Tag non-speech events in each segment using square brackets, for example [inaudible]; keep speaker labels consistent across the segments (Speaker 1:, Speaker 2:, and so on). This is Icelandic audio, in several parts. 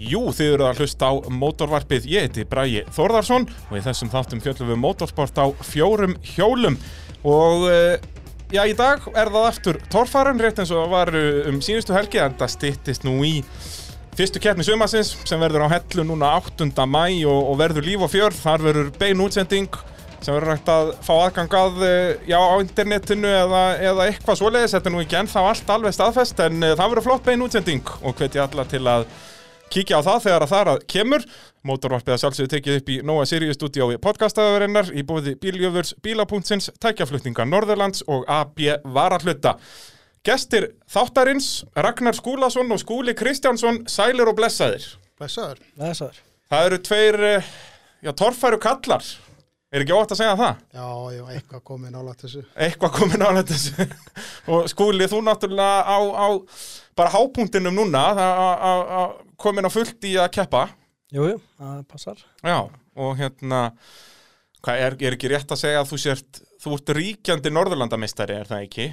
Speaker 1: Jú, þið eru að hlusta á mótorvarpið. Ég heiti Bragi Þórðarsson og í þessum þáttum fjöllum við mótorsport á fjórum hjólum. Og eh, já, í dag er það aftur torfarun, rétt eins og það var eh, um sínustu helgi, en það styttist nú í fyrstu keppni sumasins sem verður á hellu núna 8. mæ og, og verður líf og fjör. Þar verður bein útsending sem verður hægt að fá aðgang að eh, já, á internetinu eða, eða eitthvað svoleiðis. Þetta er nú ekki ennþá allt alveg staðfest en eh, það verður flott bein útsending og hvetja alla til að kíkja á það þegar að það er að kemur. Mótorvarpið að sjálfsögðu tekið upp í Nóa Sirius stúdíói podcastaðurinnar í bóði bíljöfurs, bílapunktsins, tækjaflutninga Norðurlands og AB Varahluta. Gestir þáttarins, Ragnar Skúlason og Skúli Kristjánsson, sælir og blessaðir.
Speaker 2: Blessaður.
Speaker 3: Þessar.
Speaker 1: Það eru tveir, eh, já, torfæru kallar. Er ekki ótt að segja það?
Speaker 2: Já, já, eitthvað komið nálægt þessu.
Speaker 1: Eitthvað komin á þessu. [laughs] og Skúli, þú náttúrulega á, á bara hápunktinum núna, það- að- að að komin á fullt í að keppa.
Speaker 3: Jú, jú, það passar.
Speaker 1: Já, og hérna hvað er, er ekki rétt að segja að þú sért þú ert ríkjandi Norðurlandameistari er það ekki?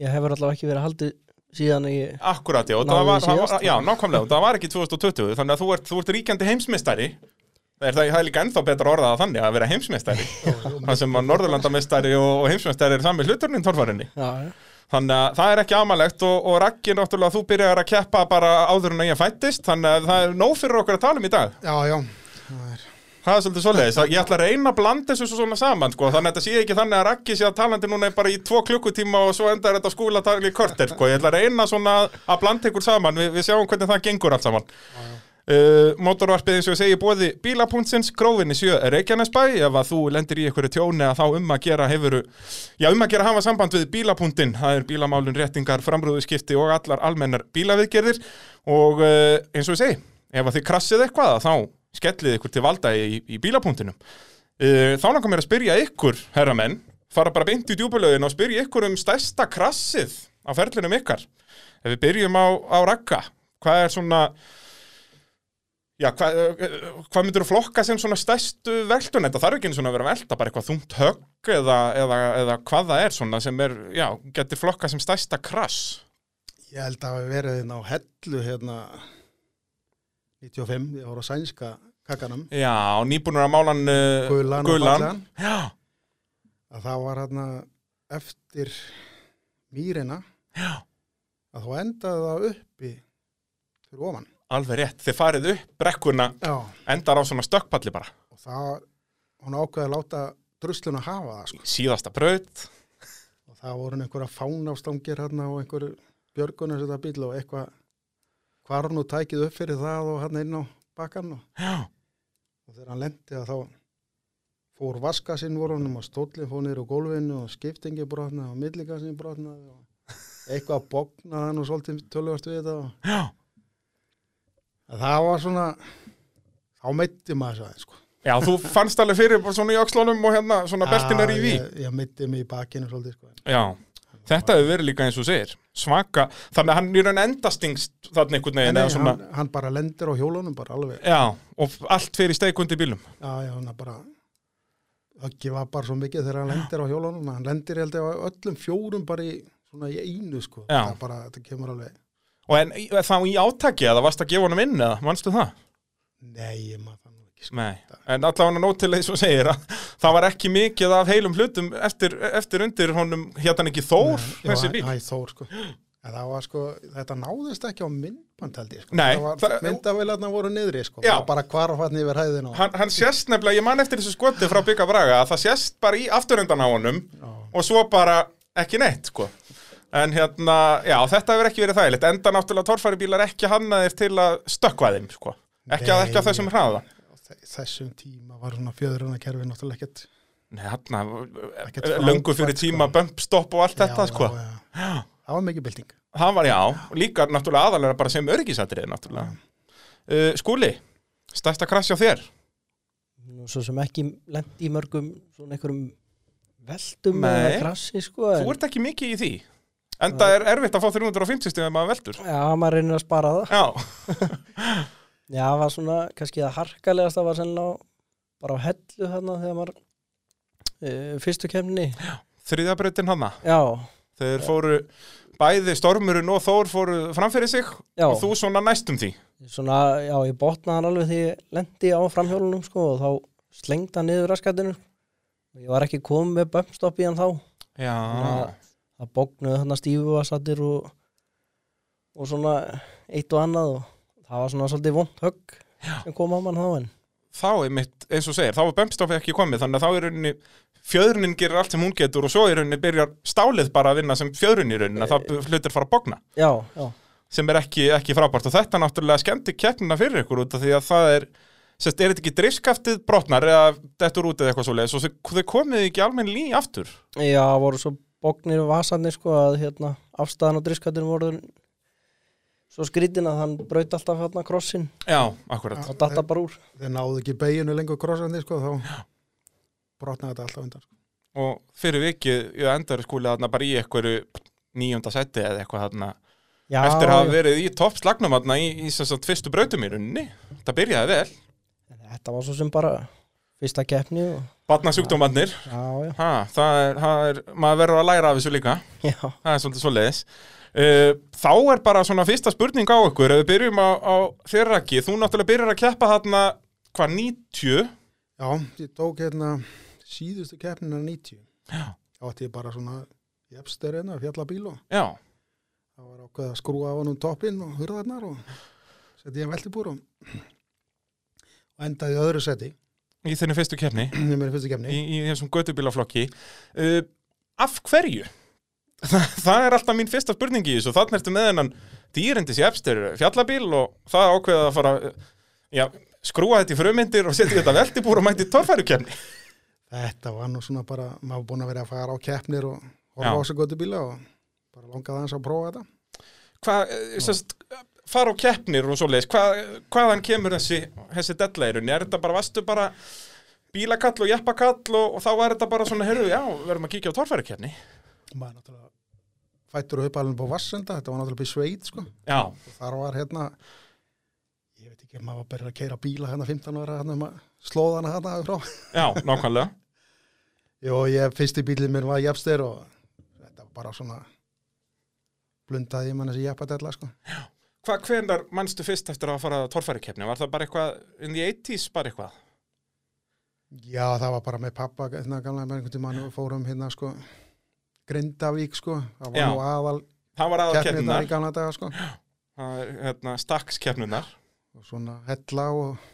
Speaker 3: Ég hefur allavega ekki verið haldið síðan ég...
Speaker 1: Akkurat, já, og
Speaker 3: Náði
Speaker 1: það var,
Speaker 3: síðast.
Speaker 1: það var já, nákvæmlega, og það var ekki 2020 þannig að þú ert, þú ert ríkjandi heimsmeistari er það, það er líka ennþá betra orðað að þannig að vera heimsmeistari það sem að Norðurlandameistari og, og heimsmeistari er sami hluturnin torfarinni
Speaker 3: Já, já.
Speaker 1: þannig að það er ekki amalegt og, og Raggi náttúrulega þú byrjar að keppa bara áður en að ég fættist þannig að það er nóg fyrir okkur að tala um í dag
Speaker 2: Já, já. Það er,
Speaker 1: Það er svolítið svoleiðis, að ég ætla að reyna að blanda þessu svo svona saman, sko, þannig að þetta sé ekki þannig að Raggi sé að talandi núna er bara í tvo klukkutíma og svo endar þetta skúla tagli í korter, sko, ég ætla að reyna svona að blanda ykkur saman, Vi, við sjáum hvernig það gengur allt saman. Uh, Mótorvarpið eins og ég segi bóði bílapúntsins, grófinni sjö Reykjanesbæ, ef að þú lendir í einhverju tjóni að þá um að gera hefuru, já um að gera hafa samband við bílapúntin, það er bílamálun, réttingar, framrúðuskipti og allar almennar bílaviðgerðir og uh, eins og ég segi, ef að þið krassið eitthvað að þá skellið ykkur til valda í, í bílapúntinum uh, þá langar mér að spyrja ykkur herramenn, fara bara beint í djúbulögin og spyrja ykkur um stærsta krassið á ferlinum ykkar ef við byrjum á, á ragga hvað er svona já, hvað, eh, hvað myndur þú flokka sem svona stærstu veltun þetta þarf ekki einu svona að vera að velta bara eitthvað þungt högg eða, eða, eða hvað það er svona sem er, já, getur flokka sem stærsta krass
Speaker 2: ég held að hafi verið hérna á hellu hérna 95, ég voru á sænska kakanum,
Speaker 1: já, nýbúnur að málan uh,
Speaker 2: gulan,
Speaker 1: gulan.
Speaker 2: og fallan.
Speaker 1: já,
Speaker 2: Að það var hérna eftir mýrina
Speaker 1: já
Speaker 2: að þá endaði það uppi fyrir ofan.
Speaker 1: Alveg rétt, þið farið upp brekkuna,
Speaker 2: Já.
Speaker 1: endar á svona stökkpalli bara.
Speaker 2: Og það, hún ákveði að láta druslun að hafa það, sko.
Speaker 1: Síðasta braut,
Speaker 2: Og það voru hann einhverja fánafstangir hérna og einhverju björgunar þetta bíl og eitthvað hvar nú tækið upp fyrir það og hérna inn á bakkan og
Speaker 1: já,
Speaker 2: og þegar hann lendi að þá fór vaskasinn voru honum og stólinn fór niður á gólfinu og skiptingi brotnaði og millikasinn brotnaði og eitthvað bóknaði hann og svolítið tölvart við þetta og
Speaker 1: já.
Speaker 2: að það var svona þá meitti maður svo aðeins sko.
Speaker 1: Já, þú fannst alveg fyrir bara svona í öxlunum og hérna svona beltin er í
Speaker 2: Já,
Speaker 1: vík.
Speaker 2: ég, ég meitti mig í bakinu svolítið sko.
Speaker 1: Já, þetta hefur verið líka eins og þú segir, svaka, þannig að hann í raun endastingst þarna einhvern
Speaker 2: en
Speaker 1: veginn eða
Speaker 2: nei,
Speaker 1: svona,
Speaker 2: hann, hann bara lendir á hjólunum bara alveg
Speaker 1: já, og allt fyrir steikundi bílum.
Speaker 2: já, já, hann bara ekki var bara svo mikið þegar hann lendir á hjólunum hann lendir held ég á öllum fjórum bara í, svona í einu sko.
Speaker 1: Já.
Speaker 2: það bara, þetta kemur alveg
Speaker 1: Og en í- þá í átaki eða varst að gefa honum inn eða, mannstu það?
Speaker 2: nei, ég maður fann nú ekki sko.
Speaker 1: Nei, en allavega nóg til þess og segir að það var ekki mikið af heilum hlutum eftir, eftir undir honum, hérna ekki Þór, [laughs] þessi bíl.
Speaker 2: Æ, Þór, sko. En það var sko, þetta náðist ekki á myndband held ég, sko.
Speaker 1: Nei,
Speaker 2: það var
Speaker 1: það-
Speaker 2: myndavélarna voru niðri, sko.
Speaker 1: Já.
Speaker 2: Það var bara kvarfatni yfir hæðina. og-
Speaker 1: hann, hann sérst nefnilega, ég man eftir þessu skoti frá Bygga Braga að það sérst bara í afturöndan á honum og svo bara ekki neitt sko. en hérna, já þetta hefur ekki verið þægilegt enda náttúrulega torfæribílar ekki hannaðir til að stökkva þeim sko. ekki, að,
Speaker 2: Nei.
Speaker 1: ekki að þessum hraða
Speaker 2: Þe- Þessum tíma var svona fjöðurinn að kerfi náttúrulega ekkert.
Speaker 1: Nei, hérna,
Speaker 2: Ekkert frábært,
Speaker 1: löngu fyrir tíma bump, stopp og allt þetta
Speaker 2: Já,
Speaker 1: sko.
Speaker 2: já, já. Það var mikið bylting.
Speaker 1: það var já, líka náttúrulega aðalega bara sem örgisatrið náttúrulega uh, Skúli, stærsta krassja þér
Speaker 3: Nú, svo sem ekki lendi í mörgum svona einhverjum veltum
Speaker 1: Nei.
Speaker 3: eða krassi, sko.
Speaker 1: þú ert ekki mikið í því enda er erfitt að fá 350 stegum að veldur
Speaker 3: Já, maður reynir að spara það.
Speaker 1: já
Speaker 3: Já, það var svona, kannski það harkalegast það var sennilega á- bara á hellu þarna þegar maður uh, fyrstu kemni.
Speaker 1: þriðja breytin hana
Speaker 3: Já,
Speaker 1: þeir fóru bæði Stormurinn og Þór fóru framfyrir sig
Speaker 3: Já.
Speaker 1: og þú svona næstum því
Speaker 3: svona, já, ég botnaði hann alveg því ég lendi á framhjólunum sko og þá slengdi hann niður raskatinu og ég var ekki komið með bumpstopp í hann þá
Speaker 1: Já, Ah.
Speaker 3: Já. það bóknuði hann að stífu að sattir og, og svona eitt og annað og það var svona svolítið vond högg sem kom á mann þá en
Speaker 1: þá er mitt, eins og segir, þá er Bömpstofi ekki komið þannig að þá er rauninni, fjöðrunin gerir allt sem hún getur og svo er rauninni byrjar stálið bara að vinna sem fjöðrun í rauninni að það hlutir fara að bókna
Speaker 3: já, já,
Speaker 1: sem er ekki, ekki frábært og þetta náttúrulega skemmti keppnina fyrir ykkur út af því að það er sérst, er þetta ekki driftskaftið brotnar eða dettur út eða eitthvað svoleiðis og þau- þau komið ekki almenn lí aftur
Speaker 3: já, voru svo bóknir vasarnir sko að hérna afstæðan og driskatinu voru svo skrítin að hann braut alltaf hérna krossin
Speaker 1: Já, akkurat
Speaker 3: og datta bara úr
Speaker 2: þeir náðu ekki beiginu lengur krossandi sko, þá brotnaði þetta alltaf undan sko.
Speaker 1: og fyrir vikið ég endar skúlið þarna bara í einhverju nýjunda seti eða eitthvað þarna
Speaker 3: já,
Speaker 1: eftir að hafa
Speaker 3: já.
Speaker 1: verið í toppslagnum þarna í, í sem sagt fyrstu brautum í runni það byrjaði vel,
Speaker 3: Þetta var svo sem bara fyrsta keppni og
Speaker 1: batnasjúkdómannir
Speaker 3: já, já,
Speaker 1: ha, það, er, það er, maður verður að læra af þessu líka
Speaker 3: já.
Speaker 1: það er svolítið svoleiðis uh, þá er bara svona fyrsta spurning á okkur ef við byrjum á, á þér ekki þú náttúrulega byrjar að keppa þarna hvað 90
Speaker 2: já, ég tók hérna síðustu keppnina 90
Speaker 1: Já.
Speaker 2: þá átti ég bara svona jefster hérna, fjallabíl og
Speaker 1: já,
Speaker 2: það var ákveð að skrúa á hann um toppinn og hurðarnar og setja ég veltibúr og, og endaði í öðru seti [clears throat]
Speaker 1: í þenni fyrstu keppni
Speaker 2: í mér fyrstu kemni
Speaker 1: í, í þessum götubílaflokki uh, af hverju? [laughs] það, það er alltaf mín fyrsta spurning í þessu þannig ertu með hennan dýrindis í efstir fjallabíl og það ákveða að fara uh, já, skrúa þetta í frumyndir og setja í þetta veltibúr og mæti torfærukefni
Speaker 2: þetta var nú svona bara, maður var búin að vera að fara á keppnir og
Speaker 1: Já.
Speaker 2: horfa á þessu góti bíla og bara langaði hans að prófa þetta
Speaker 1: hvað, eh, sem sagt, fara á keppnir og svoleiðis, hvað, hvaðan kemur þessi, þessi deadleirunni, er þetta bara, varstu bara bílakall og jeppakall og, og þá er þetta bara svona, heyrðu, já, verðum að kíkja á torfærukeppni.
Speaker 2: maður náttúrulega fættur og uppalinn på Vassenda, þetta var náttúrulega í sveit sko.
Speaker 1: Já,
Speaker 2: og þar var hérna ég veit ekki, maður var bara að keira bíla hérna 15 ára hérna, um að slóða hana hérna frá [laughs]
Speaker 1: já, nákvæmlega.
Speaker 2: Jó, ég, fyrsti bílið minn var jefster og þetta var bara svona blundaði ég mann þessi jeppadella sko.
Speaker 1: Hvað, hvenar mannstu fyrst eftir að fara á torfærukeppni? Var það bara eitthvað, in the 80s bara eitthvað?
Speaker 2: já, það var bara með pappa hérna gamla með einhvern tímann og fórum hérna sko Grindavík sko, það var
Speaker 1: Já.
Speaker 2: nú aðal
Speaker 1: Það var
Speaker 2: keppnið þar í
Speaker 1: aðakeppnunar,
Speaker 2: gamla daga sko
Speaker 1: það er hérna, stakkskeppnunar
Speaker 2: og svona hella og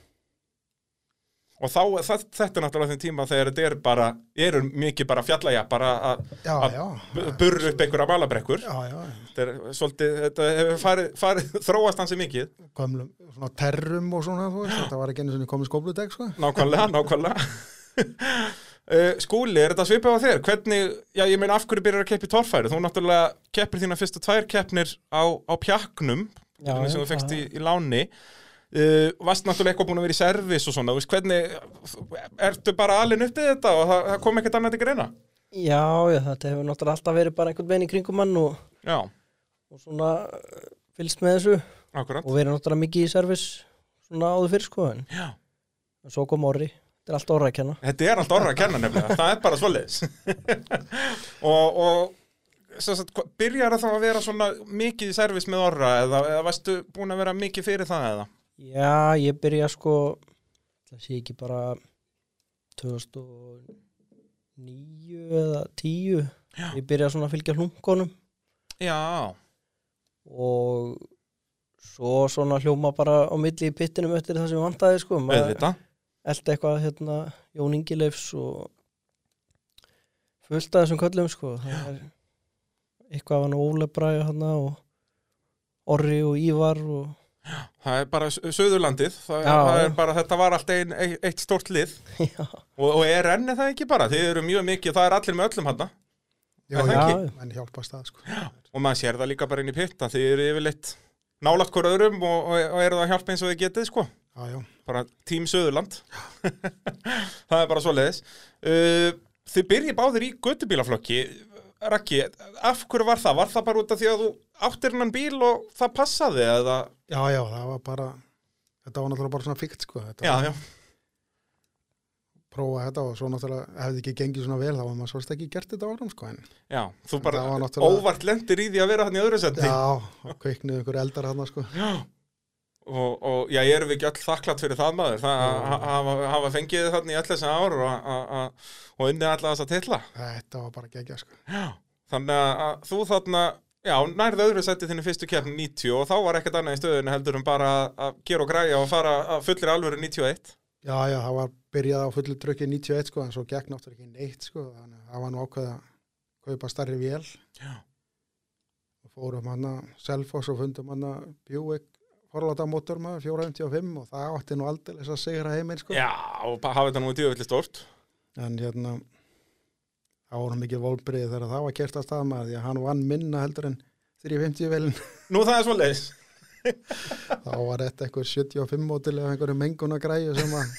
Speaker 1: og þá, það, þetta er náttúrulega þeim tíma þegar þetta er bara, eru mikið bara fjallajappar að
Speaker 2: já,
Speaker 1: Að
Speaker 2: já,
Speaker 1: að burra upp einhverja malabrekkur.
Speaker 2: já, já,
Speaker 1: Þetta er svolítið, þetta hefur farið, farið þróast hansi mikið.
Speaker 2: gömlum, svona terrum og svona, þú veist, þetta var ekki einu sinni komið skópludeg, sko.
Speaker 1: Nákvæmlega, nákvæmlega. [laughs] Uh, skúli, er þetta svipað á þér? Hvernig, já ég meina af hverju byrjar að keppa í torfæru? Þú náttúrulega keppir þína fyrstu tvær keppnir á, á pjaknum,
Speaker 3: Já,
Speaker 1: þannig sem
Speaker 3: já,
Speaker 1: þú fekst í,
Speaker 3: það-
Speaker 1: í láni. Uh, varst náttúrulega eitthvað búin að vera í servis og svona, þú veist, hvernig, ertu bara alin uppið þetta og það, það kom ekkert annað til greina?
Speaker 3: já, já, þetta hefur náttúrulega alltaf verið bara einhvern veginn í kringum mann og,
Speaker 1: Já,
Speaker 3: og svona eh, fylgst með þessu
Speaker 1: akkurat.
Speaker 3: og verið náttúrulega mikið í servis svona áður fyrir sko en
Speaker 1: Já.
Speaker 3: en svo kom orri, þetta er allt hérna. orra að kenna
Speaker 1: Þetta er allt orra að kenna nefnilega, það er bara svoleiðis [laughs] og, og sem sagt, hva- byrjar það þá að vera svona mikið í servis með orra eða, eða varstu búin að vera mikið fyrir það eða?
Speaker 3: Já, ég byrja sko það sé ekki bara 2009 eða 10
Speaker 1: Já.
Speaker 3: ég byrja svona að fylgja hlunkonum
Speaker 1: Já,
Speaker 3: og svo svona hljóma bara á milli í pittinum eftir það sem vantaði sko maður
Speaker 1: auðvitað
Speaker 3: eldi eitthvað hérna Jón Ingileifs og fullt að þessum köllum sko það er eitthvað af hann Óle Bræja hann og Orri og Ívar og [laughs]
Speaker 1: Það er bara Su- Suðurlandið, það,
Speaker 3: Já,
Speaker 1: það
Speaker 3: já.
Speaker 1: er bara, þetta var allt ein, ein- eitt stórt lið
Speaker 3: já,
Speaker 1: og, og er enni það ekki bara, þið eru mjög mikið, það er allir með öllum hana
Speaker 2: Já,
Speaker 1: Er það
Speaker 2: já,
Speaker 3: ekki?
Speaker 2: menn hjálpast það, sko.
Speaker 1: og maður sér það líka bara inn í pitta, þið eru yfirleitt nálagt hver öðrum og, og, og eru það að hjálpa eins og þið getið sko
Speaker 2: Já, já.
Speaker 1: bara tím Söðurland [laughs] það er bara svoleiðis uh, þið byrjið báðir í göttubílaflokki Raki, af hverju var það? Var það bara út af því að þú áttir hennan bíl og það passaði eða?
Speaker 2: Já, já, það var bara, þetta var náttúrulega bara svona fíkt, sko. Þetta
Speaker 1: Já,
Speaker 2: var
Speaker 1: já,
Speaker 2: prófa þetta og svo náttúrulega hefði ekki gengið svona vel þá var maður svolítið ekki gert þetta árum sko en
Speaker 1: Já, þú bara
Speaker 2: Það var náttúrulega-
Speaker 1: óvart lendir í því að vera hann í öðru setni
Speaker 2: já, þá kveiknuðu ykkur eldar hann sko
Speaker 1: Já. Og, og já, erum við ekki öll þakklátt fyrir það maður það að
Speaker 2: Já.
Speaker 1: ha- hafa- hafa fengið þið þarna í öll þessi ár og, að- að- og unnið alla þess að tilla
Speaker 2: þetta var bara gegja sko
Speaker 1: Þannig að- að þú þarna, já, nærðu öðru setti þinni fyrstu keppni 90 og þá var ekkert annað í stöðunni heldur en bara að- að gera og græja og fara að fullir alvöru 91.
Speaker 2: já, já, það var byrjað á fullu trökki 91 sko en svo gegn náttúrulega ekki neitt sko þannig að það var nú ákveð að kaupa starri vél
Speaker 1: Já.
Speaker 2: og fórum hann að Selfoss og fundum hann að Bjúik forláta mótormaður 455 og það átti nú aldrei að segra heiminn sko
Speaker 1: Já, og pa- hafa þetta nú djöfulli stort.
Speaker 2: en hérna það voru mikið volbriði þegar það var kert að staðma því að hann vann minna heldur en 350 velin,
Speaker 1: Nú það er svo leis.
Speaker 2: þá var þetta einhver 75 mótil eða einhverju menguna græju sem að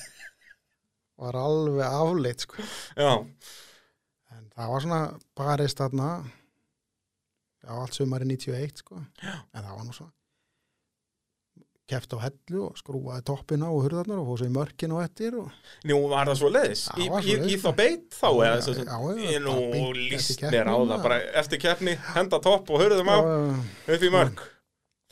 Speaker 2: var alveg afleitt sko.
Speaker 1: Já,
Speaker 2: en það var svona barist þarna já, allt sumari 91 sko. en það var nú svona keft á hellu og skrúaði toppina og hurðarnar og fóð svo í mörkin og ettir og
Speaker 1: nú var það svo leis.
Speaker 2: Já,
Speaker 1: Í,
Speaker 2: var
Speaker 1: í,
Speaker 2: svoleiðis,
Speaker 1: í
Speaker 2: sko.
Speaker 1: þá beit þá eða þess
Speaker 2: Já,
Speaker 1: að
Speaker 2: já, já, bara
Speaker 1: nú
Speaker 2: beint
Speaker 1: líst mér
Speaker 2: eftir
Speaker 1: á
Speaker 2: keppnina.
Speaker 1: það bara eftir keppni, henda topp og hörðum á
Speaker 2: og,
Speaker 1: upp í mörg.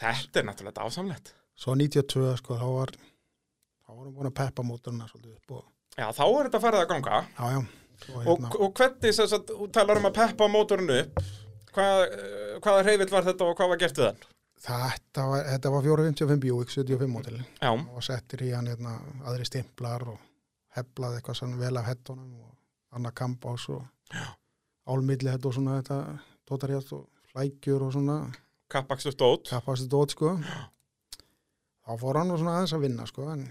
Speaker 1: Þetta er náttúrulega dásamlegt.
Speaker 2: svo 92 sko, þá var þá vorum búin að peppa mótorna svolítið upp og
Speaker 1: Já, þá er þetta farið að ganga.
Speaker 2: já, já, svo
Speaker 1: Og,
Speaker 2: hérna
Speaker 1: og hvernig, sem sagt, þú talar um að peppa mótorinu upp, hvað, eh, hvaða reyfill var þetta og hvað var gert við hann?
Speaker 2: þetta var, þetta var 455 Buick 75 mótil
Speaker 1: Já,
Speaker 2: og settir í hann hérna aðri stimplar og heflaði eitthvað sann vel af hettunum og annað kampás og álmilli hett og svona þetta tótarjátt og flækjur og svona
Speaker 1: kappakstu stótt.
Speaker 2: kappast dót sko þá fór hann nú svona aðeins að vinna sko en,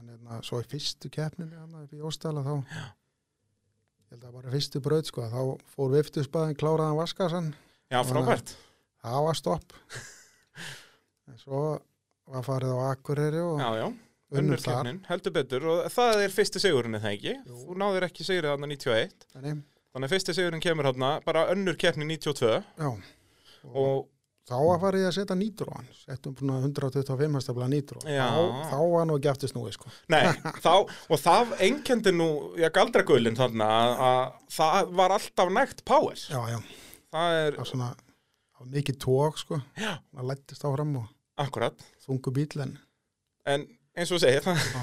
Speaker 2: en hérna, svo í fyrstu keppninu hann upp í Óstala þá Já. ég held að bara fyrstu braut sko þá fór viftusbaðin kláraðan vaskasan
Speaker 1: Já, frábært.
Speaker 2: það var
Speaker 1: [laughs]
Speaker 2: stopp en svo var farið á Akureyri og
Speaker 1: Já, já,
Speaker 2: unnum
Speaker 1: unnur
Speaker 2: þar
Speaker 1: keppnin, heldur betur og það er fyrsti sigurinn, er það ekki?
Speaker 2: Jú.
Speaker 1: Þú náðir ekki sigurinn þarna 91,
Speaker 2: Þannig,
Speaker 1: þannig að fyrsti sigurinn kemur þarna, bara önnur keppni 92
Speaker 2: já,
Speaker 1: og
Speaker 2: þá var farið að setja nýtróan settum svona 125 stafla nýtró
Speaker 1: Já.
Speaker 2: þá, þá var nú ekki aftur snúið sko
Speaker 1: Nei, þá, og það einkendi nú, já, galdragulinn þarna, að, að það var alltaf nægt power.
Speaker 2: já, já,
Speaker 1: Það er,
Speaker 2: það var svona það var mikið tók sko
Speaker 1: já,
Speaker 2: það lættist áfram og
Speaker 1: akkurat,
Speaker 2: þungu bíl en
Speaker 1: en eins og segir, [laughs] það,
Speaker 2: á,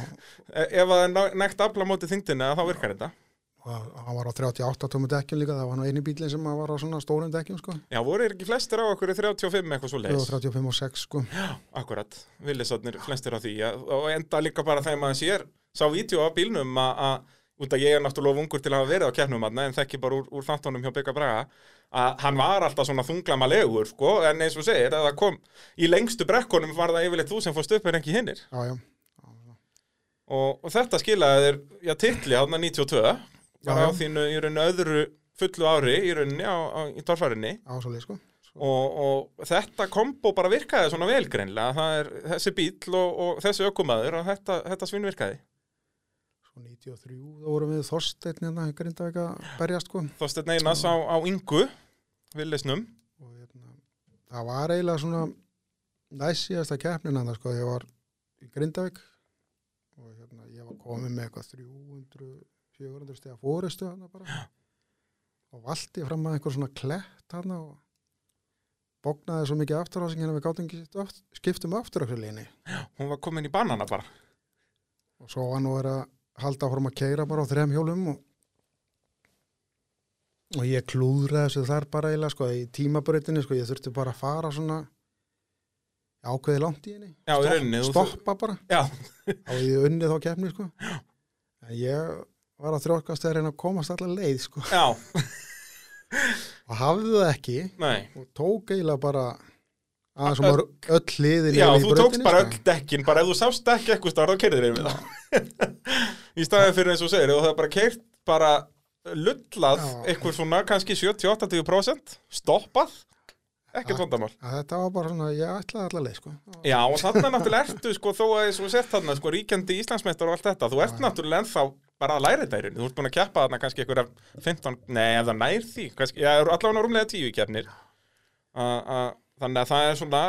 Speaker 1: ef að það er ná- nægt afla móti þyngdina, þá virkar þetta.
Speaker 2: og hann var á 38 tómur dekkjum líka, það var nú eini bílinn sem var á svona stórum dekkjum sko
Speaker 1: Já, voru þeir ekki flestir á okkur í 35 eitthvað svo
Speaker 2: og
Speaker 1: leiðis?
Speaker 2: 35 og 6 sko
Speaker 1: Akkurat, villisotnir flestir á því ja, og enda líka bara þegar maður sér sá vídeo á bílnum að- að út að ég er náttúrulega of ungur til að hafa verið á kernum aðna en þekki bara úr, úr þáttunum hjá Bygga Braga að hann var alltaf svona þunglamalegur sko, en eins og segir, ef það kom í lengstu brekkunum var það yfirleitt þú sem fórst upp en ekki hinnir
Speaker 2: já, já,
Speaker 1: og, og þetta skilaði þér, já, titli þarna 92 bara
Speaker 2: Já, já.
Speaker 1: á þínu í raun öðru fullu ári í rauninni á, á, í torfarinni
Speaker 2: ásvöldi sko
Speaker 1: og, og þetta kombo bara virkaði svona vel greinlega, það er þessi bíl og, og þessi ökumæður og þetta, þetta svinn virkaði
Speaker 2: svo 93 þá vorum við Þorsteinn hérna í Grindavík að berjast sko
Speaker 1: Þorsteinn Einars á, á Ingu villisnum,
Speaker 2: og hérna, það var eiginlega svona næst síðasta keppnin hann sko, ég var í Grindavík og hérna, ég var komið með eitthvað 300, 400 stegar fórustu hann bara og valdi fram að einhver svona klett hann og bóknaði svo mikið afturhásing hérna við gátum ekki skipt um aft- skiptum afturhásinginni
Speaker 1: hún var komin í banana bara
Speaker 2: og svo var nú verið að halda áfram að keira bara á þrem hjólum og, og ég klúðra þessu þar bara eiginlega sko, í tímabreytinu sko, ég þurfti bara að fara svona ákveði langt í henni
Speaker 1: Já, í rauninni þú-
Speaker 2: stoppa bara,
Speaker 1: Já,
Speaker 2: á ég unni þá kemni sko. en ég var að þrjókast að reyna að komast allar leið sko,
Speaker 1: já,
Speaker 2: og hafði það ekki
Speaker 1: nei
Speaker 2: og tók eiginlega bara aðeins um öll, öll hliðin
Speaker 1: Já,
Speaker 2: yfir í
Speaker 1: þú tókst
Speaker 2: brautinni,
Speaker 1: bara
Speaker 2: sko.
Speaker 1: öll dekkin, bara ef þú sást dekki eitthvað starf, þá [laughs] keirðir yfir það Í staðin fyrir eins og þú segir, ef þú það bara keirt bara lullað
Speaker 2: Já.
Speaker 1: eitthvað svona kannski 70-80% stoppað,
Speaker 2: Ak-
Speaker 1: ekkert vandamál
Speaker 2: að þetta var bara svona, ég ætlaði allar leið sko.
Speaker 1: Já, og þarna náttúrulega ertu, sko, þó að þú sett þarna, sko, ríkjandi Íslandsmeistar og allt þetta, þú ert náttúrulega ennþá bara að læra þetta í rauninni, þú ert búin að keppa þarna kannski einhverja 15, nei, ef það nær því, kannski, já, eru allavega rúmlega tíu í keppnir, uh, uh, þannig að það er svona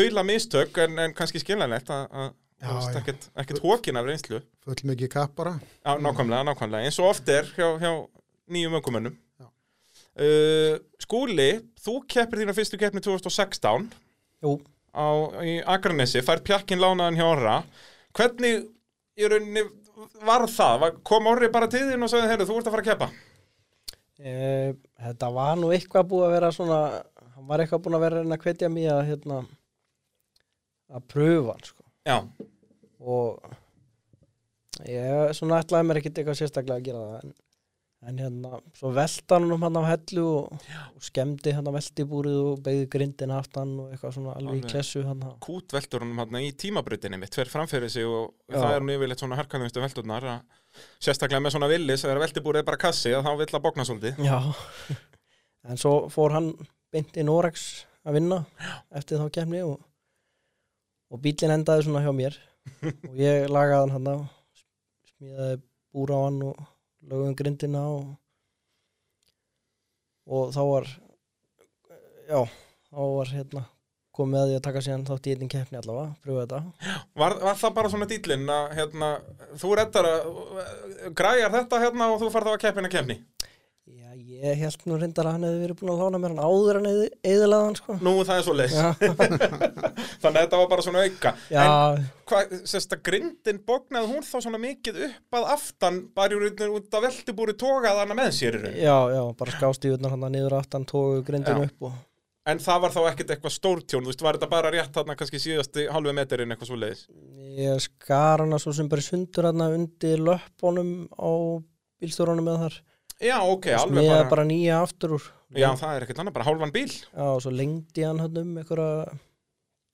Speaker 1: auðla mistök en, en kannski skiljanlegt að að
Speaker 2: Já,
Speaker 1: Þú veist,
Speaker 2: já.
Speaker 1: ekkert, ekkert hókin af reynslu
Speaker 2: full mikið kapp bara
Speaker 1: Já, nákvæmlega, nákvæmlega, eins og oft er hjá, hjá nýjum ökumönnum
Speaker 2: Já.
Speaker 1: uh, Skúli, þú keppir þína fyrstu keppni 2016
Speaker 3: Jú.
Speaker 1: á, í Akranesi, fær pjakkin lánaðan hjá Orra Hvernig í rauninni var það? Var- Kom Orri bara til þín og sagði, heyrðu, þú ert að fara að keppa
Speaker 3: Eh, Þetta var nú eitthvað búið að vera svona, hann var eitthvað búin að vera að reyna að hvetja mér að hérna að pröfa hann sko
Speaker 1: Já,
Speaker 3: og ég svona ætlaði mér ekkit eitthvað sérstaklega að gera það en, en hérna, svo velta hann um hann af hellu og, og skemmdi hann af veltibúrið og beigði grindin aftan og eitthvað svona alveg í
Speaker 1: Alveg.
Speaker 3: klessu hann að-
Speaker 1: kút veldur hann hann í tímabrutinni mitt, tver framfyrir sig og
Speaker 3: Já.
Speaker 1: það er nú yfirleitt svona herkaðumstu veldurnar að sérstaklega með svona villi sem er veldibúrið bara kassi að þá vill að bókna svolítið
Speaker 3: Já, en svo fór hann beint í Norex að vinna eftir þá kemni og, og bílinn endaði svona hjá mér og ég lagaði hann hann að smíðaði búra á hann og lögum grindina og, og þá var já, þá var hérna komið að því að taka síðan þátt í einn keppni allavega, pröfa þetta
Speaker 1: Var, var það bara svona dýllinn að hérna, þú reddar að græjar þetta hérna og þú fær þá að keppina kemni?
Speaker 3: Já, ég held nú reyndar að hann hefði verið búin að lána mér hann áður en eðilaði hann
Speaker 1: [laughs]
Speaker 3: sko
Speaker 1: Nú það er svo leys,
Speaker 3: Já,
Speaker 1: þannig að þetta var bara svona auka.
Speaker 3: já
Speaker 1: Hvað, sérst að grindin bóknaði hún þá svona mikið upp að aftan, bara úr út að veltibúri togaði hana með sér í raun.
Speaker 3: Já, já, bara skástíðunar hann niður aftan, tóðu grindin
Speaker 1: Já.
Speaker 3: upp og
Speaker 1: En það var þá ekkert eitthvað stórtjón, þú veist, var þetta bara rétt þarna kannski síðasti halvi meterinn eitthvað svo leiðis?
Speaker 3: ég skar hana svo sem bara í sundur hann undir löppunum á bílstjórunum með þar
Speaker 1: Já, ok, alveg
Speaker 3: Mér
Speaker 1: bara,
Speaker 3: bara... nýja aftur úr
Speaker 1: já, það er ekkert annað, bara hálfan bíl.
Speaker 3: já og svo lengdi hann hann um einhverja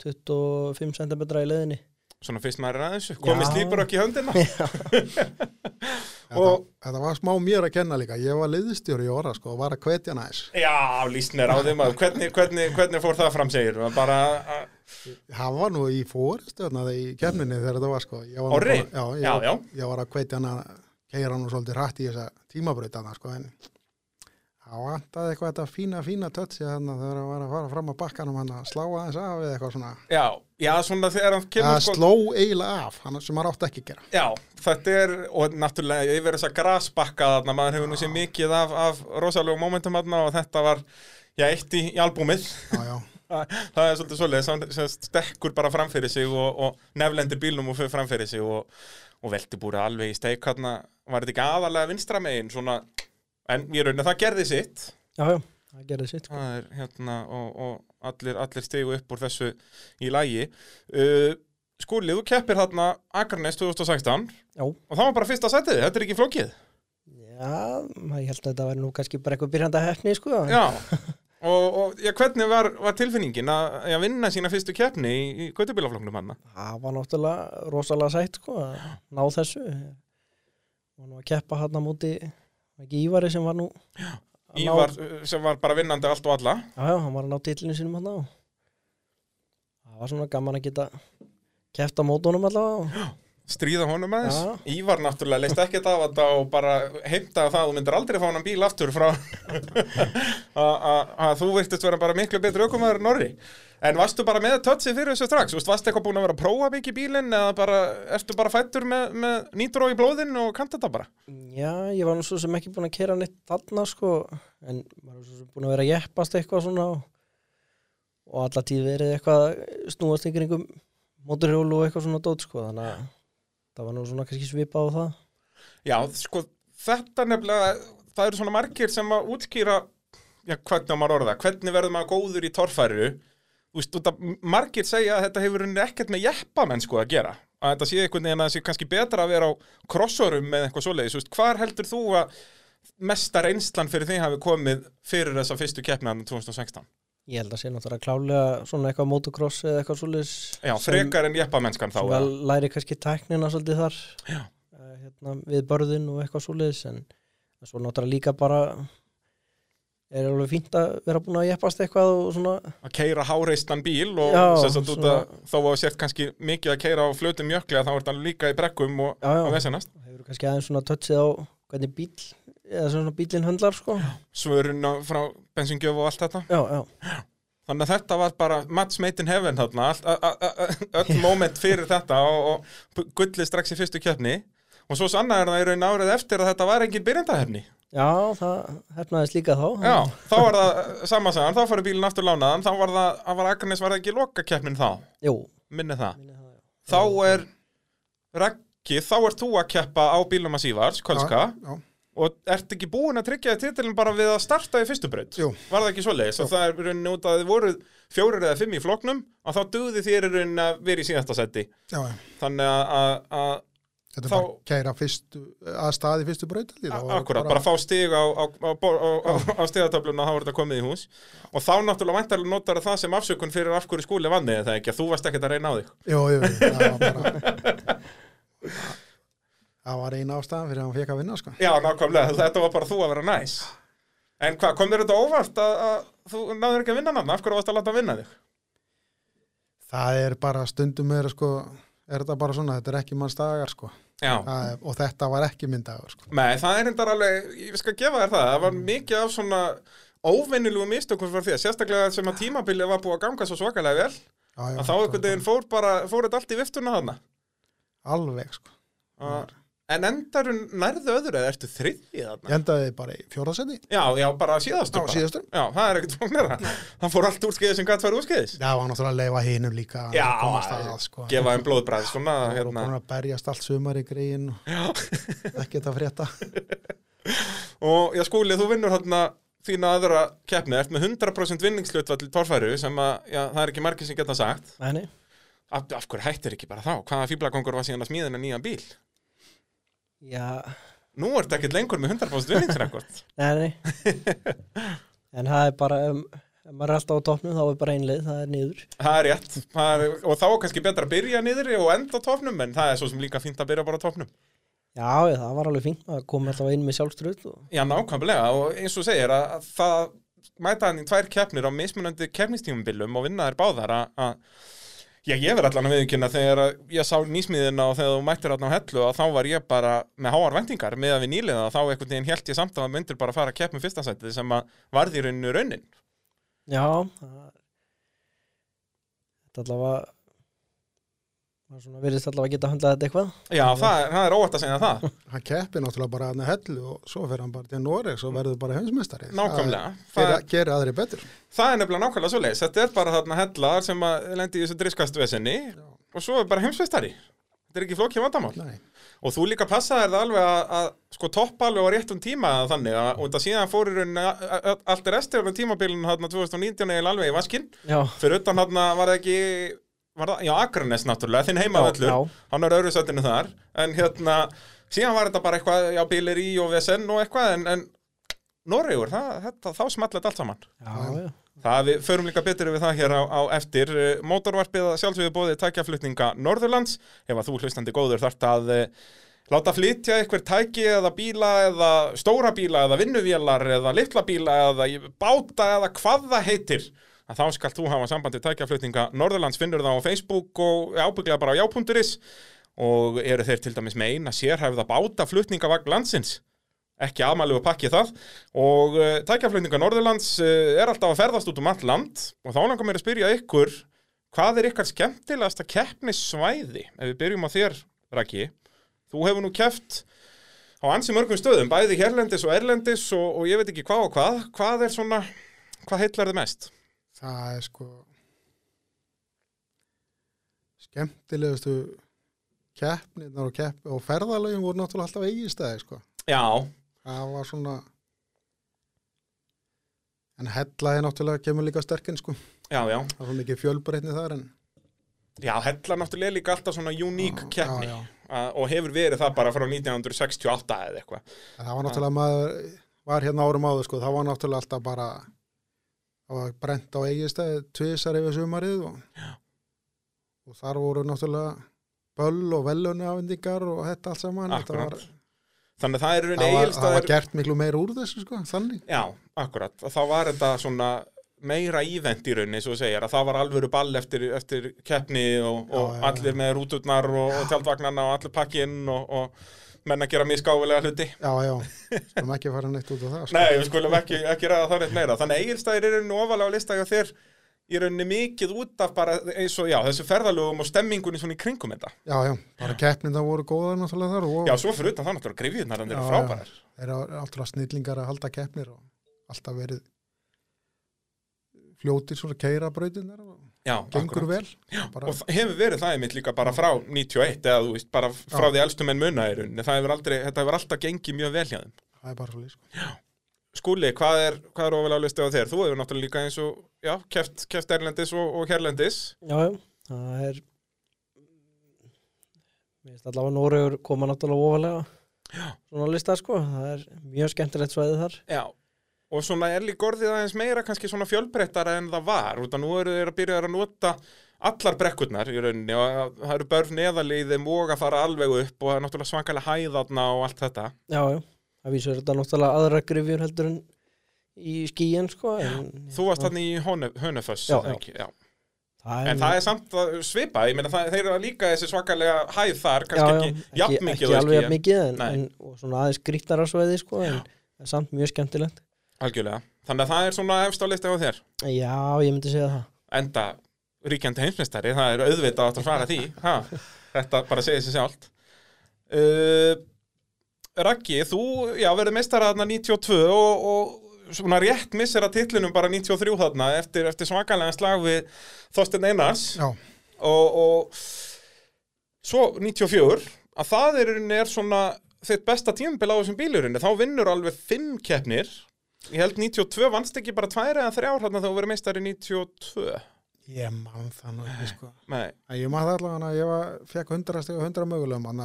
Speaker 3: 25 cm í leiðinni
Speaker 1: Svona fyrst maður er aðeins, komist
Speaker 3: Já.
Speaker 1: lípur ekki í
Speaker 3: [laughs]
Speaker 1: höndina.
Speaker 2: þetta,
Speaker 1: Og-
Speaker 2: þetta var smá mér að kenna líka ég var liðstjóri í orða sko og var að hvetja hann aðeins
Speaker 1: Já, lísnir á þeim að hvernig, hvernig, hvernig fór það fram segir Var bara, að-
Speaker 2: hann var nú í fóristu þarna í kemninni þegar þetta var sko Ég var nú
Speaker 1: Orri?
Speaker 2: bara- já, ég,
Speaker 1: Já,
Speaker 2: var-
Speaker 1: já.
Speaker 2: ég var að hvetja hann að keira hann nú svolítið rætt í þessa tímabraut þarna sko en hann vantaði eitthvað þetta fína fína tötsi þarna þegar hann var að fara fram á bakkanum hann að slá aðeins af eða eitthvað svona
Speaker 1: já, já, svona þegar hann
Speaker 2: að
Speaker 1: kemur sko,
Speaker 2: sló eiginlega af hann sem hann átti ekki að gera
Speaker 1: Já, þetta er, og náttúrulega yfir þessa grasbakka þarna, maður hefur nú sér mikið af, af rosalegum momentum þarna og þetta var, já, eitt í, í albúmið
Speaker 2: já,
Speaker 1: [laughs]
Speaker 2: já,
Speaker 1: Það er svolítið svoleiðis, hann sem sagt stekkur bara framfyrir sig og, og neflendir bílnum og fyrir framfyrir sig og, og velti búið alveg í steik hérna, var þetta ekki aðalega vinstra megin svona, en ég raunin að það gerði sitt
Speaker 3: já, já, það gerði sitt
Speaker 1: það er hérna og, og allir, allir stegu upp úr þessu í lægi uh, Skúli, þú keppir þarna Akranes 2016
Speaker 3: Já.
Speaker 1: og það var bara fyrsta setið, þetta er ekki flókið
Speaker 3: já, maður- ég held að þetta væri nú kannski bara eitthvað byrjanda hefni sko [laughs]
Speaker 1: Já, og, og já, hvernig var, var tilfinningin að, að vinna sína fyrstu keppni í, í gautubílafloknum hann?
Speaker 3: það var náttúrulega rosalega sætt sko, að ná þessu og nú að keppa hann á móti ekki Ívari sem var nú að ná-
Speaker 1: Ívar uh, sem var bara vinnandi allt og alla
Speaker 3: já, já, hann var að ná titlinu sínum hann á það var svona gaman að geta keppt á mótunum allavega og,
Speaker 1: stríða honum aðeins Ívar náttúrulega leist ekkert af þetta og bara heimtaði það að þú myndir aldrei fá hann bíl aftur frá [laughs] A- a- að þú virtist vera bara miklu betri ökumæður en Norri en varstu bara með tötsi fyrir þessu strax Vist, varstu eitthvað búin að vera að prófa mikið bílinn eða bara, ertu bara fættur með, með nýtró í blóðinu og kanta þetta bara
Speaker 3: já, ég var nú svo sem ekki búin að kera neitt þarna sko, en maður er svo sem búin að vera að jeppast eitthvað svona og, og alla tíð verið eitthvað að snúast í kringum móturhjólu og eitthvað svona dót sko, þannig að það var nú svona kannski svipað á það
Speaker 1: já, sko, þetta nefnilega það eru svona margir sem að útskýra já, hvernig á maður orða, hvernig verður maður góður í torfæru Þú veist, út að margir segja að þetta hefur í rauninni ekkert með jeppamenn sko að gera að þetta sé einhvern veginn að það sé kannski betra að vera á krossorum með eitthvað svoleiðis, þú veist, hvar heldur þú að mesta reynslan fyrir þig hafi komið fyrir þessa fyrstu keppnaðan 2016?
Speaker 3: Ég held að sé náttúrulega klálega svona eitthvað motocross eða eitthvað svoleiðis
Speaker 1: Já, frekar en jeppamennskan þá
Speaker 3: sem
Speaker 1: eða?
Speaker 3: vel læri kannski tæknina svolítið þar
Speaker 1: Já.
Speaker 3: Eh, hérna, við börðin og eitthvað svoleiðis en en svo náttúrulega líka bara er alveg fínt að vera búin að jeppast eitthvað og svona
Speaker 1: að keira háreistan bíl og
Speaker 3: Já,
Speaker 1: sem sagt út að
Speaker 3: svona-
Speaker 1: þó að þú sért kannski mikið að keira á flötum jökli að þá ert hann líka í brekkum og,
Speaker 3: já,
Speaker 1: og
Speaker 3: já,
Speaker 1: vesenast
Speaker 3: hefur kannski aðeins svona tötsið á hvernig bíl eða svona bílinn höndlar sko já,
Speaker 1: svörun á- frá bensingjöf og allt þetta
Speaker 3: já,
Speaker 1: Þannig Þannig að þetta var bara match made in heaven þarna, allt- a- a- a- a- öll moment fyrir þetta og, og gullið strax í fyrstu keppni og svo sannað er það í raun árið eftir að þetta var engin byrjandahefni.
Speaker 3: Já, það hefnaðist líka þá
Speaker 1: Já, þá var það sama sagan, þá farið bílinn aftur lánaðan, þá var það, að var Akranes var það ekki loka keppnin þá,
Speaker 3: Jú,
Speaker 1: minni það.
Speaker 3: minni það, já.
Speaker 1: Þá er Raggi, þá er þú að keppa á bílum að Sívars, Kölska,
Speaker 2: Já, já.
Speaker 1: og ert ekki búin að tryggja þér titilin bara við að starta í fyrstu braut?
Speaker 2: Jú.
Speaker 1: Var það ekki svoleiðis? Og það er í rauninni út að þið voruð fjórir eða fimm í floknum og þá dugði þér í rauninni að vera í síðasta seti.
Speaker 2: já, já.
Speaker 1: Þannig að, að, að
Speaker 2: Þetta er
Speaker 1: Þá-
Speaker 2: bara að kæra fyrstu, að staði fyrstu brautalíð.
Speaker 1: A- Akkurat, bara, fá stig á, á, á, á, á, á stigatöfluna þá er þetta komið í hús og þá náttúrulega væntarlega notar það sem afsökun fyrir af hverju skúli vann þig það ekki að þú varst ekkert að reyna á þig
Speaker 2: Jú, jú, jú, það var bara... Það var eina ástæðan fyrir að hann fekk að vinna, sko.
Speaker 1: Já, nákvæmlega, þetta var bara þú að vera næs En hvað, kom þér þetta óvart að, að þú náður ekki að vinna náttúrulega af hverju varst að láta að vinna þig?
Speaker 2: Það er bara stundum er, sko, er þetta bara svona, þetta er ekki manns dagar, sko.
Speaker 1: Já,
Speaker 2: Það Er, og þetta var ekki minn dagur, sko.
Speaker 1: Nei, það er reyndar alveg, ég skal gefa þér það, það var mikið af svona óvennilegu mistökum fyrir því að sérstaklega sem að tímabilið var búið að ganga svo svakalega vel
Speaker 2: Já, já,
Speaker 1: að þá einhvern veginn fór bara, fór þetta allt í viftuna þarna
Speaker 2: Alveg, sko.
Speaker 1: Og- En endar hún nærðu öðru eða ertu þriðið þarna?
Speaker 2: Ég endaði bara í fjórðasendi.
Speaker 1: Já, já, bara síðastu
Speaker 2: Á
Speaker 1: bara.
Speaker 2: síðastur.
Speaker 1: Já, það er ekkert flóknara. Það fór allt úr skeiðið sem gætt færi úr skeiðis.
Speaker 2: Já, hann náttúrulega að leifa hinum líka. að
Speaker 1: Já,
Speaker 2: komast að, sko.
Speaker 1: Gefa þeim blóðbræð, svona,
Speaker 2: Það voru
Speaker 1: hérna.
Speaker 2: búin að berjast allt sumar í greiðin og ekki þetta frétta.
Speaker 1: Og já, skúli, þú vinnur hérna þína aðra keppni. Ert með 100% vinningslutva til torfæru sem að, já, það er ekki margir sem geta sagt.
Speaker 3: Nei, nei.
Speaker 1: Af, af hverju hættir ekki bara þá? Hvaða fýblagangur var síðan að smíðina nýjan bíl?
Speaker 3: Já,
Speaker 1: Nú ert ekkert lengur með 100% vinningsrekord.
Speaker 3: nei,
Speaker 1: [laughs]
Speaker 3: nei. en það er bara, um, ef maður er alltaf á toppnum þá er bara einlið, það er niður.
Speaker 1: það er rétt. Það er, og þá er kannski betra að byrja niðri og enda á topnum, en það er svo sem líka fínt að byrja bara á topnum.
Speaker 3: Já, ég, það var alveg fínt, maður kom alltaf inn með sjálfströð og
Speaker 1: Já, nákvæmlega og eins og segir að að það mæta hann í tvær keppnir á mismunandi keppnistímumbilum og vinna þær báðar að- að Já, ég verð allan að viðkynna þegar að ég sá nýsmíðina og þegar þú mættir hann á hellu að þá var ég bara með háar vendingar með að við nýliða þá einhvern veginn held ég samt að það myndir bara fara að keppa um fyrsta sætið sem að varði rauninu raunin.
Speaker 3: já, það þetta allavega, maður svona virðist allavega að geta að höndla þetta eitthvað.
Speaker 1: Já, það, er- það er óvægt að segja það.
Speaker 2: Hann keppi náttúrulega bara hann að hellu og svo fer hann bara til Noregs og verður bara heimsmeistari.
Speaker 1: Nákvæmlega.
Speaker 2: Það
Speaker 1: Það,
Speaker 2: er- gerir- gerir aðri betur.
Speaker 1: það er nefnilega nákvæmlega svo leiðis. Þetta er bara þarna hellar sem að lendi í þessu driskastvesenni og svo er bara heimsveistari. Þetta er ekki flókið vandamál.
Speaker 2: Nei.
Speaker 1: Og þú líka passaðir það alveg að, að sko toppa alveg á réttum tíma eða þannig að undan síðan fór í rauninni a- a- a- allt er restur á tímabilinu hérna 2019 eða alveg í vaskinn.
Speaker 3: Já,
Speaker 1: Fyrir utan hérna var það ekki, var það, já Akranes náttúrulega, þinn
Speaker 3: Já, já.
Speaker 1: heimavöllur, hann er öðru sættinu þar. En hérna, síðan var þetta bara eitthvað, já bílir í og VSN og eitthvað, en, en Noregur, það, þetta, þá smallet allt saman.
Speaker 3: já, já.
Speaker 1: Það við förum líka betur yfir það hér á, á eftir. Eh, Mótorvarpið að sjálfsögðu bóðið tækjaflutninga Norðurlands. Ef að þú hlustandi góður þart að eh, láta flytja einhver tæki eða bíla eða stóra bíla eða vinnuvélar eða litla bíla eða í- báta eða hvað það heitir. Að þá skalt þú hafa sambandi tækjaflutninga Norðurlands, finnur það á Facebook og ábygglega bara á já.is og eru þeir til dæmis með eina sérhæfða báta flutningavagn landsins ekki amalegu pakki það og uh, tækjaflutninga Norðurlands uh, er alltaf að ferðast út um allt land og þá langar mér að spyrja ykkur hvað er ykkar skemmtilegasta keppnissvæði ef við byrjum á þér, Raki þú hefur nú keft á ansi mörgum stöðum, bæði hérlendis og erlendis og, og ég veit ekki hvað og hvað hvað er svona, hvað heillar þið mest?
Speaker 2: Það er sko skemmtilegustu keppnirnar og, kepp, og ferðalögin voru náttúrulega alltaf eigin stæði sko.
Speaker 1: Já,
Speaker 2: Það var svona en hellaði náttúrulega kemur líka sterkinn sko.
Speaker 1: já, já
Speaker 2: Það var svo mikið fjölbreytni þar en
Speaker 1: Já, hellar náttúrulega er líka alltaf svona uník keppni
Speaker 2: já, já.
Speaker 1: uh, og hefur verið það bara frá 1968 eða eitthvað
Speaker 2: En það var náttúrulega maður var hérna árum áður sko. Það var náttúrulega alltaf bara það var brent á eigin stæði tvisar yfir sumarið og, og þar voru náttúrulega böll og velunafendingar og þetta allt saman Þetta
Speaker 1: Akkurat.
Speaker 2: var
Speaker 1: Þannig að það er í
Speaker 2: það
Speaker 1: rauninni
Speaker 2: var, það var
Speaker 1: eigilstaðir
Speaker 2: gert miklu meira úr þessu sko, þannig
Speaker 1: Já, akkurat, og þá var þetta svona meira ívent í rauninni, svo segir að það var alvöru ball eftir, eftir keppni og, og
Speaker 2: Já, já, já.
Speaker 1: allir með rúturnar og, og tjaldvagnarna og allir pakkinn og, og menn að gera misgáfulega hluti
Speaker 2: já, já, skulum ekki fara neitt út á það sko.
Speaker 1: Nei, við skulum ekki, ekki ræða það neitt meira Þannig að eigilstæðir eru nú ofalega á lista hjá þér í rauninni mikið út af bara eins og, já, þessu ferðalögum og stemmingunni svona í kringum þetta.
Speaker 2: já, já, bara keppnin það voru góðar náttúrulega þar og
Speaker 1: Já, svo fyrir utan það náttúrulega grifjunar hann
Speaker 2: Já,
Speaker 1: eru
Speaker 2: já.
Speaker 1: frábærar.
Speaker 2: þeir eru alltaf snillingar að halda keppnir og alltaf verið fljótir svona keira brautinnar og
Speaker 1: Já,
Speaker 2: gengur
Speaker 1: akkurat.
Speaker 2: vel bara,
Speaker 1: Og það hefur verið það einmitt líka bara frá 91 eða þú veist, bara frá
Speaker 2: Já.
Speaker 1: því elstum en muna í rauninni. Það hefur aldrei, þetta hefur alltaf gengið mjög vel hjá þeim.
Speaker 2: það er bara svo sko.
Speaker 1: Skúli, hvað er, hvað er ofalega listið á þér? Þú hefur náttúrulega líka eins og, já, keft, keft erlendis og, og herlendis.
Speaker 3: Já, já, það er mér finnst allavega Noregur koma náttúrulega ofalega svona á lista sko, það er mjög skemmtilegt svæðið þar
Speaker 1: Já. Og svona er líka orðið aðeins meira kannski svona fjölbreyttara en það var, út að nú eru þeir að byrja að nota allar brekkurnar í rauninni og að- það eru börn neðarliðið móg að fara alveg upp og það er náttúrulega svakalega hæðarna og allt þetta.
Speaker 3: Já, já, það vísur þetta náttúrulega aðra grifjur heldur en í skíin sko en,
Speaker 1: Þú varst hann í Hönöföss,
Speaker 3: Já, já.
Speaker 1: ekki? Já.
Speaker 3: það
Speaker 1: En það er samt að svipa, ég meina það, þeir eru líka þessi svakalega hæð þar, kannski
Speaker 3: já, já,
Speaker 1: ekki jafn mikið.
Speaker 3: ekki
Speaker 1: og
Speaker 3: alveg
Speaker 1: skýja.
Speaker 3: jafn mikið en,
Speaker 1: Nei.
Speaker 3: en, og svona aðeins grítnara svæði sko en, en samt mjög skemmtilegt
Speaker 1: Algjörlega. Þannig að það er svona efst á listi á þér.
Speaker 3: Já, ég myndi segja það
Speaker 1: enda ríkjandi heimsmeistari, það er auðvitað átt að svara því, ha, þetta bara segir sér sjálft uh, Raggi, þú já, verður meistara þarna 92 og, og svona rétt missir að titlinum bara 93 þarna eftir, eftir svakalega slag við Þorstein Einars
Speaker 2: já,
Speaker 1: og, og svo 94 að það er, í rauninni er svona þitt besta tímabil á þessum bílurinni þá vinnur alveg fimm keppnir ég held 92 vannst ekki bara tvær eða þrjár þarna þegar þú verður meistari 92
Speaker 2: ég man það nú ekki sko.
Speaker 1: Nei.
Speaker 2: En ég man það allavega að ég var, fekk 100 steg og 100 mögulegum hann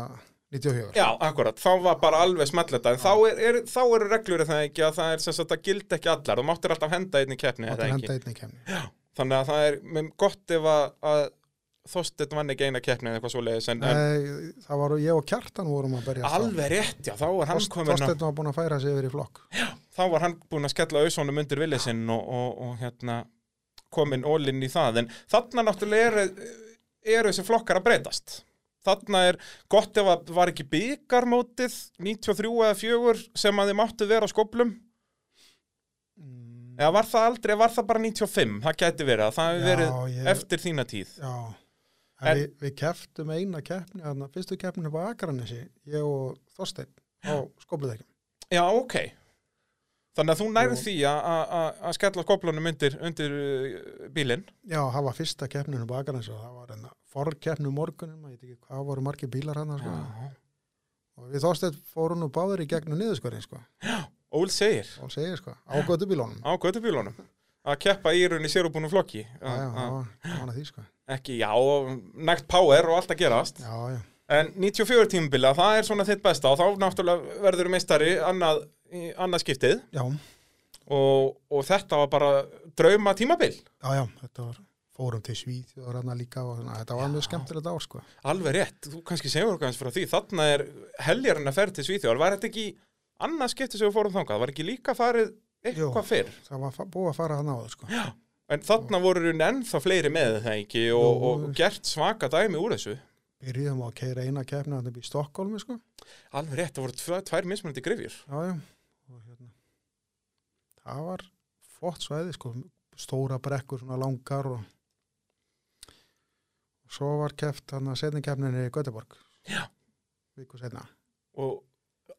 Speaker 2: 94
Speaker 1: Já, akkurat, þá var bara alveg smelleta en þá, er, er, þá eru reglur er það ekki að það er sem sagt að gild ekki allar, þú máttir alltaf henda einn í keppni, er
Speaker 2: og
Speaker 1: það
Speaker 2: það
Speaker 1: ekki?
Speaker 2: henda einnig kemni
Speaker 1: Þannig að það er með gott ef að, að Þorsteinn vann ekki eina keppni eða eitthvað svo leiðis en, en
Speaker 2: Nei, það var ég og Kjartan vorum að berja
Speaker 1: alveg rétt, já, þá var hann komin að
Speaker 2: Þorsteinn var búin að færa sig yfir í flokk
Speaker 1: þá var hann búinn að skella auðsónum undir villið sinn og, og, og hérna komin ólinn í það, en þarna náttúrulega eru, eru þessi flokkar að breytast þarna er gott ef að var ekki byggarmótið 93 eða 4 sem að þið máttu vera á skoblum eða var það aldrei, var það bara 95 það gæti verið, að það Mm, hefur
Speaker 2: Já,
Speaker 1: verið
Speaker 2: ég-
Speaker 1: eftir þína tíð
Speaker 2: Já,
Speaker 1: En-
Speaker 2: en, við, við keftum eina keppni, þarna, fyrstu keppninu var Akranesi, ég og Þorsteinn á skópluðekjum.
Speaker 1: já, ok þannig að þú nærð
Speaker 2: Og-
Speaker 1: því að- að að- að skella skoblunum undir, undir uh, bílinn
Speaker 2: Já, það var fyrsta keppninu á Akranesi og það var enna forkeppnu morgunum, ég veit ekki hvað voru margir bílar hann, sko. Og við Þorsteinn fórum nú báður í gegnum niðurskorinn, sko,
Speaker 1: Ól segir
Speaker 2: og segir, sko, á göttubílónum.
Speaker 1: á göttubílunum að keppa í raunni sérubúnum flokki
Speaker 2: Já, já,
Speaker 1: Að-
Speaker 2: það
Speaker 1: að-
Speaker 2: var gaman að því, sko.
Speaker 1: ekki, já, nægt power og allt að gerast
Speaker 2: Já, já,
Speaker 1: en 94 tímubila, það er svona þitt besta og þá náttúrulega verður meistari annað, í annað skiptið
Speaker 2: já,
Speaker 1: og, og þetta var bara drauma tímabil,
Speaker 2: já, já, þetta var, fórum til Svíð og ranna líka og svona, þetta var mjög skemmtilegt ár, sko.
Speaker 1: alveg rétt þú kannski segur okkur hans frá því, þarna er heljarinn að ferð til Svíþjóðar, var þetta ekki í annað skiptið sem við fórum þangað, var ekki líka farið eitthvað
Speaker 2: Jú.
Speaker 1: fyrr,
Speaker 2: Það var fa- búið að fara hann á það, sko.
Speaker 1: en þarna voru í rauninni ennþá fleiri með það ekki og,
Speaker 2: Jú.
Speaker 1: og gert svaka dæmi úr þessu
Speaker 2: Byrjuðum á að keira eina keppni hann upp í Stokkólmi, sko.
Speaker 1: alveg rétt, það voru tvö- tvær mismunandi grifjur
Speaker 2: já, já. Og, hérna. það var flott svæði sko, stóra brekkur svona langar og, og svo var keft hann að setni keppninni í Göteborg
Speaker 1: Já.
Speaker 2: viku setna
Speaker 1: og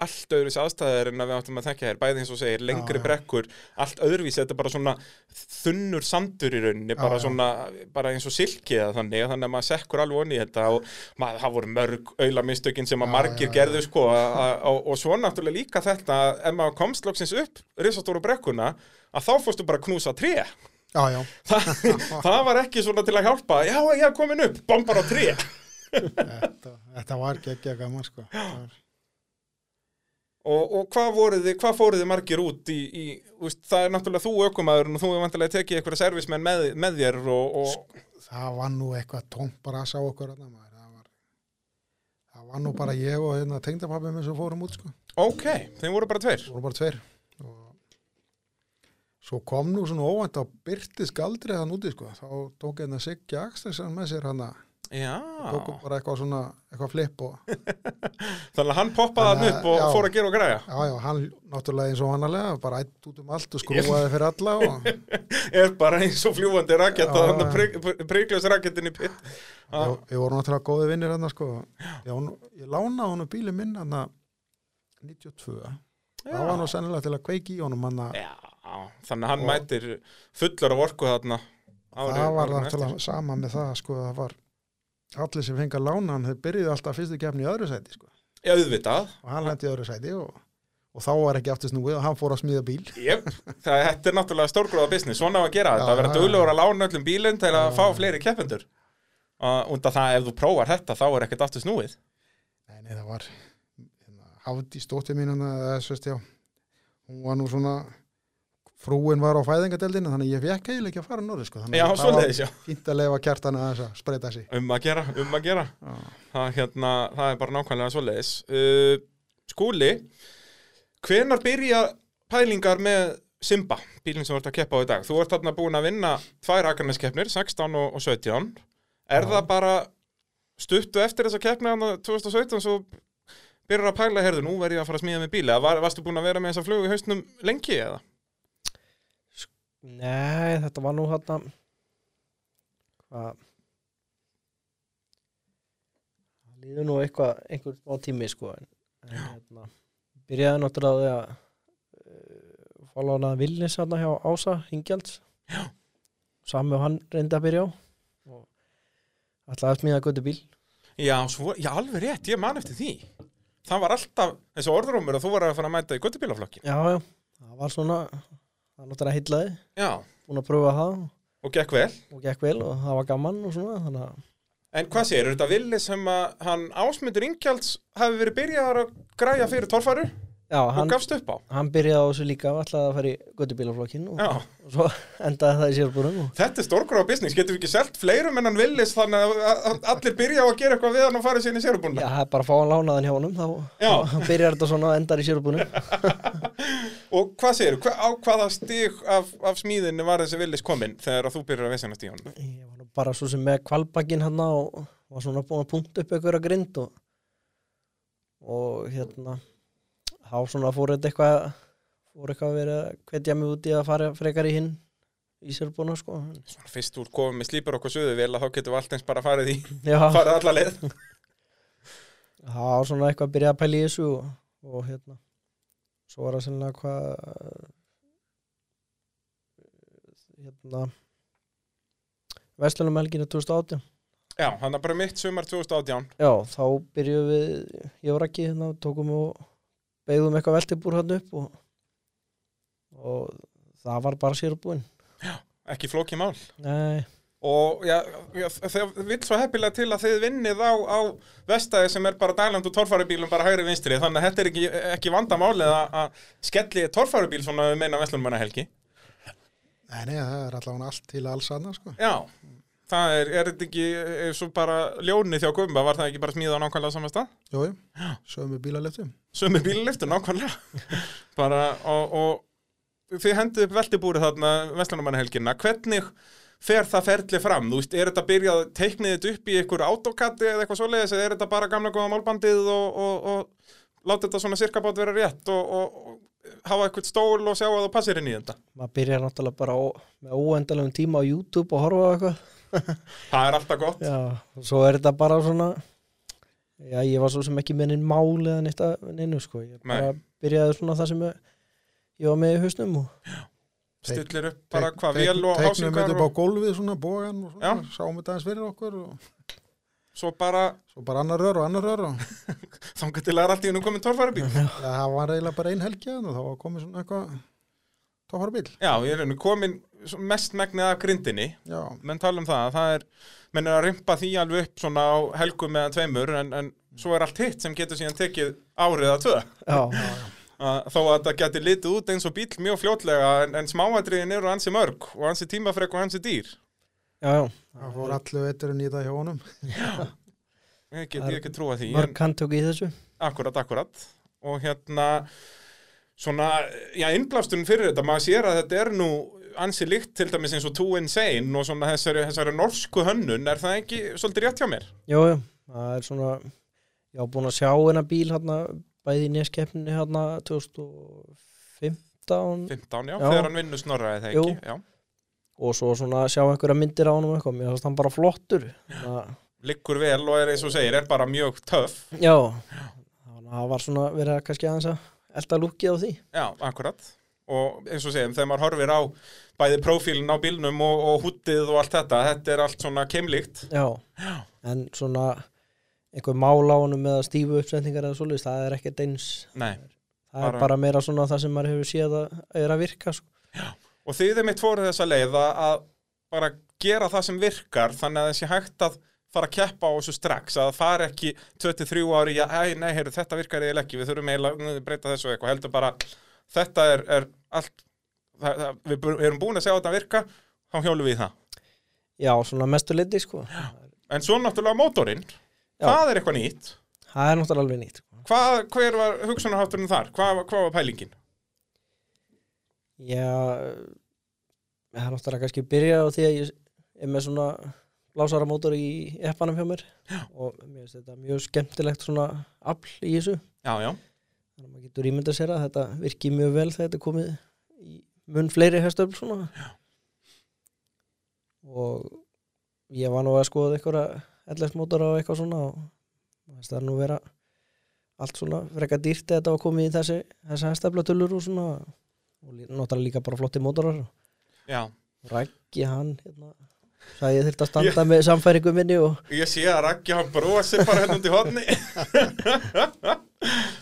Speaker 1: allt öðruvísi aðstæðar en að við áttum að þekka þér, bæði eins og segir, lengri
Speaker 2: já.
Speaker 1: brekkur allt öðruvísi, þetta er bara svona þunnur sandur í rauninni,
Speaker 2: Já,
Speaker 1: bara
Speaker 2: já.
Speaker 1: svona bara eins og silki eða þannig, þannig að maður sekkur alveg onni í þetta og maður, það voru mörg auðlamistökin sem að
Speaker 2: Já,
Speaker 1: margir
Speaker 2: já, já.
Speaker 1: gerðu sko a, a, a, og svo náttúrulega líka þetta ef maður komst loksins upp, risastóru brekkuna að þá fórstu bara að knúsa tré [laughs]
Speaker 2: já, já,
Speaker 1: Þa, það var ekki svona til að hjálpa já, ég er komin upp, bombar á tré
Speaker 2: þetta, þetta var geggja gaman sko Það var,
Speaker 1: Og, og hvað voruð þið, hvað fóruð þið margir út í, í úst, það er náttúrulega þú aukumæðurinn og þú er vantilega tekið einhverja servismenn með, með þér og, og
Speaker 2: það var nú eitthvað tómt bara að sá okkur hann maður, það var það var nú bara ég og hérna tengdapappi minn sem fórum út sko
Speaker 1: ok, þeim voru bara tveir.
Speaker 2: voru bara tveir og svo kom nú svona óvænt á Byrtis galdri hann úti sko, þá tók hérna Siggi Akstensson með sér hann að
Speaker 1: Já,
Speaker 2: tókum bara eitthvað svona, eitthvað flip og
Speaker 1: þannig að hann poppaði hann
Speaker 2: Þannig að-
Speaker 1: upp og
Speaker 2: já.
Speaker 1: fór að gera og græja.
Speaker 2: já, já, hann náttúrulega eins og vanalega bara ætt út um allt og skrúaði fyrir alla og
Speaker 1: Er bara eins og fljúandi rakett
Speaker 2: Já,
Speaker 1: og
Speaker 2: já.
Speaker 1: hann príklaus rakettin í pitt. Já.
Speaker 2: við, við vorum náttúrulega góði vinnir hann sko. já, hún, ég lánaði honum bílið minn hann 92
Speaker 1: Já.
Speaker 2: það var nú sennilega til að kveiki í honum hann
Speaker 1: Já, þannig að hann
Speaker 2: Og-
Speaker 1: mætir fullar af orku þarna. árið-
Speaker 2: það var
Speaker 1: árinu
Speaker 2: náttúrulega sama með það sko, það var allir sem fengi að lána hann þau byrjuði alltaf fyrstu kefni í öðru sæti sko.
Speaker 1: eftir. Já, auðvitað.
Speaker 2: og hann lendi í öðru sæti og, og þá var ekki aftur snúið og hann fór að smíða bíl
Speaker 1: Jep, það, þetta er náttúrulega stórgróða business, svona á að gera þetta,
Speaker 2: Já,
Speaker 1: að vera
Speaker 2: já,
Speaker 1: duglegur að lána öllum bílinn til að
Speaker 2: Já.
Speaker 1: fá fleiri keppendur. Uh, und að það, ef þú prófar þetta, þá er ekkert aftur snúið.
Speaker 2: nei, nei, það var hérna, Hafdís dóttir mín hana, eða, sem sagt, já, hún var nú svona frúin var á fæðingadeldinu þannig að ég fekk eiginlega ekki að fara norður sko, þannig
Speaker 1: Já,
Speaker 2: að það var
Speaker 1: svoleiðis, já,
Speaker 2: fínt að leifa kjartana þess að spreita sig
Speaker 1: um að gera, um að gera.
Speaker 2: já.
Speaker 1: Það, hérna, það er bara nákvæmlega svoleiðis. Uh, skúli, hvenar byrja pælingar með Simba, bílinn sem þú ert að keppa á í dag? Þú ert þarna búin að vinna tvær akarneskeppnir, 16 og, og 17. Er
Speaker 2: Já.
Speaker 1: það bara stuttu eftir þessa keppni hann 2017 svo byrjar að pæla, heyrðu, nú verð ég að fara að smíða með bíli. Eða var, varstu búin að vera með þessa flugu í hausnum lengi eða?
Speaker 3: Nei, þetta var nú hérna hvað það líður nú eitthvað einhver á tími sko en, en hérna byrjaði náttúrulega á því að uh, fólana Vilnis hérna hjá Ása Hingjalds
Speaker 1: Já.
Speaker 3: sami og hann reyndi að byrja á og alltaf að smíða götu bíl
Speaker 1: Já, svo, já, alveg rétt, ég man eftir því. Það var alltaf, þessi orðrómur að þú var að fara að mæta í guttubílaflokkin.
Speaker 3: Já, já, það var svona það náttúrulega heitlaði,
Speaker 1: Já,
Speaker 3: búin að pröfa það
Speaker 1: og gekk vel.
Speaker 3: og gekk vel og það var gaman og svona þannig að
Speaker 1: En hvað sér, er þetta villi sem að hann ásmundur Ingjalds hafi verið byrjaðar að græja fyrir torfæru
Speaker 3: já,
Speaker 1: og
Speaker 3: hann,
Speaker 1: gafst upp á?
Speaker 3: hann byrjaði á þessu líka og ætlaði að fara í göttubílaflokkin og,
Speaker 1: Já,
Speaker 3: og svo [laughs] endaði það í sérbúrum og
Speaker 1: þetta er stórgróða business, getum við ekki selt fleirum en hann villis þannig að- að að allir byrja á að gera eitthvað við hann og fara sín í sérubunna.
Speaker 3: já, það er bara að fá hann lánaðan hjá honum þá
Speaker 1: Já.
Speaker 3: þá byrjar þetta svona og endar í sérbúrum
Speaker 1: Og hvað sér, hva, á hvaða stig af, af smíðinni var þessi villis kominn þegar að þú byrjar að vesenast í honum?
Speaker 3: ég var nú bara svo sem með kvalbakkin hann og var svona búin að punta upp einhverja grind og, og hérna þá svona fór þetta eitthvað fór eitthvað að vera hvetja mig út í að fara frekar í hinn í sérbúna sko
Speaker 1: Svona fyrst úr komið með slípar okkur söðu vel að þá getum við allt eins bara farið í,
Speaker 3: já,
Speaker 1: farið alla leið.
Speaker 3: það var svona eitthvað að byrja að pæla í þessu og, og hérna svo var það sennilega hvað hérna Vestlunum 2018
Speaker 1: Já, hann er bara mitt sumar 2018.
Speaker 3: já, þá byrjuðum við ég var ekki hérna, tókum og beigðum eitthvað veltibúr hann upp og, og það var bara sér búinn
Speaker 1: Ekki flókið mál.
Speaker 3: nei,
Speaker 1: og já, já, þegar vill svo heppilega til að þið vinnið á, á vestæði sem er bara dæland og torfærubílum bara hægri vinstri þannig að þetta er ekki, ekki vandamálið að- að skelli torfærubíl svona um eina vestlunmanna helgi
Speaker 2: nei, nei, það er allavega allt til alls annað sko.
Speaker 1: já, það er, er þetta ekki eins og bara ljónið þjá gumba var það ekki bara smíða á nákvæmlega sama stað
Speaker 2: jú, jú, sögum við bílaleftum
Speaker 1: sömu bílaliftu nákvæmlega [laughs] bara og, og þið hendið upp veltibúri þarna vestlunmanna helgina hvernig fer það ferli fram, þú veist, er þetta byrjað teiknið þetta upp í einhver autokatti eða eitthvað svoleiðis eða er þetta bara gamla góða málbandið og, og, og láta þetta svona sirkabát vera rétt og, og, og hafa eitthvað stól og sjá að það passir inn í þetta
Speaker 3: maður byrjar náttúrulega bara ó, með óendalegum tíma á YouTube og horfa á eitthvað
Speaker 1: það er alltaf gott,
Speaker 3: Já, og svo er þetta bara svona Já, ég var svo sem ekki með neinn mál eða neitt að neinu sko Ég
Speaker 1: Nei.
Speaker 3: bara byrjaði svona það sem ég, ég var með í hausnum og
Speaker 1: stillir upp bara hvað vél og
Speaker 2: teiknum
Speaker 1: hásingar
Speaker 2: við upp á
Speaker 1: og
Speaker 2: gólfið svona, bógan og
Speaker 1: Já.
Speaker 2: svona, sáum þetta aðeins fyrir okkur og
Speaker 1: svo bara
Speaker 2: svo bara annar rör og annar rör [laughs] og
Speaker 1: þangar til að er allt í hennu komin torfærubíl
Speaker 2: Já, það var eiginlega bara ein helgi að það var komið svona eitthvað tófarbíl
Speaker 1: já, ég er hennu komin svo mest megnið af grindinni
Speaker 2: já,
Speaker 1: menn tala um það, það er menn er að rimpa því alveg upp svona á helgum eða tveimur en, en svo er allt hitt sem getur síðan tekið árið að tvö
Speaker 3: já,
Speaker 1: Að- þó að það getur litið út eins og bíl mjög fljótlega en, en smáatriðin eru ansi mörg og ansi tímafrek og ansi dýr
Speaker 3: já, já.
Speaker 2: það fór allu veiturinn í það hjá honum
Speaker 1: ég get, ég get trúa því en
Speaker 3: Mörg handtök í þessu
Speaker 1: akkurat, akkurat og hérna svona, já, innblásturinn fyrir þetta maður sér að þetta er nú ansi líkt til dæmis eins og Too Insane og svona þessari, þessari norsku hönnun, er það ekki svolítið rétt hjá mér?
Speaker 3: Jú, jú, það er svona ég á búin að sjá hennar bíl hérna, bæði í neskeppni hérna 2015
Speaker 1: 15, já,
Speaker 3: Já.
Speaker 1: þegar hann vinnur snorra eða
Speaker 3: Jú.
Speaker 1: ekki, já.
Speaker 3: og svo svona sjá einhverja myndir á hann og eitthvað, mér fannst hann bara flottur þannig að
Speaker 1: Liggur vel og er eins og segir, er bara mjög töff,
Speaker 3: Já, þannig að það var svona verið að kannski aðeins að elda lúkið á því
Speaker 1: já, akkurat. Og eins og segjum, þegar maður horfir á bæði prófílinn á bílnum og, og húttið og allt þetta, þetta er allt svona keimlíkt.
Speaker 3: Já, en svona einhver mál á honum með stífu uppsetningar eða svoleiðis, það er ekkert eins
Speaker 1: Nei.
Speaker 3: það
Speaker 1: Bara-
Speaker 3: er bara meira svona það sem maður hefur séð að er að virka sko.
Speaker 1: og þið er mitt fóruð þessa leið að- að bara gera það sem virkar þannig að þessi hægt að fara að keppa á þessu strax að það fari ekki 23 ári í að "Æ, nei, heyru, þetta virkar eða ekki, við þurfum eiginlega að breyta þessu og eitthvað, heldur bara þetta er, er allt það, það, við bu- erum búin að segja að þetta virka þá hjólum við í það
Speaker 3: Já, svona mestu liti sko.
Speaker 1: en svo náttúrulega mótorinn,
Speaker 3: Já.
Speaker 1: það er eitthvað nýtt
Speaker 3: það er náttúrulega alveg nýtt sko.
Speaker 1: hvað, hver var hugsunarhátturinn þar, hvað, hvað var pælingin
Speaker 3: Já það er náttúrulega kannski að byrja á því að ég er með svona blásaramótor í eppanum hjá mér Já. og mér finnst þetta mjög skemmtilegt svona afl í þessu
Speaker 1: já, já,
Speaker 3: þannig að maður getur ímynda sér að þetta virki mjög vel þegar þetta er komið í mun fleiri hestöfl svona Já. og ég var nú að skoða einhverja ellest mótora og eitthvað svona og mér finnst það er nú vera allt svona freka dýrt eða þetta var komið í þessi, þessi hestaflatölur og svona og lí- náttúrulega líka bara flotti mótorar
Speaker 1: já.
Speaker 3: Raggi hann hérna, sagði ég þurfti að standa með samfæringu minni og
Speaker 1: ég sé að Raggi hann brosir bara hérna henni undir [laughs] hodni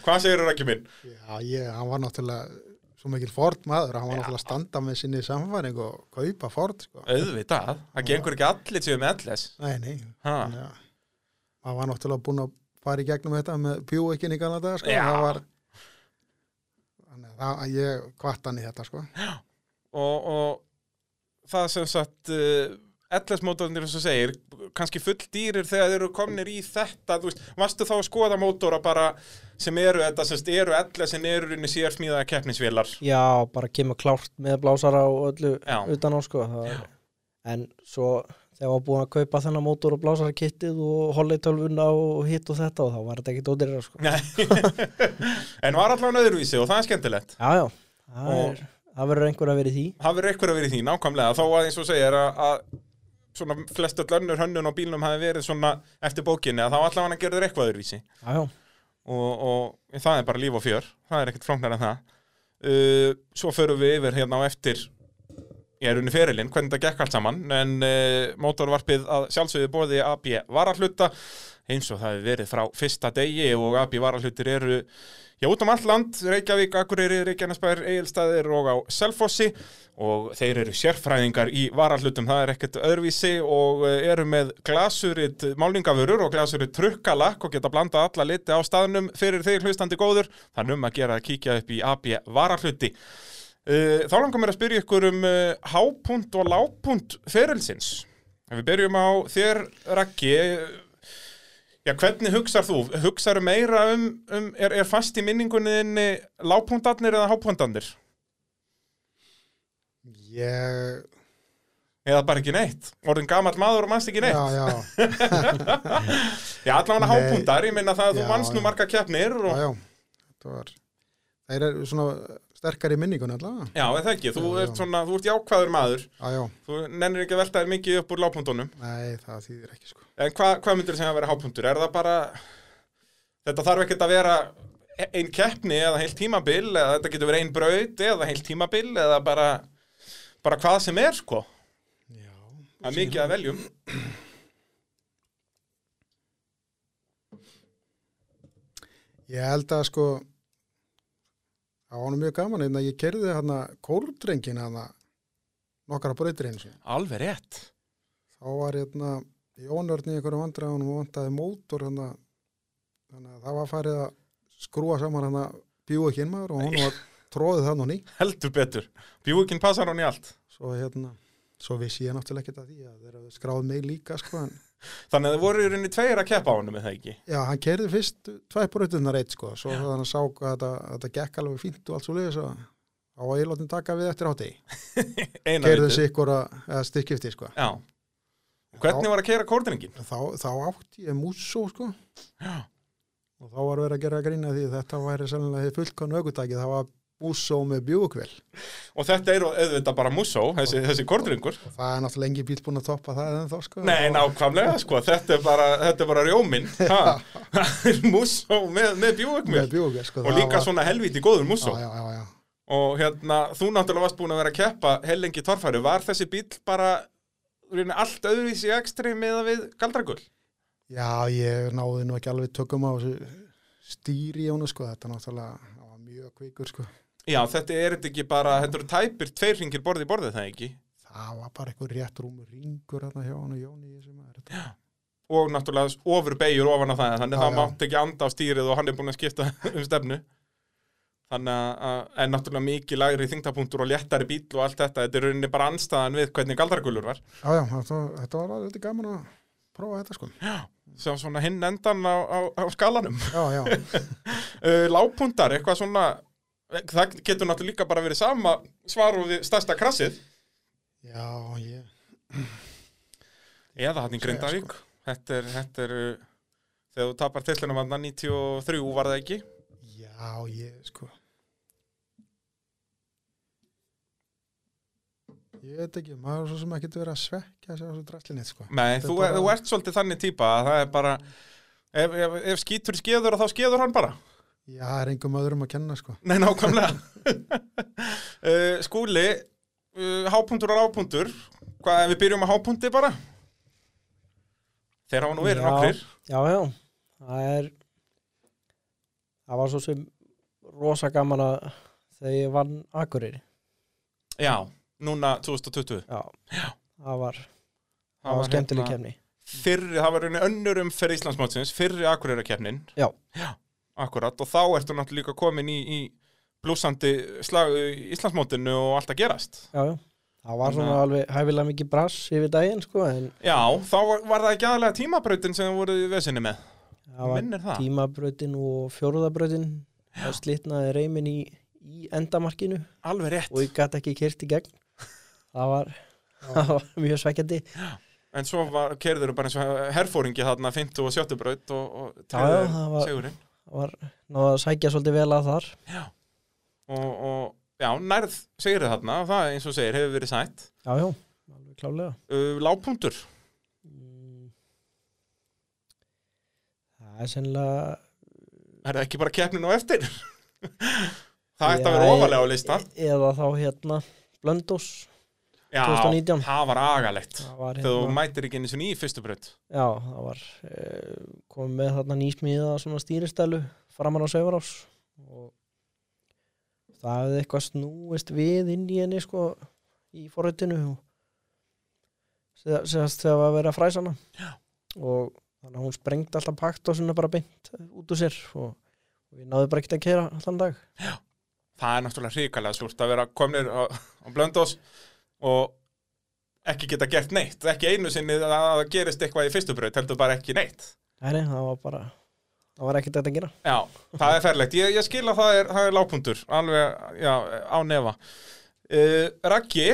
Speaker 1: hvað segir Raggi minn?
Speaker 2: Já, ég, hann var náttúrulega svo mikil Ford maður, hann var náttúrulega að standa með sinni samfæring og kaupa Ford sko.
Speaker 1: auðvitað, það gengur ekki allir sem með LS
Speaker 2: Nei, nei,
Speaker 1: ha.
Speaker 2: þannig að hann var náttúrulega búinn að fara í gegnum þetta með pjúikinn í gana daga sko.
Speaker 1: Já.
Speaker 2: það var þannig að það- ég kvatt hann í þetta sko.
Speaker 1: og, og það sem sagt uh, LS mótornir eins og segir kannski fulldýrir þegar þeir eru komnir í þetta þú veist, varstu þá að skoða mótora bara sem eru þetta, sem sagt, eru LS en eru inni sér smíðaða keppnisvélar
Speaker 3: Já, bara kemur klárt með blásara og öllu
Speaker 1: Já.
Speaker 3: utan á sko það er- En svo þegar var búin að kaupa þennan mótor og blásara kittið og holið tölvuna og hitt og þetta og þá var þetta ekkit ódýrara sko
Speaker 1: Nei. [laughs] en var allan öðruvísi og það er skemmtilegt
Speaker 3: Já, já, það,
Speaker 1: Og-
Speaker 3: er, það verður einhver að vera í því
Speaker 1: það verður eitthvað að vera í því nákvæmlega þó að eins og segir að, að svona flest öll önnur hönnun á bílnum hafi verið svona eftir bókinni að þá allan að gera þér eitthvað öðruvísi
Speaker 3: Já, já,
Speaker 1: og, og það er bara líf og fjör það er ekkert flóknar en það uh, svo förum við yfir hérna á eftir ég er unni ferilinn, hvernig þetta gekk allt saman en uh, mótorvarpið að sjálfsögðu bóði AB varahluta eins og það hefur verið frá fyrsta degi og AB varahlutir eru já, út um allt land, Reykjavík, Akureyri, Reykjanesbær, Egilstaðir og á Selfossi og þeir eru sérfræðingar í varahlutum, það er ekkert öðruvísi og eh, eru með glasurit málningavörur og glasurit trukkalakk og geta blandað alla liti á staðnum fyrir þeir hlustandi góður, þannig um að gera að kíkja upp í AB varahluti. Eh, Þá langar mér að spyrja ykkur um eh, hápunt og lápunt ferilsins. Ef Við byrjum á þér, Raggi. Já, hvernig hugsar þú? Hugsar meira um, um er, er fast í minningunni lápuntarnir eða hápuntarnir?
Speaker 2: ég
Speaker 1: Eða bara ekki neitt? Orðin gamall maður og mannst ekki neitt?
Speaker 2: já, já,
Speaker 1: [laughs] Já, allavega
Speaker 2: Nei.
Speaker 1: hápundar, ég minna það að þú
Speaker 2: Já,
Speaker 1: mannst nú
Speaker 2: já.
Speaker 1: marga keppnir
Speaker 2: já,
Speaker 1: og...
Speaker 2: já. þetta var þeir eru svona sterkari minningun allavega
Speaker 1: Já, eða ekki, þú
Speaker 2: Já, já.
Speaker 1: ert svona, þú ert jákvæður maður
Speaker 2: já, já,
Speaker 1: Þú nennir ekki að velta þér mikið upp úr lápundunum
Speaker 2: nei, það þýðir ekki sko.
Speaker 1: En hva, hvað myndir sem að vera hápundur? Er það bara, þetta þarf ekkert að vera ein keppni eða heilt tímabil Eða þetta getur verið ein braut eða heilt tímabil Eða bara, bara hvað sem er, sko
Speaker 2: já,
Speaker 1: Það er mikið að veljum
Speaker 2: ég held að sko það var nú mjög gaman einnig að ég kerði hann að kórdrengin hann að nokkara brautir eins og
Speaker 1: Alveg rétt
Speaker 2: þá var hérna í ónörðni einhverju vandræðunum og vantaði mótor hérna þannig að það var farið að skrúa saman hérna bjúi ekki maður og hún var tróðið þann og ný
Speaker 1: Heldur betur, bjúkin passar hún í allt
Speaker 2: svo hérna, svo vissi ég náttúrulega ekkert að því að þeir hafði skráð mig líka sko en
Speaker 1: Þannig að þið voru í rauninni tveir að keppa á honum, eða ekki?
Speaker 2: já, hann kerði fyrst tvær brautirnar eitt sko svo þannig að hann sá hvað þetta, þetta gekk alveg fínt og allt svo leiðis og á að ég látum taka við eftir hátti
Speaker 1: eina
Speaker 2: gerðum
Speaker 1: vitið.
Speaker 2: sig ykkur að stikkifti sko.
Speaker 1: Já. Og Hvernig var að kera kórdringin?
Speaker 2: þá, þá átti ég mússó sko.
Speaker 1: Já.
Speaker 2: og þá var verið að gera grína því að þetta væri sennilega þið fullkon aukutæki það var mússó með bjúkvel
Speaker 1: Og þetta eru auðvitað bara Musso, þessi, þessi kórdringur.
Speaker 2: og það er náttúrulega engin bíl búin að toppa það en þá sko
Speaker 1: Nei,
Speaker 2: og,
Speaker 1: nákvæmlega, sko, þetta er bara, þetta er bara rjóminn.
Speaker 2: [laughs]
Speaker 1: Ha. [laughs] Musso með, með bjúvögmjöl.
Speaker 2: með bjúkvel sko,
Speaker 1: Og
Speaker 2: það
Speaker 1: líka
Speaker 2: var-
Speaker 1: svona helvíti góður Musso.
Speaker 2: já, já, já, já.
Speaker 1: Og hérna, þú náttúrulega varst búin að vera að keppa heilengi torfæri. Var þessi bíl bara í rauninni allt öðruvísi í ekstri meða við galdragull?
Speaker 2: já, ég náði nú ekki alveg tökum á þessu stýri í honum sko þetta náttúrulega það var mjög kvikur sko
Speaker 1: Já, þetta er þetta ekki bara, þetta eru tæpir tveir ringir borði í borðið það ekki
Speaker 2: það var bara eitthvað rétt rúmur ringur hérna hjá hann og Jóni í þessu maður já,
Speaker 1: og náttúrulega ofur beigur ofan á það þannig
Speaker 2: Já,
Speaker 1: að það
Speaker 2: já.
Speaker 1: mátt ekki anda á stýrið og hann er búin að skipta [laughs] um stefnu þannig að- að en náttúrulega mikið lagri þingtapunktur og léttari bíl og allt þetta, þetta er í rauninni bara anstæðan við hvernig galdargulur var
Speaker 2: já, þetta, þetta var alveg gaman að prófa þetta sko
Speaker 1: sem svona hinn endan á, á, á [laughs] skalanum
Speaker 2: já, já,
Speaker 1: uh, lágpuntar, eitthvað svona það getur náttúrulega líka bara verið sama svar og við stærsta krassið
Speaker 2: já, ég
Speaker 1: eða hann í Grindavík sko. þetta er, þetta er uh, þegar þú tapar tillinum hann 93 var það ekki
Speaker 2: Já, ég sko Ég veit ekki, maður er svo sem ekki verið að svekja sér á þessu draslinni sko.
Speaker 1: Nei,
Speaker 2: Þetta er
Speaker 1: þú,
Speaker 2: bara-
Speaker 1: þú ert svolítið þannig típa að það er bara ef, ef, ef skítur skeður þá skeður hann bara [laughs]
Speaker 2: Já, það er engum öðrum að kenna sko.
Speaker 1: Nei, nákvæmlega [laughs] uh, Skúli uh, hápundur og rápundur hvað ef við byrjum að hápundi bara þeir hafa nú verið
Speaker 3: Já.
Speaker 1: nokkrir
Speaker 3: Já, já, það er það var svo sem rosa gaman að þegar ég vann Akureyri
Speaker 1: Já, núna 2020
Speaker 3: Já, það var,
Speaker 1: Það
Speaker 3: það var
Speaker 1: var
Speaker 3: skemmtileg
Speaker 1: hérna-
Speaker 3: kemni
Speaker 1: fyrri, það var rauninni önnur umferð Íslandsmótsins fyrri akureyrakeppnin
Speaker 3: Já.
Speaker 1: akkurat, og þá ertu náttúrulega líka komin í, í blúsandi slag í Íslandsmótinu og allt að gerast
Speaker 3: Já, já, það var
Speaker 1: Þannig
Speaker 3: svona
Speaker 1: að-
Speaker 3: alveg hæfilega mikið brass yfir daginn sko en
Speaker 1: Já, þá var, var það ekki aðlega tímabrautin sem þið voruð í vesinni með.
Speaker 3: það var
Speaker 1: Minnir það?
Speaker 3: tímabrautin og fjóruðabrautin það slitnaði reymin í, í endamarkinu
Speaker 1: Alveg rétt.
Speaker 3: og ég gat ekki kyrt í gegn það var, það var mjög svekkjandi
Speaker 1: En svo var, kerður bara eins og herfóringi þarna 50 og 70 braut og, og
Speaker 3: já,
Speaker 1: tryggðu
Speaker 3: það var-
Speaker 1: sigurinn.
Speaker 3: það var náða að sækja svolítið vel að þar
Speaker 1: Og, og já, nærð sigurinn þarna og það eins og segir hefur verið sætt.
Speaker 3: já, já, alveg klálega
Speaker 1: Uh, lágpuntur.
Speaker 3: Mm. það er sennilega
Speaker 1: Er það ekki bara keppnin á eftir? [laughs] það ætti að
Speaker 3: Já,
Speaker 1: vera
Speaker 3: ég-
Speaker 1: ofalega á lista.
Speaker 3: e- eða þá hérna Blöndós
Speaker 1: Já,
Speaker 3: 2019.
Speaker 1: það var agalegt.
Speaker 3: það var
Speaker 1: Þegar þú
Speaker 3: hérna
Speaker 1: mætir ekki einu sinni í fyrstu braut.
Speaker 3: já, það var eh, komið með þarna nýsmíða svona stýristælu framar á Sevarás og það hefði eitthvað snúist við inn í henni sko í forröttinu og sem sagt þegar var að vera að fræsa hana og þannig að hún sprengdi alltaf pakt og svona bara beint út úr sér og, og ég náði bara ekkert að kera allan dag
Speaker 1: það er náttúrulega hrikalega súrt að vera komnir á, á blöndós og ekki geta gert neitt ekki einu sinni að að það gerist eitthvað í fyrstu braut heldur bara ekki neitt
Speaker 3: Nei, nei, það var bara það var ekkert þetta að gera
Speaker 1: já, það er ferlegt, ég, ég skil að það er, það er lágpuntur, alveg já, á nefa uh, Raggi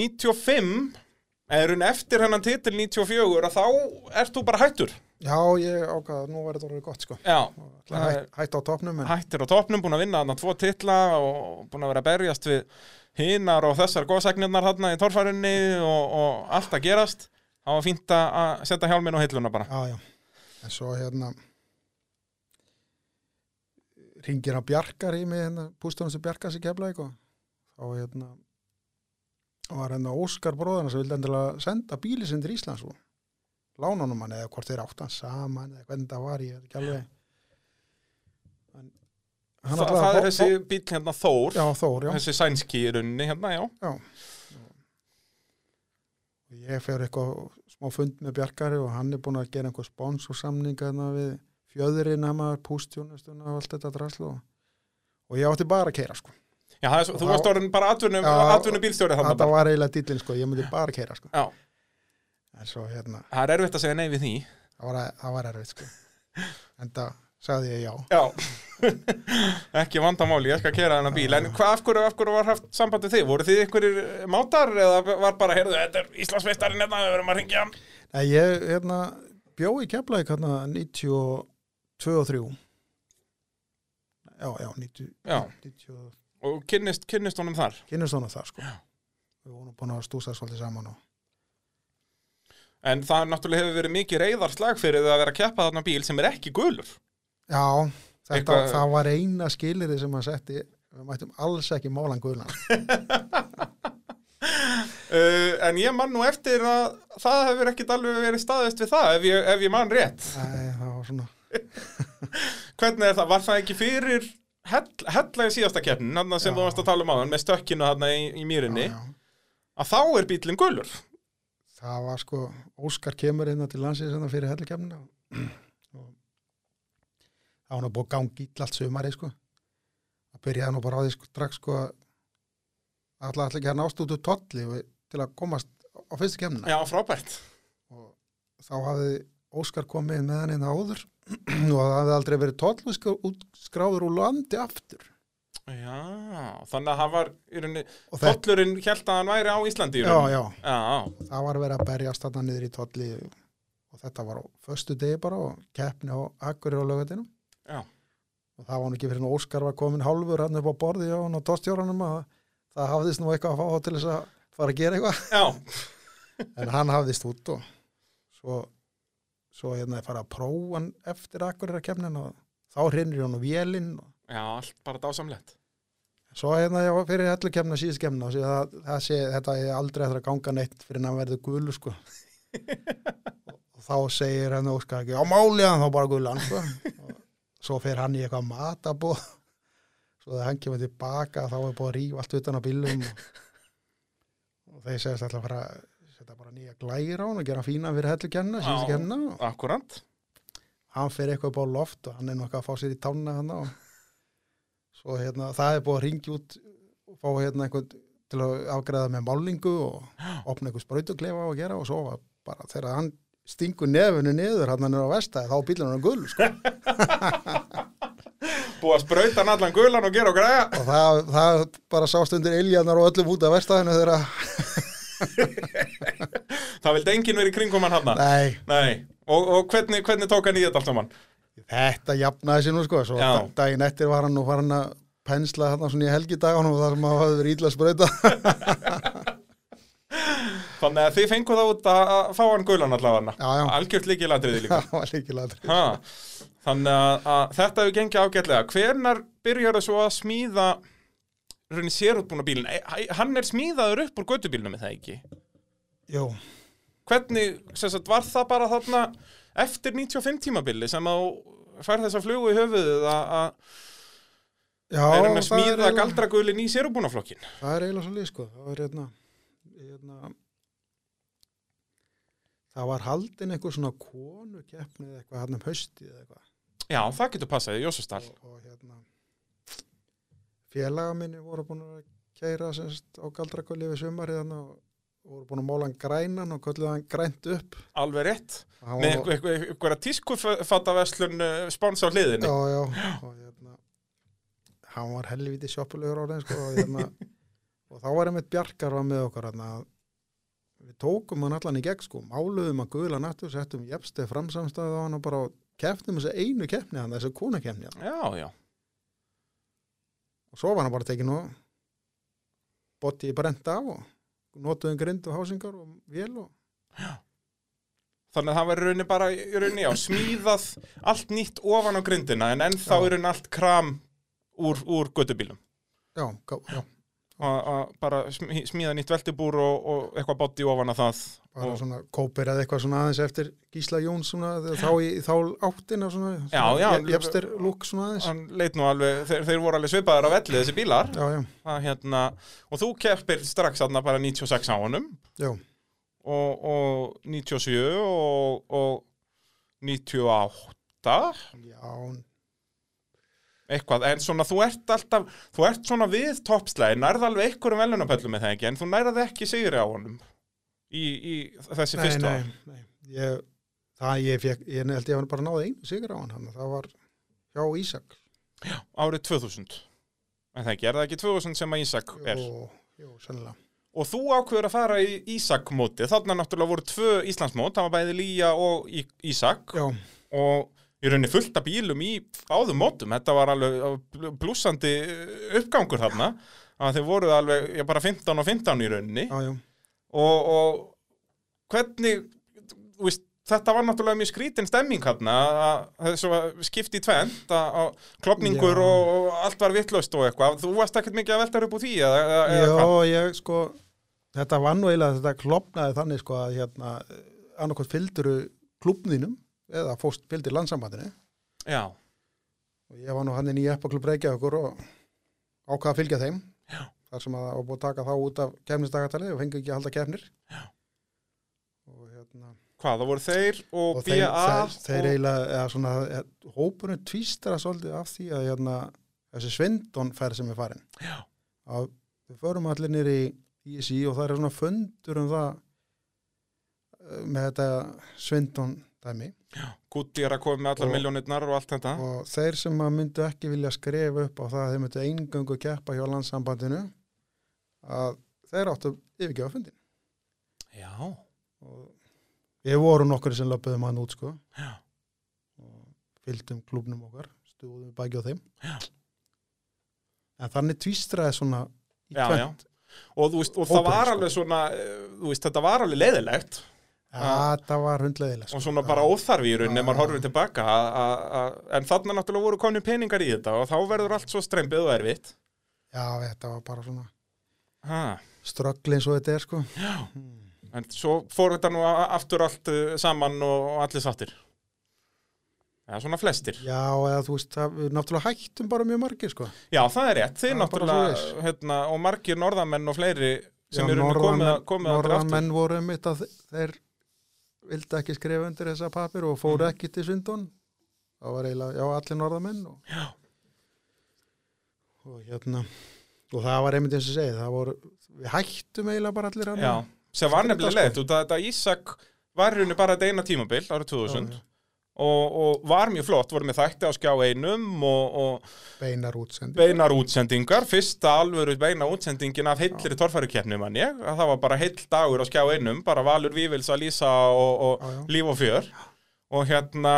Speaker 1: 95 er hún eftir hennan titil 94 að þá ert þú bara hættur
Speaker 2: Já, ég ákvaða, nú verður þetta orðið gott sko.
Speaker 1: já,
Speaker 2: Ætla að hætt, hætta á topnum en
Speaker 1: hættir á topnum, búin að vinna þarna tvo titla og búin að vera að berjast við hinar og þessar góðsagnirnar þarna í torfærunni og, og allt að gerast það var fínt að- að setja hjálminn og hilluna bara
Speaker 2: Já, já, en svo hérna ringir hann Bjarkar í mig hérna, pústunum sem Bjarkar sér kefla eitthvað og hérna var hérna Óskar bróðana sem vildi endilega senda bíli sinn til Íslands og lána honum hann eða hvort þeir áttan saman eða hvernig það var, ég veit ekki alveg en,
Speaker 1: Þa,
Speaker 2: hann
Speaker 1: það,
Speaker 2: ætlaði að
Speaker 1: er
Speaker 2: fá-
Speaker 1: þessi bíl hérna Þór
Speaker 2: Já, Þór, já
Speaker 1: þessi sænski í runni hérna, já
Speaker 2: ég fer eitthvað smá fund með Bjarkari og hann er búin að gera einhver sponsorsamninga þarna við fjöðurinn að maður pústjónustuna og allt þetta draslu og, og ég átti bara að keira sko
Speaker 1: Já, það er svo, þú
Speaker 2: Já.
Speaker 1: varst orðin bara atvinnum,
Speaker 2: Já.
Speaker 1: atvinnum bílstjóri þarna
Speaker 2: þetta
Speaker 1: bara.
Speaker 2: var eiginlega dýllin sko, ég myndi bara að keira sko
Speaker 1: Já.
Speaker 2: en svo hérna,
Speaker 1: Það er erfitt að segja nei við því.
Speaker 2: það var, það var erfið sko en það sagði ég já.
Speaker 1: Já, [laughs] ekki vandamáli, ég skal kera þennan bíl En hvað, af hverju, af hverju var haft samband við þig? Voru þið einhverjir mátar eða var bara, heyrðu, þetta er Íslandsveistarinn hérna, við verum að ringja hann
Speaker 2: Nei, ég hérna, bjó í Keflæk hérna 92 og 3. Já, já, 90,
Speaker 1: Já,
Speaker 2: 90 og
Speaker 1: og kynnist, kynnist honum þar
Speaker 2: kynnust honum það sko. Við vorum búin að stúsa svolítið saman og
Speaker 1: En það náttúrulega hefur verið mikið reyðarslag fyrir það að vera að keppa þarna bíl sem er ekki gulur
Speaker 2: Já, þetta,
Speaker 1: Eitthvað-
Speaker 2: það var eina skilirði sem maður setti við mættum alls ekki málan guðlan
Speaker 1: uh, En ég man nú eftir að það hefur ekkit alveg verið staðist við það ef ég, ef ég man rétt
Speaker 2: Nei, það var svona
Speaker 1: Hvernig er það? Var það ekki fyrir hell, hella í síðasta keppnin, hann sem
Speaker 2: Já.
Speaker 1: þú varst að tala um áðan, með stökkinu hann í, í mýrinni,
Speaker 2: já, já.
Speaker 1: að þá er bílinn gulur.
Speaker 2: Það var sko, Óskar kemur hérna til landsins hérna fyrir hellukemna og það var nú búið gangi ill allt sumari sko það byrjaði nú bara á því sko strax sko að alla allir ekki að nást út úr tolli og- til að komast á fyrstu kemna
Speaker 1: Já, frábært.
Speaker 2: og þá hafði Óskar komið með hann hérna áður [clears throat] og það hafði aldrei verið toll útskráður úr landi aftur
Speaker 1: Já, þannig að hann var, í rauninni,
Speaker 2: og þetta
Speaker 1: tollurinn held að hann væri á Íslandi í
Speaker 2: Já,
Speaker 1: rauninni.
Speaker 2: já,
Speaker 1: Já,
Speaker 2: það var verið að berjast þarna niður í tolli og þetta var á föstu degi bara og keppni á Akkurir á lögatinum
Speaker 1: Já.
Speaker 2: og það var nú ekki fyrir en Óskar var komin hálfur hann upp á borði á hann og tóstjóranum að það hafðist nú eitthvað að fá til þess að fara að gera eitthvað [laughs]
Speaker 1: já,
Speaker 2: en hann hafðist út og svo, svo hérna ég fara að prófa hann eftir Akkurir að keppnin og þá hrinnir hann og vélinn og
Speaker 1: já, allt bara dásamlegt.
Speaker 2: Svo hérna ég var fyrir hellu kemna síðust kemna og það, það sé, þetta er aldrei eftir að ganga neitt fyrir en hann verður gulu sko og þá segir hann Óskar ekki, á máli hann þá bara gulan sko og svo fer hann í eitthvað matabóð svo þegar hann kemur tilbaka þá er búið að rífa allt utan á bílum og, og þeir segist alltaf að fara að setja bara nýja glæra á hann og gera hann fínan fyrir hellu kemna síðust
Speaker 1: Já.
Speaker 2: kemna og
Speaker 1: Akkurant.
Speaker 2: hann fer eitthvað upp á loft og hann er nokkað að fá sér í tána hann og svo hérna, það er búið að ringi út og fá hérna einhvern til að afgræða með málingu og opna einhver sprautuklefa og gera og svo var bara þegar hann stingur nefunu niður hann er á vestæði þá bílun hann gul sko.
Speaker 1: Búið að sprauta hann allan gulan og gera og græja.
Speaker 2: og það, það bara sást undir iljarnar og öllum út af vestæðinu þegar að,
Speaker 1: Það vildi enginn verið í kringum hann hann.
Speaker 2: nei,
Speaker 1: Nei. Og, og hvernig, hvernig tók hann í þetta allt saman?
Speaker 2: þetta jafnaði sér nú sko, svo
Speaker 1: Já.
Speaker 2: dag- daginn eftir var hann nú farin að pensla þarna svona í helgidagunum og það sem hafa verið ítla sprauta
Speaker 1: Þannig að þið fenguð það út að að fá hann gulan allavega
Speaker 2: Já, já.
Speaker 1: Algjört líkilatriði líka.
Speaker 2: [laughs] það var líkilega
Speaker 1: Ha, þannig að, að þetta hefur gengið ágætlega. Hvernar byrjar það svo að smíða raunin sérútbúna bílinn? E- hæ- Hann er smíðaður upp úr göttubílnum, er það ekki?
Speaker 2: Jú,
Speaker 1: Hvernig, sem sagt, var það bara þarna eftir 95 tímabili sem að fær þess að flugu í höfuðið að að
Speaker 2: já
Speaker 1: er hann
Speaker 2: það
Speaker 1: að smíða
Speaker 2: eiginlega-
Speaker 1: galdrakölin í sérútbúnaflokkin?
Speaker 2: Það er eiginlega svolítið sko, það var hérna, hérna það var haldin einhver svona konukeppni eða eitthvað hann um haustið eða eitthvað
Speaker 1: Já, það getur passað í Jósustal.
Speaker 2: og, og hérna félaga minni voru búin að keira semst á galdraköli við sumarið hann og voru búin að mála hann grænan og kölluð hann grænt upp
Speaker 1: Alveg rétt.
Speaker 2: Og hann
Speaker 1: Með
Speaker 2: var-
Speaker 1: einhver- einhver- einhverja tískufattaverslun spáns á hliðinni.
Speaker 2: já, já, og hérna hann var helviti sjoppulegur orðin sko,
Speaker 1: [laughs]
Speaker 2: og, hérna, og þá var einmitt Bjarkar var með okkur hérna, við tókum hann allan í gegn sko, máluðum að guðla nattur, settum jefstið framsamstæð á hann og bara keftum þessa einu keppni hann, þessu konakefni hann
Speaker 1: Já, já.
Speaker 2: og svo var hann bara tekin og botti í brent af og notuðum grind og hásingar og vél og
Speaker 1: Þannig að það var í rauninni bara, í rauninni, já, smíðað allt nýtt ofan á grindina en ennþá
Speaker 2: Já.
Speaker 1: í rauninni allt kram úr, úr göttubílum.
Speaker 2: já, gá- já
Speaker 1: Að að bara smí- smíða nýtt veltibúr og, og eitthvað boddi ofan að það.
Speaker 2: bara
Speaker 1: Og,
Speaker 2: svona kópir eða eitthvað svona aðeins eftir Gísla Jóns svona, þegar þá í þá áttina svona,
Speaker 1: Já,
Speaker 2: svona
Speaker 1: já.
Speaker 2: jefstir lúk svona aðeins
Speaker 1: hann leit nú alveg, þeir, þeir voru alveg svipaðar á velli þessi bílar.
Speaker 2: já, já,
Speaker 1: Það, hérna, og þú keppir strax aðna bara 96 á honum
Speaker 2: já,
Speaker 1: og, og 97 og, og 98
Speaker 2: já
Speaker 1: eitthvað, en svona þú ert alltaf þú ert svona við toppslæði, nærða alveg einhverjum velunapöllum með það ekki, en þú nærða ekki sigri á honum í, í þessi
Speaker 2: nei,
Speaker 1: fyrstu
Speaker 2: nei, nei ég, það ég fekk, ég held ég að hann bara náði einu sigur á hann hann, það var hjá Ísak
Speaker 1: árið 2000 en það ekki, er það ekki 2000 sem að Ísak er
Speaker 2: Jó, jó, sennilega
Speaker 1: og þú ákveður að fara í Ísak-móti þarna náttúrulega voru tvö Íslandsmót það var bæði Lía og Í- Ísak
Speaker 2: Já,
Speaker 1: og í rauninni fullt af bílum í áðum mótum þetta var alveg uh, blúsandi uh, uppgangur þarna að þeir voru alveg, já bara 15 og 15 í rauninni
Speaker 2: já, já
Speaker 1: og, og hvernig þú veist, þetta var náttúrulega mjög skrítin stemming hérna þessu að skipti í tvent að að klopningur
Speaker 2: Já.
Speaker 1: og, og allt var vittlaust og eitthvað þú varst ekkert mikið að velta þér upp úr því eða, eða- eða hvað?
Speaker 2: Já, ég sko þetta var nú eiginlega, þetta klopnaði þannig sko að hérna, annarkot fylgduru klubnínum eða fóst fylgdir landsambandinu
Speaker 1: Já,
Speaker 2: og ég var nú hann inn í eppaklub Reykjavíkur og ákvað að fylgja þeim
Speaker 1: Já.
Speaker 2: þar sem að það var búið að taka þá út af kefnisdagatali og fengu ekki að halda kefnir og hérna
Speaker 1: hvað, það voru þeir og,
Speaker 2: og
Speaker 1: BA
Speaker 2: þeir, þeir, þeir
Speaker 1: og,
Speaker 2: eiginlega eða svona, eða, hópurinn tvístara svolítið af því að hérna, þessi Svindon ferð sem er farin
Speaker 1: Já.
Speaker 2: að við förum allir nýri í ISI og það er svona fundur um það eh, með þetta Svindon dæmi
Speaker 1: Gutti er að koma með allar
Speaker 2: Og-
Speaker 1: miljónirnar og allt þetta
Speaker 2: og þeir sem að myndu ekki vilja skrifa upp á það að þeir myndu eingöngu keppa hjá landsambandinu að þeir áttu yfirgefa fundin
Speaker 1: Já,
Speaker 2: og við vorum nokkur sem löpuðum hann út sko
Speaker 1: já,
Speaker 2: og fylgdum klubnum okkar stúðum við baki á þeim en þannig tvístraði svona í
Speaker 1: já, já.
Speaker 2: tvönd
Speaker 1: Og, þú veist, og það
Speaker 2: Hópurinn,
Speaker 1: var
Speaker 2: sko.
Speaker 1: alveg svona eh, þú veist, þetta var alveg leiðilegt
Speaker 2: ja, það var sko. hundleðilega
Speaker 1: og svona bara óþarfi í rauninni ef maður horfir tilbaka að- að- að- en þarna náttúrulega voru komin peningar í þetta og þá verður allt svo strempið og erfitt
Speaker 2: já, þetta var bara svona
Speaker 1: ha.
Speaker 2: ströggli eins og þetta er sko
Speaker 1: en svo fór þetta nú a- aftur allt uh, saman og og allir sattir Já, svona flestir.
Speaker 2: já, eða þú veist, það, við náttúrulega hættum bara mjög margir sko
Speaker 1: Já, það er rétt. Þeir
Speaker 2: Já, bara
Speaker 1: náttúrulega,
Speaker 2: svoleiðis.
Speaker 1: hérna, og margir norðamenn og fleiri sem
Speaker 2: Já,
Speaker 1: eru komið,
Speaker 2: norðamenn-
Speaker 1: komið aldrei aftur.
Speaker 2: norðamenn voru um þetta þeir vildi ekki skrifa undir þessa papir og
Speaker 1: Mm.
Speaker 2: fóru ekki til Svindon það var eiginlega, já, allir norðamenn og,
Speaker 1: Já.
Speaker 2: og hérna og það var einmitt eins og segið, það voru við hættum eiginlega bara allir annað.
Speaker 1: Já, sem var
Speaker 2: Þetta er
Speaker 1: nefnilega
Speaker 2: þetta,
Speaker 1: leitt út að þetta Ísak var í rauninni bara þetta eina tímabil árið 2000
Speaker 2: Já, já.
Speaker 1: Og, og var mjög flott, voru með þætti á skjá einum og, og
Speaker 2: beinar útsendi
Speaker 1: beinar útsendingar, fyrsta alvöru beina útsendingin af heillri torfærukeppni mann ég, að það var bara heill dagur á skjá einum, bara Valur Vífils að lýsa og, og
Speaker 2: Já, já.
Speaker 1: líf og fjör og hérna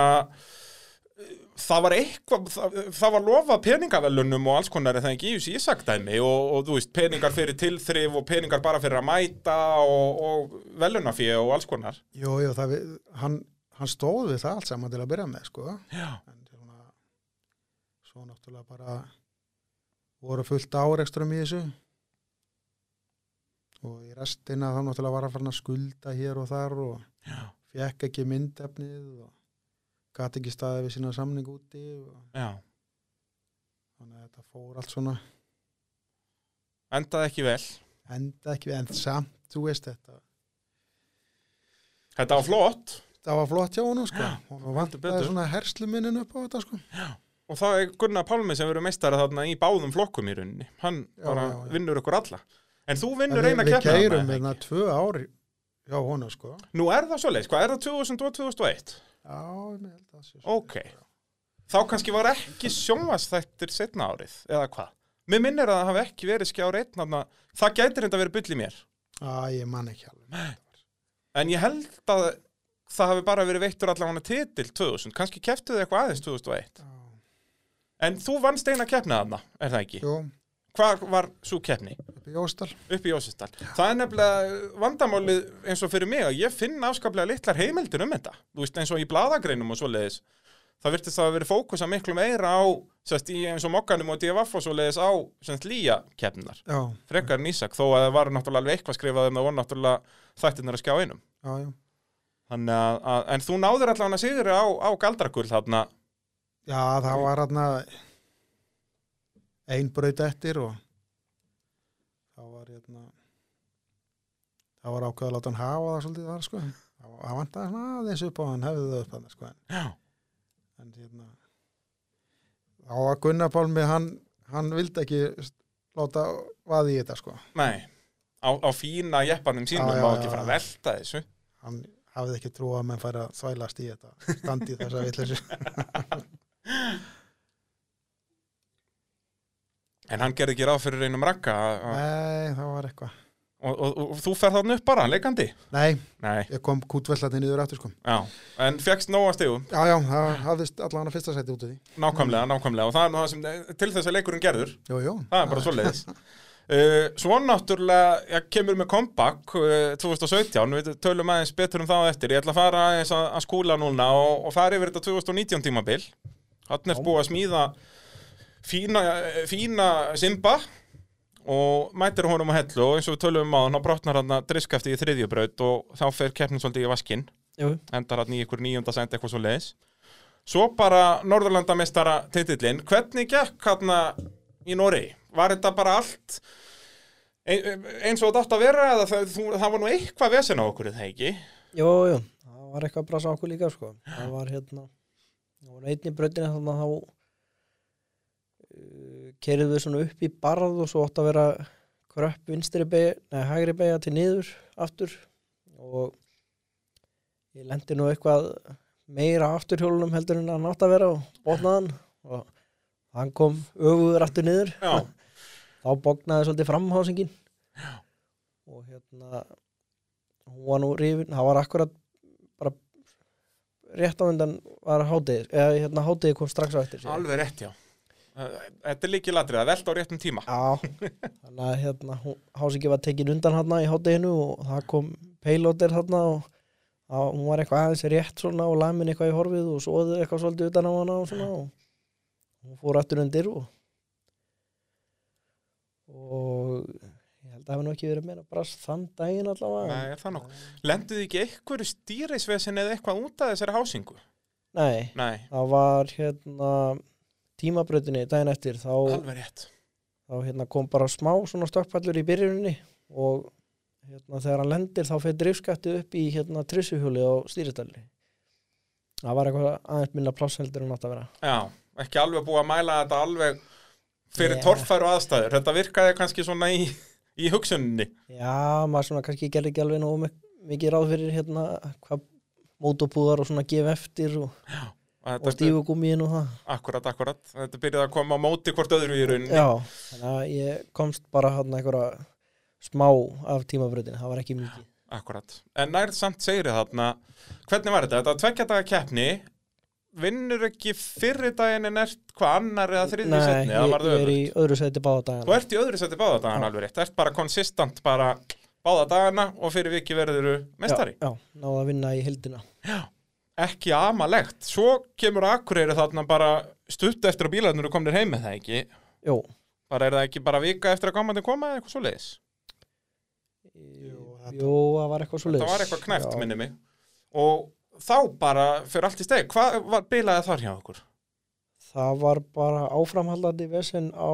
Speaker 1: það var eitthvað, það, það var lofað peningavelunum og alls konar en það ekki í þessu ísakdæmi og, og þú veist, peningar fyrir tilþrif og peningar bara fyrir að mæta og, og velunafið og alls konar
Speaker 2: Jú, jú, það við, hann, hann stóð við það allt saman til að byrja með, sko
Speaker 1: Já,
Speaker 2: en svona svo náttúrulega bara voru fullt árekstrum í þessu og í restina þá náttúrulega var að fara að skulda hér og þar og
Speaker 1: já,
Speaker 2: fekk ekki myndefnið og gat ekki staðið við sína samning úti og
Speaker 1: já
Speaker 2: þannig að þetta fór allt svona
Speaker 1: endaði ekki vel
Speaker 2: enda ekki við en samt, þú veist þetta
Speaker 1: Þetta var flott
Speaker 2: það var flott hjá honum sko hún
Speaker 1: betur.
Speaker 2: vantaði svona herslu minnin upp á þetta sko
Speaker 1: og það er Gunnar Pálmi sem verður meistari þarna í báðum flokkum í rauninni hann
Speaker 2: Já,
Speaker 1: bara
Speaker 2: já, já.
Speaker 1: vinnur okkur alla en þú
Speaker 2: En
Speaker 1: vinnur
Speaker 2: við-
Speaker 1: eina
Speaker 2: við
Speaker 1: keppnina,
Speaker 2: geirum
Speaker 1: eða
Speaker 2: hérna
Speaker 1: ekki?
Speaker 2: tvö ári hjá honum sko
Speaker 1: nú er það svoleiðis, hvað er það 2000 og 2001
Speaker 2: já, ég held að það sé svo.
Speaker 1: ok, þá kannski var ekki sjónvastættir setna árið eða hvað, mér minnir að það hafi ekki verið skjár einn, þarna. það gætir enda verið bull í mér
Speaker 2: Æ, ég man ekki alveg hvað þetta var.
Speaker 1: en ég held að það hafi bara verið veittur allavega titil 2000, kannski keftuðu eitthvað aðeins 2001
Speaker 2: Já.
Speaker 1: en þú vannst eina keppna þarna, er það ekki
Speaker 2: Jú,
Speaker 1: hvað var svo keppni?
Speaker 2: upp í Jóstal
Speaker 1: upp í Jósistal. Það er nefnilega uh, vandamálið eins og fyrir mig að ég finn afskaplega litlar heimildir um þetta. Þú veist eins og í bladagreinum og svoleiðis. Það virtist það að vera fókusa miklu meira á, sérst, í eins og mokkanum og DFF og svoleiðis á, sérst, lýja keppninar.
Speaker 2: Já,
Speaker 1: Frekar en Ísak, þó að það var náttúrulega alveg eitthvað skrifað um það og náttúrulega þættirnar að skjá einum.
Speaker 2: já, já
Speaker 1: Þannig að, að, en þú náður allavega sigri á, á galdrakull þarna.
Speaker 2: Já, það var hérna ein braut eftir og það var hérna það var ákveð að láta hann hafa það svolítið þar sko það var- það vantaði svona aðeins upp á hann hefði það upp hann sko en,
Speaker 1: Já.
Speaker 2: en hérna þá var Gunnar Pálmi hann, hann vildi ekki st- láta vaði í þetta sko
Speaker 1: Nei, á, á fína jeppanum sínum
Speaker 2: Já, já,
Speaker 1: má
Speaker 2: já,
Speaker 1: ekki fara að
Speaker 2: já.
Speaker 1: velta þessu.
Speaker 2: hann hafði ekki trú að menn færi að þvælast í þetta standi í þessa vitleysu
Speaker 1: En hann gerði ekki ráð fyrir einum ragga að- að-
Speaker 2: Nei, það var eitthvað.
Speaker 1: og, og, og, þú ferð þannig upp bara, leikandi
Speaker 2: Nei,
Speaker 1: Nei,
Speaker 2: ég kom kútvellandi niður aftur sko.
Speaker 1: já, en fekkst nóga stegum
Speaker 2: Já, já, það hafðist allan að fyrsta sæti út af því.
Speaker 1: Nákvæmlega, nákvæmlega og það er nú það sem eh, til þess að leikurinn gerður
Speaker 2: Jú, jú.
Speaker 1: það er bara svoleiðis Uh, svo náttúrulega ja, kemur með comeback uh, 2017, við tölum aðeins betur um það á eftir, ég ætla að fara aðeins að, að skúla núna og, og fara yfir þetta 2019 tímabil hann er búið að smíða fína, eh, fína Simba og mætir honum á hellu og eins og við tölum um á hann, hann brotnar hann að driskafti í þriðjubraut og þá fer keppnin svolítið í vaskinn
Speaker 3: Jú,
Speaker 1: endar hann í ykkur nýjunda sendi eitthvað svo leiðis svo bara Norðurlandameistara titillin, hvernig gekk hann í Noregi? Var þetta bara allt ein- eins og þetta átt að vera eða það, þú, það var nú eitthvað vesen á okkur er það ekki?
Speaker 3: jú, jú, það var eitthvað að brasa á okkur líka sko. það var hérna það var einn í bröndinni þannig að þá uh, kerðum við svona upp í barð og svo átt að vera kröpp vinstri beigja, neða hægri beigja til niður aftur og ég lendi nú eitthvað meira á afturhjólunum heldur en hann átt að vera og botnaðan og hann kom öfugur aftur niður
Speaker 1: Já,
Speaker 3: þá bognaði svolítið framhásingin og hérna hún var nú rifin, það var akkurat bara rétt á undan var hátegir, eða hérna hátegir kom strax á eftir sér.
Speaker 1: alveg rétt já Þetta er líki latrið að velta á réttum tíma
Speaker 3: Já, þannig að hérna hún- hásingi var tekin undan hérna í háteginu og það kom payloader hérna og að, hún var eitthvað aðeins rétt svona og lamin eitthvað í horfið og svoði eitthvað svolítið utan á hana og svona og hún fór aftur undir og og ég held að það hafi nú ekki verið meira brast þann daginn allavega
Speaker 1: Nei, er það nokkuð? Lenduðu ekki eitthvað stýrisvesin eða eitthvað út af þessari hásingu?
Speaker 3: Nei,
Speaker 1: Nei,
Speaker 3: það var hérna tímabröðinni daginn eftir þá
Speaker 1: alveg rétt
Speaker 3: þá hérna kom bara smá svona stökkpallur í byrjuninni og hérna þegar hann lendir þá fyrir drifskattið upp í hérna trissuhjóli á stýristalli það var eitthvað aðeins minna plássheldur en átt að vera
Speaker 1: Já, ekki alveg búið að mæla þetta alveg fyrir
Speaker 3: Já.
Speaker 1: yeah. torfæru aðstæður. Þetta virkaði kannski svona í, í hugsunni.
Speaker 3: já, maður svona kannski gerði ekki alveg nógu mik- mikið ráð fyrir hérna hvað mótopúðar og svona gef eftir og, og stífugumíin og það
Speaker 1: Akkurat, akkurat. Þetta byrjaði að koma á móti hvort öðru í rauninni.
Speaker 3: já, þannig að ég komst bara hérna einhverja smá af tímabröðinni, það var ekki mikið
Speaker 1: Akkurat. En nærð samt segir þarna, hvernig var þetta? Þetta var tveggja daga keppni, vinnur ekki fyrri daginn en ert hvað annar eða þriðið
Speaker 3: Nei,
Speaker 1: setni?
Speaker 3: ég, ég er í öðru seti báða
Speaker 1: Þú
Speaker 3: dagana
Speaker 1: ert í öðru seti báða dagana alveg rétt. Ert bara konsistant bara báða dagana og fyrir viki verður mestari.
Speaker 3: já, já, náðu að vinna í hildina
Speaker 1: ekki amalegt svo kemur Akureyri þarna bara stutt eftir að bílarnir eru komnir heim með það ekki
Speaker 3: Jó,
Speaker 1: bara er það ekki bara vika eftir að gámandi koma eða eitthvað svo leiðis
Speaker 3: Jú,
Speaker 2: Jú, þetta-
Speaker 3: það var eitthvað svo leiðis
Speaker 1: það var eitthvað knæft minni mig og þá bara fyrir allt í steg hvað var bilaði þar hjá okkur?
Speaker 3: Það var bara áframhaldandi vesen á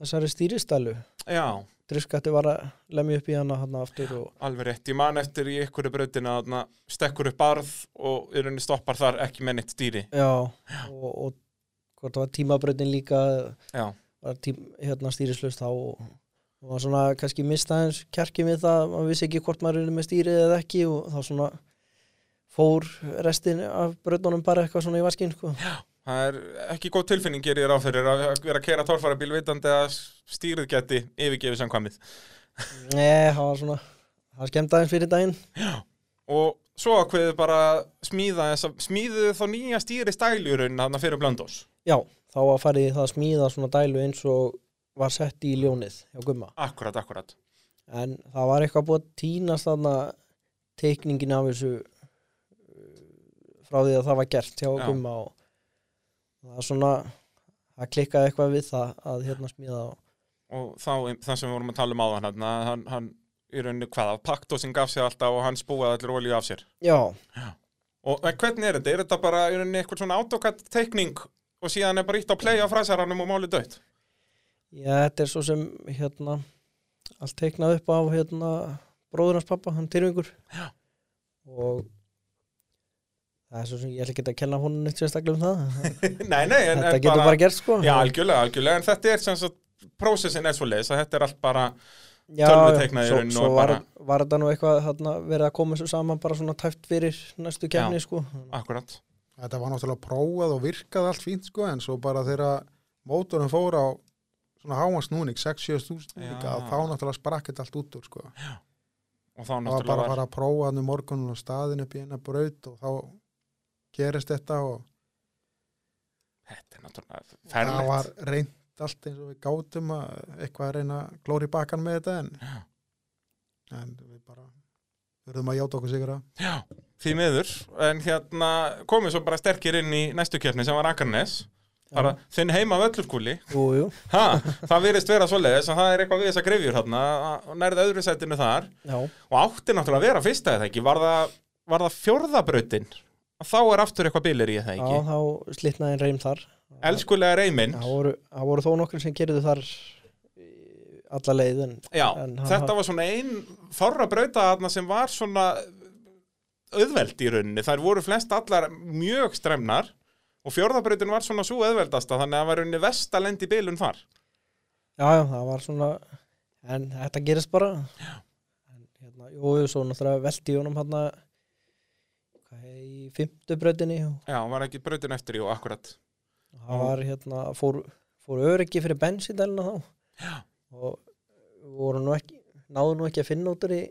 Speaker 3: þessari stýristælu
Speaker 1: Já,
Speaker 3: Driskatti var að lemja upp í hana hann aftur og
Speaker 1: alveg rétt, ég man eftir í ykkur brautina þarna stekkur upp barð og í rauninni stoppar þar ekki með neitt stýri
Speaker 3: Já, og, og hvort það var tímabröndin líka
Speaker 1: Já,
Speaker 3: var tím, hérna stýrislaust þá og og var svona kannski mistaðins kjarkið við það, maður vissi ekki hvort maður er með stýrið eða ekki og þá svona fór restin af bröndunum bara eitthvað svona í vaskinn sko.
Speaker 1: það er ekki góð tilfinning gerir ég ráð fyrir að að vera að keira torfara bíl vitandi að stýrið geti yfirgefið samkvæmið
Speaker 3: Nei, það var svona það skemmdi aðeins fyrir daginn
Speaker 1: og svo ákveðu bara að smíða þess að smíðu þá nýja stýri stæljurinn þarna fyrir blöndós
Speaker 3: Já, þá var farið í það að smíða svona dælu eins og var sett í ljónið hjá Gumma.
Speaker 1: akkurat, akkurat
Speaker 3: En það var eitthvað búið að týnast þarna teikningin af þessu uh, frá því að það var gert hjá
Speaker 1: Já.
Speaker 3: Gumma og það er svona það klikkaði eitthvað við það að hérna smíða og
Speaker 1: og þá, það sem við vorum að tala um áðan hann, hann, hann í rauninni hvað, að paktósin gaf sér alltaf og hann spúaði allir olíu af sér
Speaker 3: Já,
Speaker 1: og en hvernig er þetta? Er þetta bara í rauninni eitthvað svona autokat teikning og síðan er bara ítt á play á fræsaranum og máli dött?
Speaker 3: já, þetta er svo sem hérna allt teiknað upp á hérna bróður hans pappa, hann Tyrfingur
Speaker 1: Já.
Speaker 3: og það er svo sem ég ætla ekki að kenna honum neitt sérstaklega um það
Speaker 1: [laughs] nei, nei, en,
Speaker 3: Þetta
Speaker 1: en
Speaker 3: getur bara gert sko
Speaker 1: Já, algjörlega, algjörlega, en þetta er sem sagt prósessin er svo leiðis að þetta er allt bara
Speaker 3: Já,
Speaker 1: tölvuteiknaði í
Speaker 3: svo,
Speaker 1: rauninni
Speaker 3: svo
Speaker 1: og
Speaker 3: var,
Speaker 1: bara-
Speaker 3: var þetta nú eitthvað þarna, verið að koma þessu saman bara svona tæft fyrir næstu kefni sko
Speaker 1: akkurat
Speaker 2: Þetta var náttúrulega prófað og virkað allt fínt sko en svo bara þegar mótorinn fór á svona háans núning 6-7 þúsund
Speaker 1: Já.
Speaker 2: núninga að þá náttúrulega sprakkið allt út úr sko.
Speaker 1: og þá
Speaker 2: það var bara
Speaker 1: náttúrulega
Speaker 2: að
Speaker 1: var
Speaker 2: fara að prófa hann um morgunum og staðin upp í eina braut og þá gerist þetta og
Speaker 1: þetta er náttúrulega
Speaker 2: það
Speaker 1: ferlegt
Speaker 2: var reynd allt eins og við gátum að eitthvað að reyna að glóri bakan með þetta en,
Speaker 1: Já.
Speaker 2: en við bara verðum að játa okkur sigur að
Speaker 1: Já, því miður en hérna komið svo bara sterkir inn í næstu kefni sem var Akarnes bara þinn heima völlurkúli
Speaker 3: Jú, jú,
Speaker 1: ha, það virðist vera svoleiðis og það er eitthvað við þess að grefjur hérna nærið öðru sætinu þar
Speaker 3: já,
Speaker 1: og átti náttúrulega að vera fyrsta eða ekki var það, var það fjórðabrautin þá er aftur eitthvað bílir í það
Speaker 3: já,
Speaker 1: ekki
Speaker 3: þá slitnaði en reym þar
Speaker 1: elskulega reymin
Speaker 3: Það voru, það voru þó nokkur sem gerðu þar eh, alla leið en
Speaker 1: Já,
Speaker 3: En hann-
Speaker 1: þetta var svona ein þorra brautaðarna sem var svona auðveld í rauninni. Þær voru flest allar mjög stremnar og fjórðabrautin var svona svo auðveldasta þannig að það var í rauninni vest að lenda í bylun þar.
Speaker 3: Já, já, það var svona en þetta gerist bara já. en hérna, jú, jú, svo náttúrulega velti í honum hérna hvað er í fimmtu breytinni og
Speaker 1: Já, var ekki brautin eftir í og akkurat.
Speaker 3: það var hérna, fór, fór öryggi fyrir bensíndælina þá já. og voru nú ekki náðu nú ekki að finna út úr í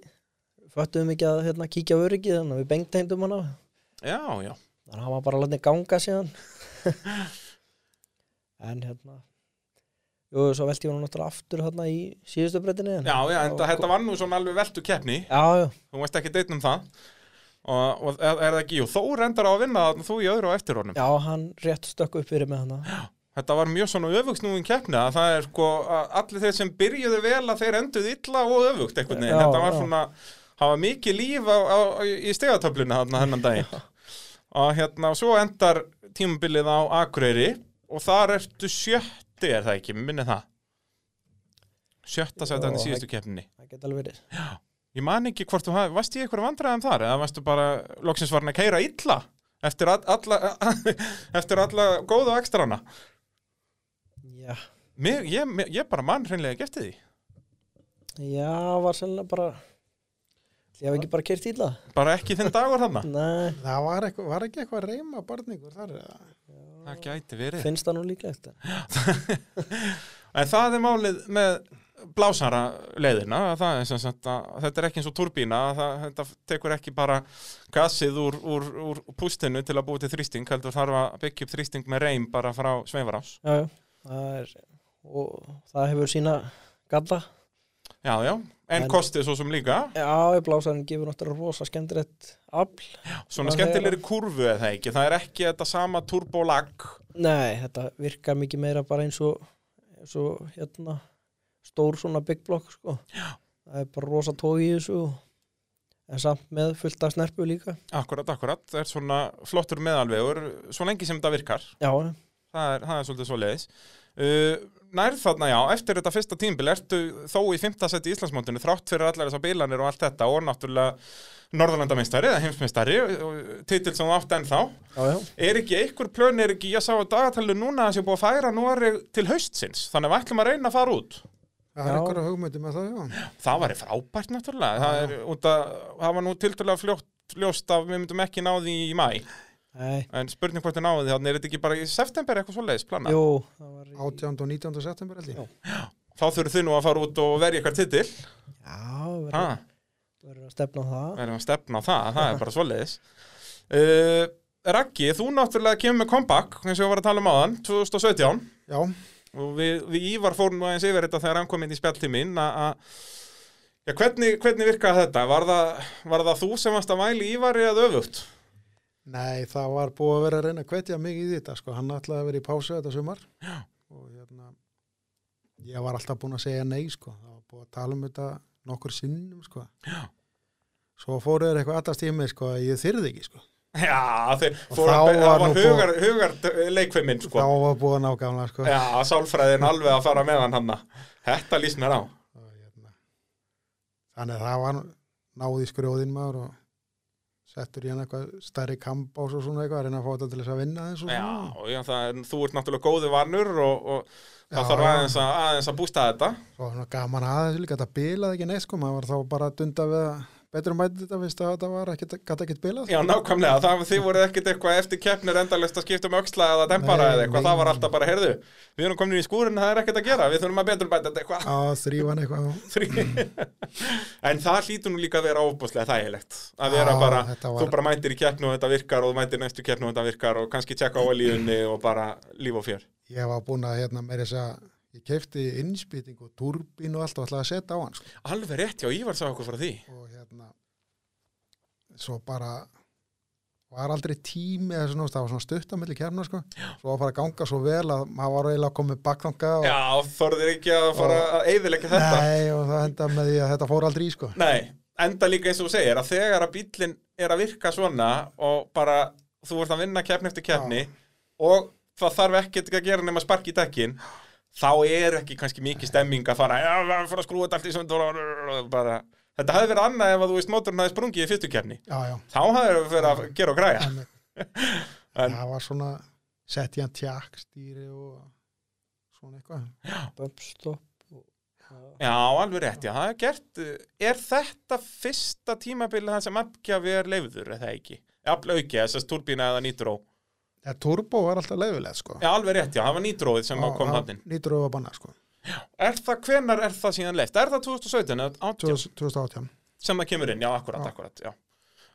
Speaker 3: föttuðum ekki að hérna, kíkja á öryggi þannig að við bengteindum hana
Speaker 1: Já, já.
Speaker 3: þannig að hann var bara að láta ganga [laughs] síðan en hérna jú, svo velti ég honum náttúrulega aftur hérna í síðustu breytinni
Speaker 1: Já, já, en þetta var nú svona alveg veldu keppni.
Speaker 3: Já, já,
Speaker 1: Þú veist ekki deitn um það. Og, og er, er það ekki, jú, þó reyndar á að vinna það þú í öðru á eftir honum.
Speaker 3: já, hann rétt stökk upp fyrir með hana
Speaker 1: Þetta var mjög svona öfugsnúin keppni að það er sko að allir þeir sem byrjuðu vel að þeir enduðu illa og öfugt einhvern veginn.
Speaker 3: Já,
Speaker 1: Þetta var
Speaker 3: já.
Speaker 1: svona, það var mikið líf á, á, í stegatöfluna þarna hennan daginn. og hérna, og svo endar tímabilið á Akureyri og þar ertu sjötti, er það ekki, minni það? Sjötta sættan í
Speaker 3: Já,
Speaker 1: síðustu keppni.
Speaker 3: Það geta alveg verið
Speaker 1: Ég man ekki hvort þú hafði, varst ég eitthvað vandræðum þar eða varstu bara, loksins var hann að keira illa eftir, all, alla, [laughs] eftir alla góða ekstrana?
Speaker 3: Já,
Speaker 1: Mér, ég, mér, ég bara mann hreinlega ekki eftir því
Speaker 3: já, var sennilega bara Ég hef ekki bara kert ítla
Speaker 1: bara ekki þinn dagur hann
Speaker 3: Nei,
Speaker 2: það var, eitthvað, var ekki eitthvað reyma barningur þar eða?
Speaker 1: það gæti verið
Speaker 3: finnst það nú líka eftir
Speaker 1: en það er málið með blásara leiðina að það er sem sagt að, þetta er ekki eins og turbína að það, þetta tekur ekki bara gassið úr, úr, úr pústinu til að búi til þrýsting heldur þarf að byggja upp þrýsting með reym bara frá sveifarás
Speaker 3: Já, já, það er og það hefur sína galla
Speaker 1: já já, en,
Speaker 3: En-
Speaker 1: kostið svo sem líka
Speaker 3: Já, blásarinn gefur náttúrulega rosa skemmtilegt afl
Speaker 1: svona
Speaker 3: Það er-
Speaker 1: skemmtilegri kurvu eða það ekki það er ekki þetta sama turbolag
Speaker 3: Nei, þetta virkar mikið meira bara eins og eins og hérna stór svona big block sko. Já. Það er bara rosa tói í þessu og- en samt með fullt af snerpu líka
Speaker 1: akkurat, akkurat, það er svona flottur meðalvegur svo lengi sem þetta virkar
Speaker 3: Já, já.
Speaker 1: það er, það er svolítið svo leiðis uh, nær þarna já, eftir þetta fyrsta tímbil ertu þó í fymta seti í Íslandsmótinu þrátt fyrir allar þessar bílanir og allt þetta og náttúrulega Norðurlandameistari eða heimsmeistari, og- titill sem þú átt ennþá
Speaker 3: já, já.
Speaker 1: er ekki einhver plön, er ekki, ég sá að dagatalju núna að það sé búið að færa Nóri til haustsins þannig að við ætlum að reyna að fara út
Speaker 2: það er
Speaker 3: Já.
Speaker 2: eitthvað hugmyndi með það já.
Speaker 1: það var frábært náttúrulega það, er, út að, það var nú tiltölulega fljótt ljóst að við myndum ekki náði í mæ
Speaker 3: Nei,
Speaker 1: en spurning hvort þið náði því, þannig er þetta ekki bara í september eitthvað svo leiðis plana
Speaker 3: jú, það var í...
Speaker 2: 18. og 19. september held ég
Speaker 3: Já.
Speaker 1: þá þurfið þið nú að fara út og verja ykkar titill
Speaker 3: Já,
Speaker 1: ha,
Speaker 3: verður, verður að stefna á það
Speaker 1: verðum að stefna á það, það er bara svoleiðis uh, Raggi, þú náttúrulega kemur með comeback, eins og ég var að tala um áðan 2017,
Speaker 2: já,
Speaker 1: og við, við Ívar fórum nú aðeins yfir þetta þegar hann kom inn í spjalltímin að Já, hvernig, hvernig virkaði þetta? Var það, var það þú sem varst að væli Ívar eða öfugt?
Speaker 2: nei það var búið að vera að reyna að hvetja mig í þetta sko. hann ætlaði að vera í pásu þetta sumar já. og hérna ég var alltaf búin að segja nei sko. það var búið að tala um þetta nokkur sinnum sko. svo fóruð þeir eitthvað aðast í mig sko, að ég þyrði ekki sko.
Speaker 1: Já, þeir
Speaker 2: Og
Speaker 1: fóru
Speaker 2: þá
Speaker 1: að,
Speaker 2: var
Speaker 1: það
Speaker 2: nú
Speaker 1: var
Speaker 2: búið-
Speaker 1: hugar, hugar leikfiminn, sko.
Speaker 2: þá var búið að ná gamla sko.
Speaker 1: Já, sálfræðin alveg að fara með hann hanna. Þetta lýst mér á.
Speaker 2: og, hérna. þannig að það var náði skrjóðin maður og settur í hann eitthvað stærri kampás og svona eitthvað, að reyna að fá þetta til þess að vinna þessu
Speaker 1: Já, já það, er- þú ert náttúrulega góði vannur og, og það
Speaker 2: Já,
Speaker 1: þarf
Speaker 2: já.
Speaker 1: aðeins að, aðeins að bústa þetta.
Speaker 2: og svona gaman að þessu líka, þetta bilaði ekki neitt sko, maður var þá bara að dunda við að betur að mæta þetta veist að þetta var ekkit, gæti ekkit bilað
Speaker 1: Já, nákvæmlega, það, þið voru ekkit eitthvað eftir keppnir endalist að skipta um öxla eða dempara
Speaker 2: Nei,
Speaker 1: eða eitthvað,
Speaker 2: nei.
Speaker 1: það var alltaf bara, heyrðu, við erum komin í skúrin, það er ekkit að gera, við þurfum að betur bæta þetta eitthvað. [laughs]
Speaker 2: að þrýfa hann eitthvað á-
Speaker 1: en það hlýtur nú líka að vera óbúslega þægilegt, að vera
Speaker 2: Já,
Speaker 1: bara,
Speaker 2: þetta var-
Speaker 1: þú bara mætir í keppnu og þetta virkar og þú mætir næstu keppnu og þetta virkar og kannski tjekka á olíunni og bara líf og fjör.
Speaker 2: ég var búin að hérna meira þess að ég kefti innspýting og turbín og allt og ætlaði að setja á hann sko.
Speaker 1: Alveg rétt, já, Ívar sá okkur frá því.
Speaker 2: og hérna svo bara var aldrei tími eða svona, það var svona stutt á milli kjarnar sko. svo var bara að ganga svo vel að maður var eiginlega komið bakþanga og
Speaker 1: Já, þorðir ekki að fara að eyðilegja þetta.
Speaker 2: Nei, og það enda með því að þetta fór aldrei í sko
Speaker 1: Nei, enda líka eins og þú segir að þegar að bíllinn er að virka svona og bara þú ert að vinna keppni eftir keppni og það þarf ekkert að gera nema sparki í dekkin þá er ekki kannski mikið stemming að fara, já, við erum að fara að skrúa þetta allt í sundur og bara, þetta hefði verið annað ef að þú veist mótorinn hefði sprungið í fyrstu keppni
Speaker 2: Já, já,
Speaker 1: þá hefði verið að gera og græja
Speaker 2: en,
Speaker 1: En-
Speaker 2: það var svona sett í hann tjakk, stýri og svona eitthvað
Speaker 3: bumpstopp og, já.
Speaker 1: Já, alveg rétt, já, það er gert Er þetta fyrsta tímabilið það sem appgjafi er leifður, eða ekki? Afla auki, þessast turbína eða nýtró
Speaker 2: Já, turbo var alltaf leiðilegt sko
Speaker 1: Já, alveg rétt, já, það var nýtróið sem kom hann inn
Speaker 2: Nýtur og banna sko
Speaker 1: Er það, hvenar er það síðan leift? Er það 2017 eða 2018
Speaker 2: 2018
Speaker 1: sem það kemur inn? Já, akkurat,
Speaker 2: Já.
Speaker 1: akkurat, já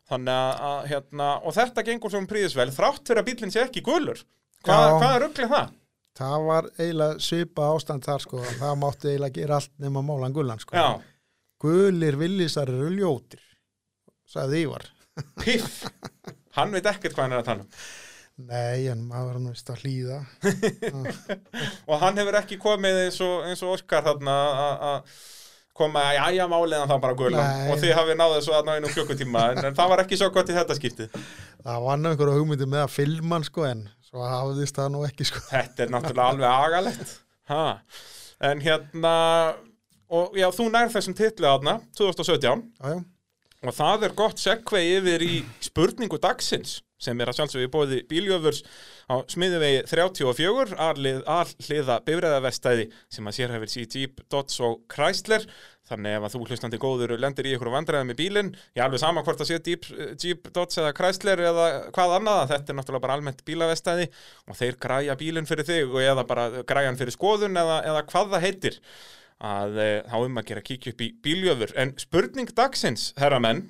Speaker 1: Þannig að, að, hérna, og þetta gengur sem príðisvel þrátt fyrir að bílinn sé ekki gulur Hvað,
Speaker 2: Já.
Speaker 1: hvað er ruglið það?
Speaker 2: Það var eiginlega svipa ástand þar sko Það mátti eiginlega gera allt nema málan gullan sko
Speaker 1: Já,
Speaker 2: Gulir villisar eru ljótir sagði Ívar
Speaker 1: piff Hann veit ekkert hvað hann er að tala um
Speaker 2: Nei, en maður var nú vist að hlýða
Speaker 1: og hann hefur ekki komið eins og, eins og Óskar þarna að- að koma að jæja máliðan þá bara gulan
Speaker 2: Nei.
Speaker 1: og þið hafið náðu þessu þarna á einum klukkutíma en, en það var ekki svo gott í þetta skiptið
Speaker 2: Það var nú einhverju hugmyndi með að filman sko en svo hafðist það nú ekki sko
Speaker 1: Þetta er náttúrulega alveg agalegt ha. En hérna og já, þú nær þessum titlu aðna 2017
Speaker 2: Já, já
Speaker 1: og það er gott segvei yfir í spurningu dagsins sem er að sjálfsögðu í bóði bíljöfurs á smiðuvegi 34 aðlið alliða bifræðavestæði sem að sér hefur síð Jeep, Dodge og Chrysler þannig ef að þú hlustandi góður lendir í ykkur vandræði með bílinn ég alveg sama hvort að sé Jeep, Jeep, Dodge eða Chrysler eða hvað annað þetta er náttúrulega bara almennt bílavestæði og þeir græja bílinn fyrir þig og eða bara græjan fyrir skoðun eða, eða hvað það heitir að e, þá um að gera kíkja upp í bíljöfur en spurning dagsins, herra menn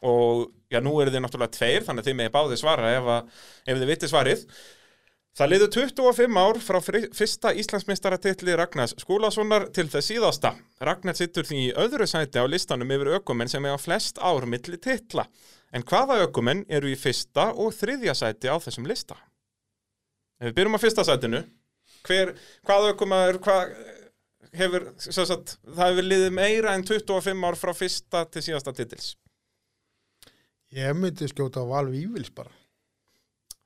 Speaker 1: og já, nú eru þið náttúrulega tveir þannig að þið með báði svara ef, að, ef þið viti svarið Það liðu 25 ár frá fri- fyrsta Íslandsmeistaratitli Ragnars Skúlasonar til þess síðasta. Ragnar sittur því í öðru sæti á listanum yfir ökumenn sem eiga flest ár milli titla. En hvaða ökumenn eru í fyrsta og þriðja sæti á þessum lista? Ef við byrjum á fyrsta sætinu, hver, hvaða ökumenn, hvað hefur, sem sagt, það hefur liðið meira en 25 ár frá fyrsta til síðasta titils?
Speaker 2: Ég myndi skjóta á Valve Evils bara.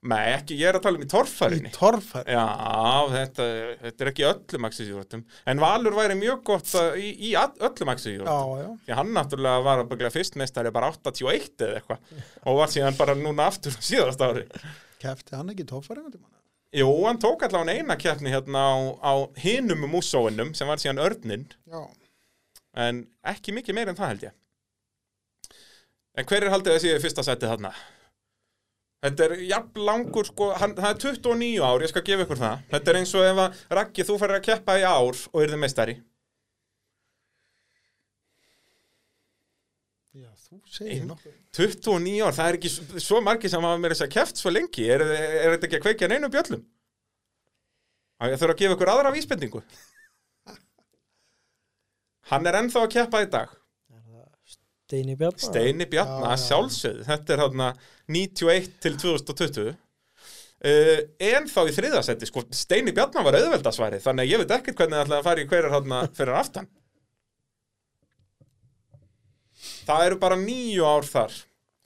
Speaker 1: Nei, ekki, ég er að tala um í torfærinni.
Speaker 2: Í torfæri.
Speaker 1: Já, þetta, þetta er ekki í öllum aksisíðuróttum En Valur væri mjög gott að- í, í all- öllum
Speaker 2: Já,
Speaker 1: aksisíðuróttum
Speaker 2: já.
Speaker 1: Því hann náttúrulega var ábyggilega fyrst meistari bara 81 eða eitthvað Og var síðan bara núna aftur á síðast ári
Speaker 2: Kæfti hann ekki í torfæri? einhvern tímann?
Speaker 1: Jú, hann tók allavega eina keppni hérna á, á hinum músóinum sem var síðan örninn
Speaker 2: Já.
Speaker 1: En ekki mikið meir en það held ég En hver er haldið þessi í fyrsta seti þarna? Þetta er jafn langur sko, hann, það er 29 ár, ég skal gefa ykkur það Þetta er eins og ef að Raggi, þú færir að keppa í ár og yrði meistari
Speaker 2: Já, þú segir
Speaker 1: Ein-
Speaker 2: nokkuð.
Speaker 1: 29 ár, það er ekki s- svo margir sem hafa mér þess að keft svo lengi er, er, þetta ekki að kveikja neinum bjöllum? Á ég að þurfa að gefa ykkur aðra vísbendingu Hann er ennþá að keppa í dag
Speaker 3: Er það Steini Bjarnar
Speaker 1: Steini Bjarnar,
Speaker 2: Já,
Speaker 1: að
Speaker 2: já.
Speaker 1: sjálfsögðu þetta er hérna 91 til 2020 uh, en þá í þriðasetti sko, Steini Bjarnar var auðveldasværi þannig að ég veit ekkert hvernig það ætlaði að fara í hverjar hérna fyrir aftan það eru bara nýju ár þar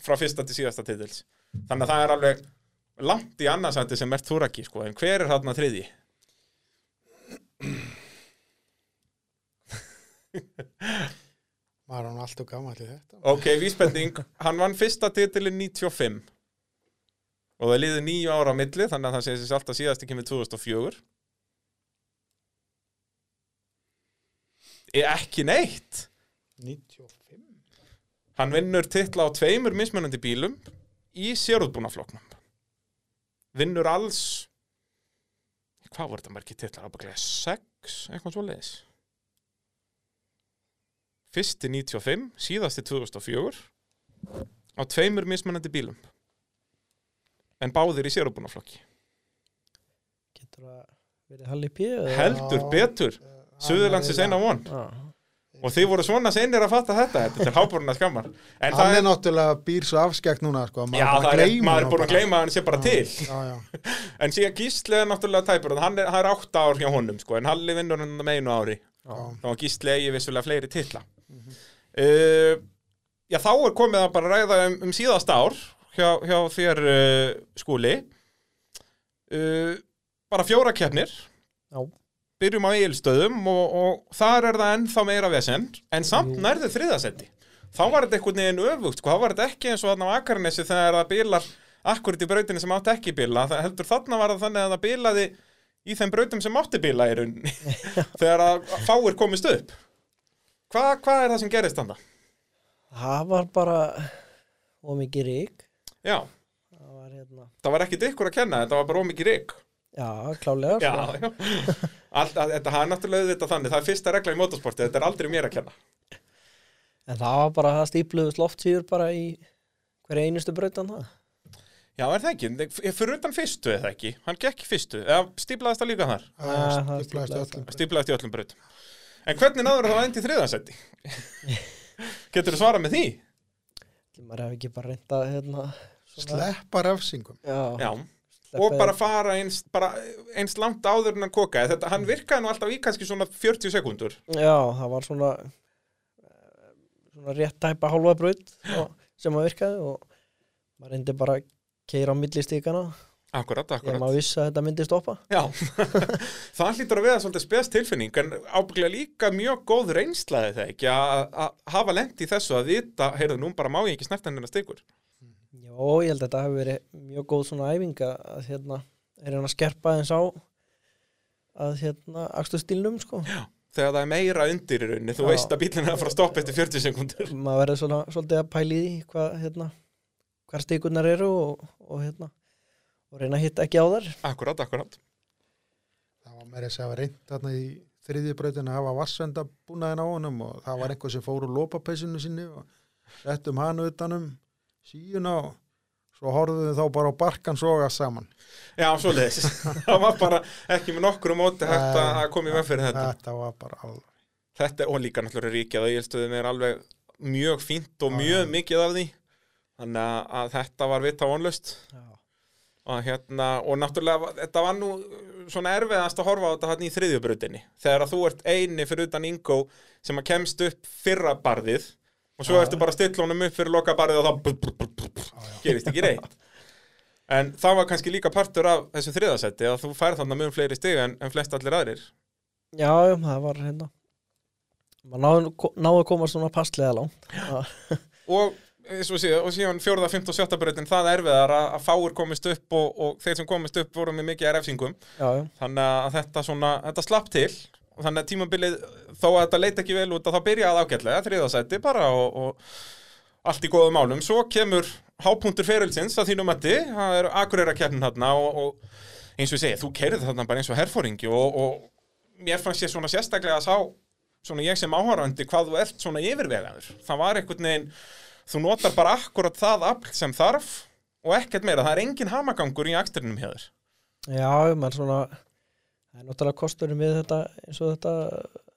Speaker 1: frá fyrsta til síðasta titils þannig að það er alveg langt í annarsætti sem ert þúraki sko, en hver er hérna þriði?
Speaker 2: Maður er hann alltaf gammal í þetta.
Speaker 1: Ok, vísbending, hann vann fyrsta titilin 95 og það liði nýju ára á milli þannig að það sé þessi alltaf síðasti kemur 2004 e, Ekki Eh, neitt
Speaker 2: 95.
Speaker 1: Hann vinnur titla á tveimur mismunandi bílum í sérútbúnafloknum. Vinnur alls, hvað voru þetta margir titlar? Ábygglega sex, eitthvað svo leiðis. Fyrsti 95, síðasti 2004 á tveimur mismunandi bílum. En báðir í sérútbúnaflokki.
Speaker 3: Getur það verið Halli P? eða-
Speaker 1: Heldur
Speaker 2: Já.
Speaker 1: betur, Suðurlandsins eina von.
Speaker 3: Já.
Speaker 1: Og þið voru svona seinir að fatta þetta, þetta er til hábúruna skammar. En
Speaker 2: Hann
Speaker 1: það
Speaker 2: er
Speaker 1: er,
Speaker 2: náttúrulega býr svo afskekt núna sko.
Speaker 1: já,
Speaker 2: bara
Speaker 1: það er,
Speaker 2: gleymir
Speaker 1: maður er
Speaker 2: hann
Speaker 1: búin að
Speaker 2: bara.
Speaker 1: gleyma að hann sé bara til.
Speaker 2: Já, já,
Speaker 1: En síðan Gísli er náttúrulega tæpur og hann er, hann er átta ár hjá honum sko, en Halli vinnur hann með einu ári
Speaker 2: já.
Speaker 1: þá var Gísli eigi vissulega fleiri titla uh, Já, þá er komið að bara ræða um, um síðast ár hjá, hjá þér uh, skúli uh, bara fjóra keppnir
Speaker 3: Já.
Speaker 1: byrjum á eigilstöðum og, og þar er það ennþá meira vesend en samt
Speaker 3: Jú.
Speaker 1: nærðu þriðasendi þá var þetta einhvern veginn öfugt sko. þá var þetta ekki eins og þarna á Akarnesi þegar það bilar akkurat í brautinni sem átti ekki bila það heldur þarna var það þannig að það bilaði í þeim brautum sem átti bila í rauninni þegar að fáir komist upp Hva, hvað er það sem gerist þannig?
Speaker 3: Það var bara og mikið rík
Speaker 1: Já,
Speaker 3: það var hérna
Speaker 1: það var ekkit ykkur að kenna þetta var bara ómikið rík
Speaker 3: Já, klálega
Speaker 1: Já,
Speaker 3: sko.
Speaker 1: já Allt, að, þetta það er náttúrulega þetta þannig, það er fyrsta regla í motorsporti þetta er aldrei mér að kenna
Speaker 3: En það var bara, það stípluðust loftsýður bara í hverja einustu brautan það
Speaker 1: Já, er það ekki, Nei, fyrir utan fyrstu eða ekki hann gekk í fyrstu, eða stíplaðist það líka þar
Speaker 2: Já,
Speaker 3: Ah, það
Speaker 2: stíflaðist
Speaker 3: stíflaðist
Speaker 2: öllum.
Speaker 1: stíplaðist í öllum brautum En hvernig náður það endi í þriðasetti? Getur þú svarað með því?
Speaker 3: Ætli Maður hefði ekki bara reynda hérna svona-
Speaker 2: Sleppa refsingum
Speaker 3: Já,
Speaker 1: Já,
Speaker 3: sleppa
Speaker 1: og
Speaker 3: þeim.
Speaker 1: bara fara eins, bara, eins langt áður en hann kokaði þetta, hann virkaði nú alltaf í kannski svona 40 sekundur
Speaker 3: Já, það var svona eh, svona rétt tæpa hálfa braut og, sem að virkaði og maður reyndi bara að keira á milli stíkana
Speaker 1: Akkurat,
Speaker 3: þegar
Speaker 1: akkurat
Speaker 3: maður vissi að þetta myndi stoppa
Speaker 1: Já, [laughs] það hlýtur að vera svolítið spes tilfinning en ábygglega líka mjög góð reynslaði það ekki að að hafa lent í þessu að vita, heyrðu nú bara má ég ekki snert hennar stikur.
Speaker 3: Já, ég held að þetta hafi verið mjög góð svona æfing að- að hérna er hann að skerpa aðeins á að hérna akstu stílnum sko
Speaker 1: Þegar það er meira undir í rauninni, þú
Speaker 3: Já.
Speaker 1: veist að bílinn er að fara að stoppa eftir 40 sekundur.
Speaker 3: maður verður svona svolítið að pæli því hvað hérna hvar stíkunar eru og, og hérna og reyna að hitta ekki á þar
Speaker 1: Akkurat, akkurat.
Speaker 2: Það var meira að segja að reynd þarna í þriðju brautin að hafa vassvenda búnaðin á honum og það var einhver sem fór úr lópapeysinu sinni og settum hann utanum um síuna og svo horfðum við þá bara á barkan sogast saman
Speaker 1: Já, svo
Speaker 2: [laughs]
Speaker 1: leiðis. það var bara ekki með nokkru móti hægt að
Speaker 2: Nei.
Speaker 1: að koma í veg fyrir þetta.
Speaker 2: Þetta var bara alveg
Speaker 1: Þetta er ólíka náttúrulega ríkjað og ég stöðum er alveg mjög fínt og
Speaker 2: Já,
Speaker 1: mjög
Speaker 2: já.
Speaker 1: mikið af því. Þannig að- að þetta var vita vonlaust.
Speaker 3: Já.
Speaker 1: og hérna, og náttúrulega var- þetta var nú uh, svona erfiðast að horfa á þetta hann í þriðjubrautinni, þegar að þú ert eini fyrir utan Ingo sem að kemst upp fyrra barðið og svo
Speaker 3: Já.
Speaker 1: ertu bara að stilla honum upp fyrir loka barðið og þá brr, brr, brr, brr, brr, gerist ekki reitt en það var kannski líka partur af þessu þriðasetti að þú færð þannig mun fleiri stig en, en flest allir aðrir
Speaker 3: Já, já, það var hérna maður náði, náði að koma svona passlega langt Það-
Speaker 1: og eins og, síðan, og síðan fjórða, fimmta og sjötta brautin það er erfiðar að, að fáir komist upp og, og þeir sem komist upp voru með mikið erfsingum
Speaker 3: Já, já,
Speaker 1: þannig að þetta svona, þetta slapp til og þannig að tímabilið, þó að þetta leit ekki vel út að það byrjaði ágætlega, þriðasætti bara og, og allt í góðum málum svo kemur hápunktur ferilsins að þínum mætti, það er akureyra kjarnin þarna og, og eins og ég segi, þú kerði þarna bara eins og herfóringi og, og mér fannst ég svona sérstaklega að sá svona ég sem áhærandi hvað þú ert svona yfirvegaður það var einhvern veginn, þú notar bara akkurat það afl sem þarf og ekkert meira, það er engin hamagangur í akstrinum hér
Speaker 3: já, já, maður svona það er náttúrulega kosturinn við þetta eins og þetta,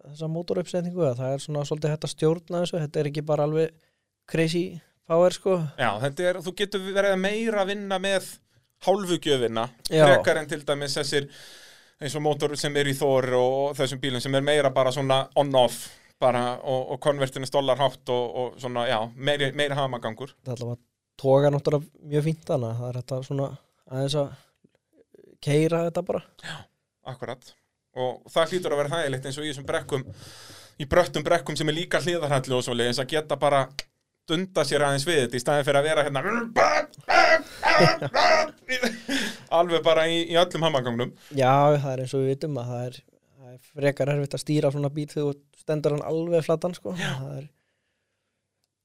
Speaker 3: þessa mótoruppsetningu að það er svona svolítið hægt að stjórna þessu þetta er ekki bara alveg crazy power sko
Speaker 1: Já, þetta er, þú getur verið meira að vinna með hálfugjöfina
Speaker 3: Já.
Speaker 1: frekar en til dæmis þessir eins og mótor sem er í þór og, og þessum bílum sem er meira bara svona on-off bara og, og konvertinu stólar hátt og, og svona, já, meiri, meiri hamagangur
Speaker 3: það ætla að toga náttúrulega mjög fínt þannig að það er þetta svona aðeins að keira þetta bara
Speaker 1: akkurat og það hlýtur að vera þægilegt eins og í þessum brekkum í bröttum brekkum sem er líka hliðarhallu og svoleiðis að geta bara dunda sér aðeins við þetta í staðin fyrir að vera hérna alveg bara í, í öllum hamagangnum
Speaker 3: Já, það er eins og við vitum að það er, það er frekar erfitt að stýra svona bít þegar þú stendur hann alveg flatan sko. það, er,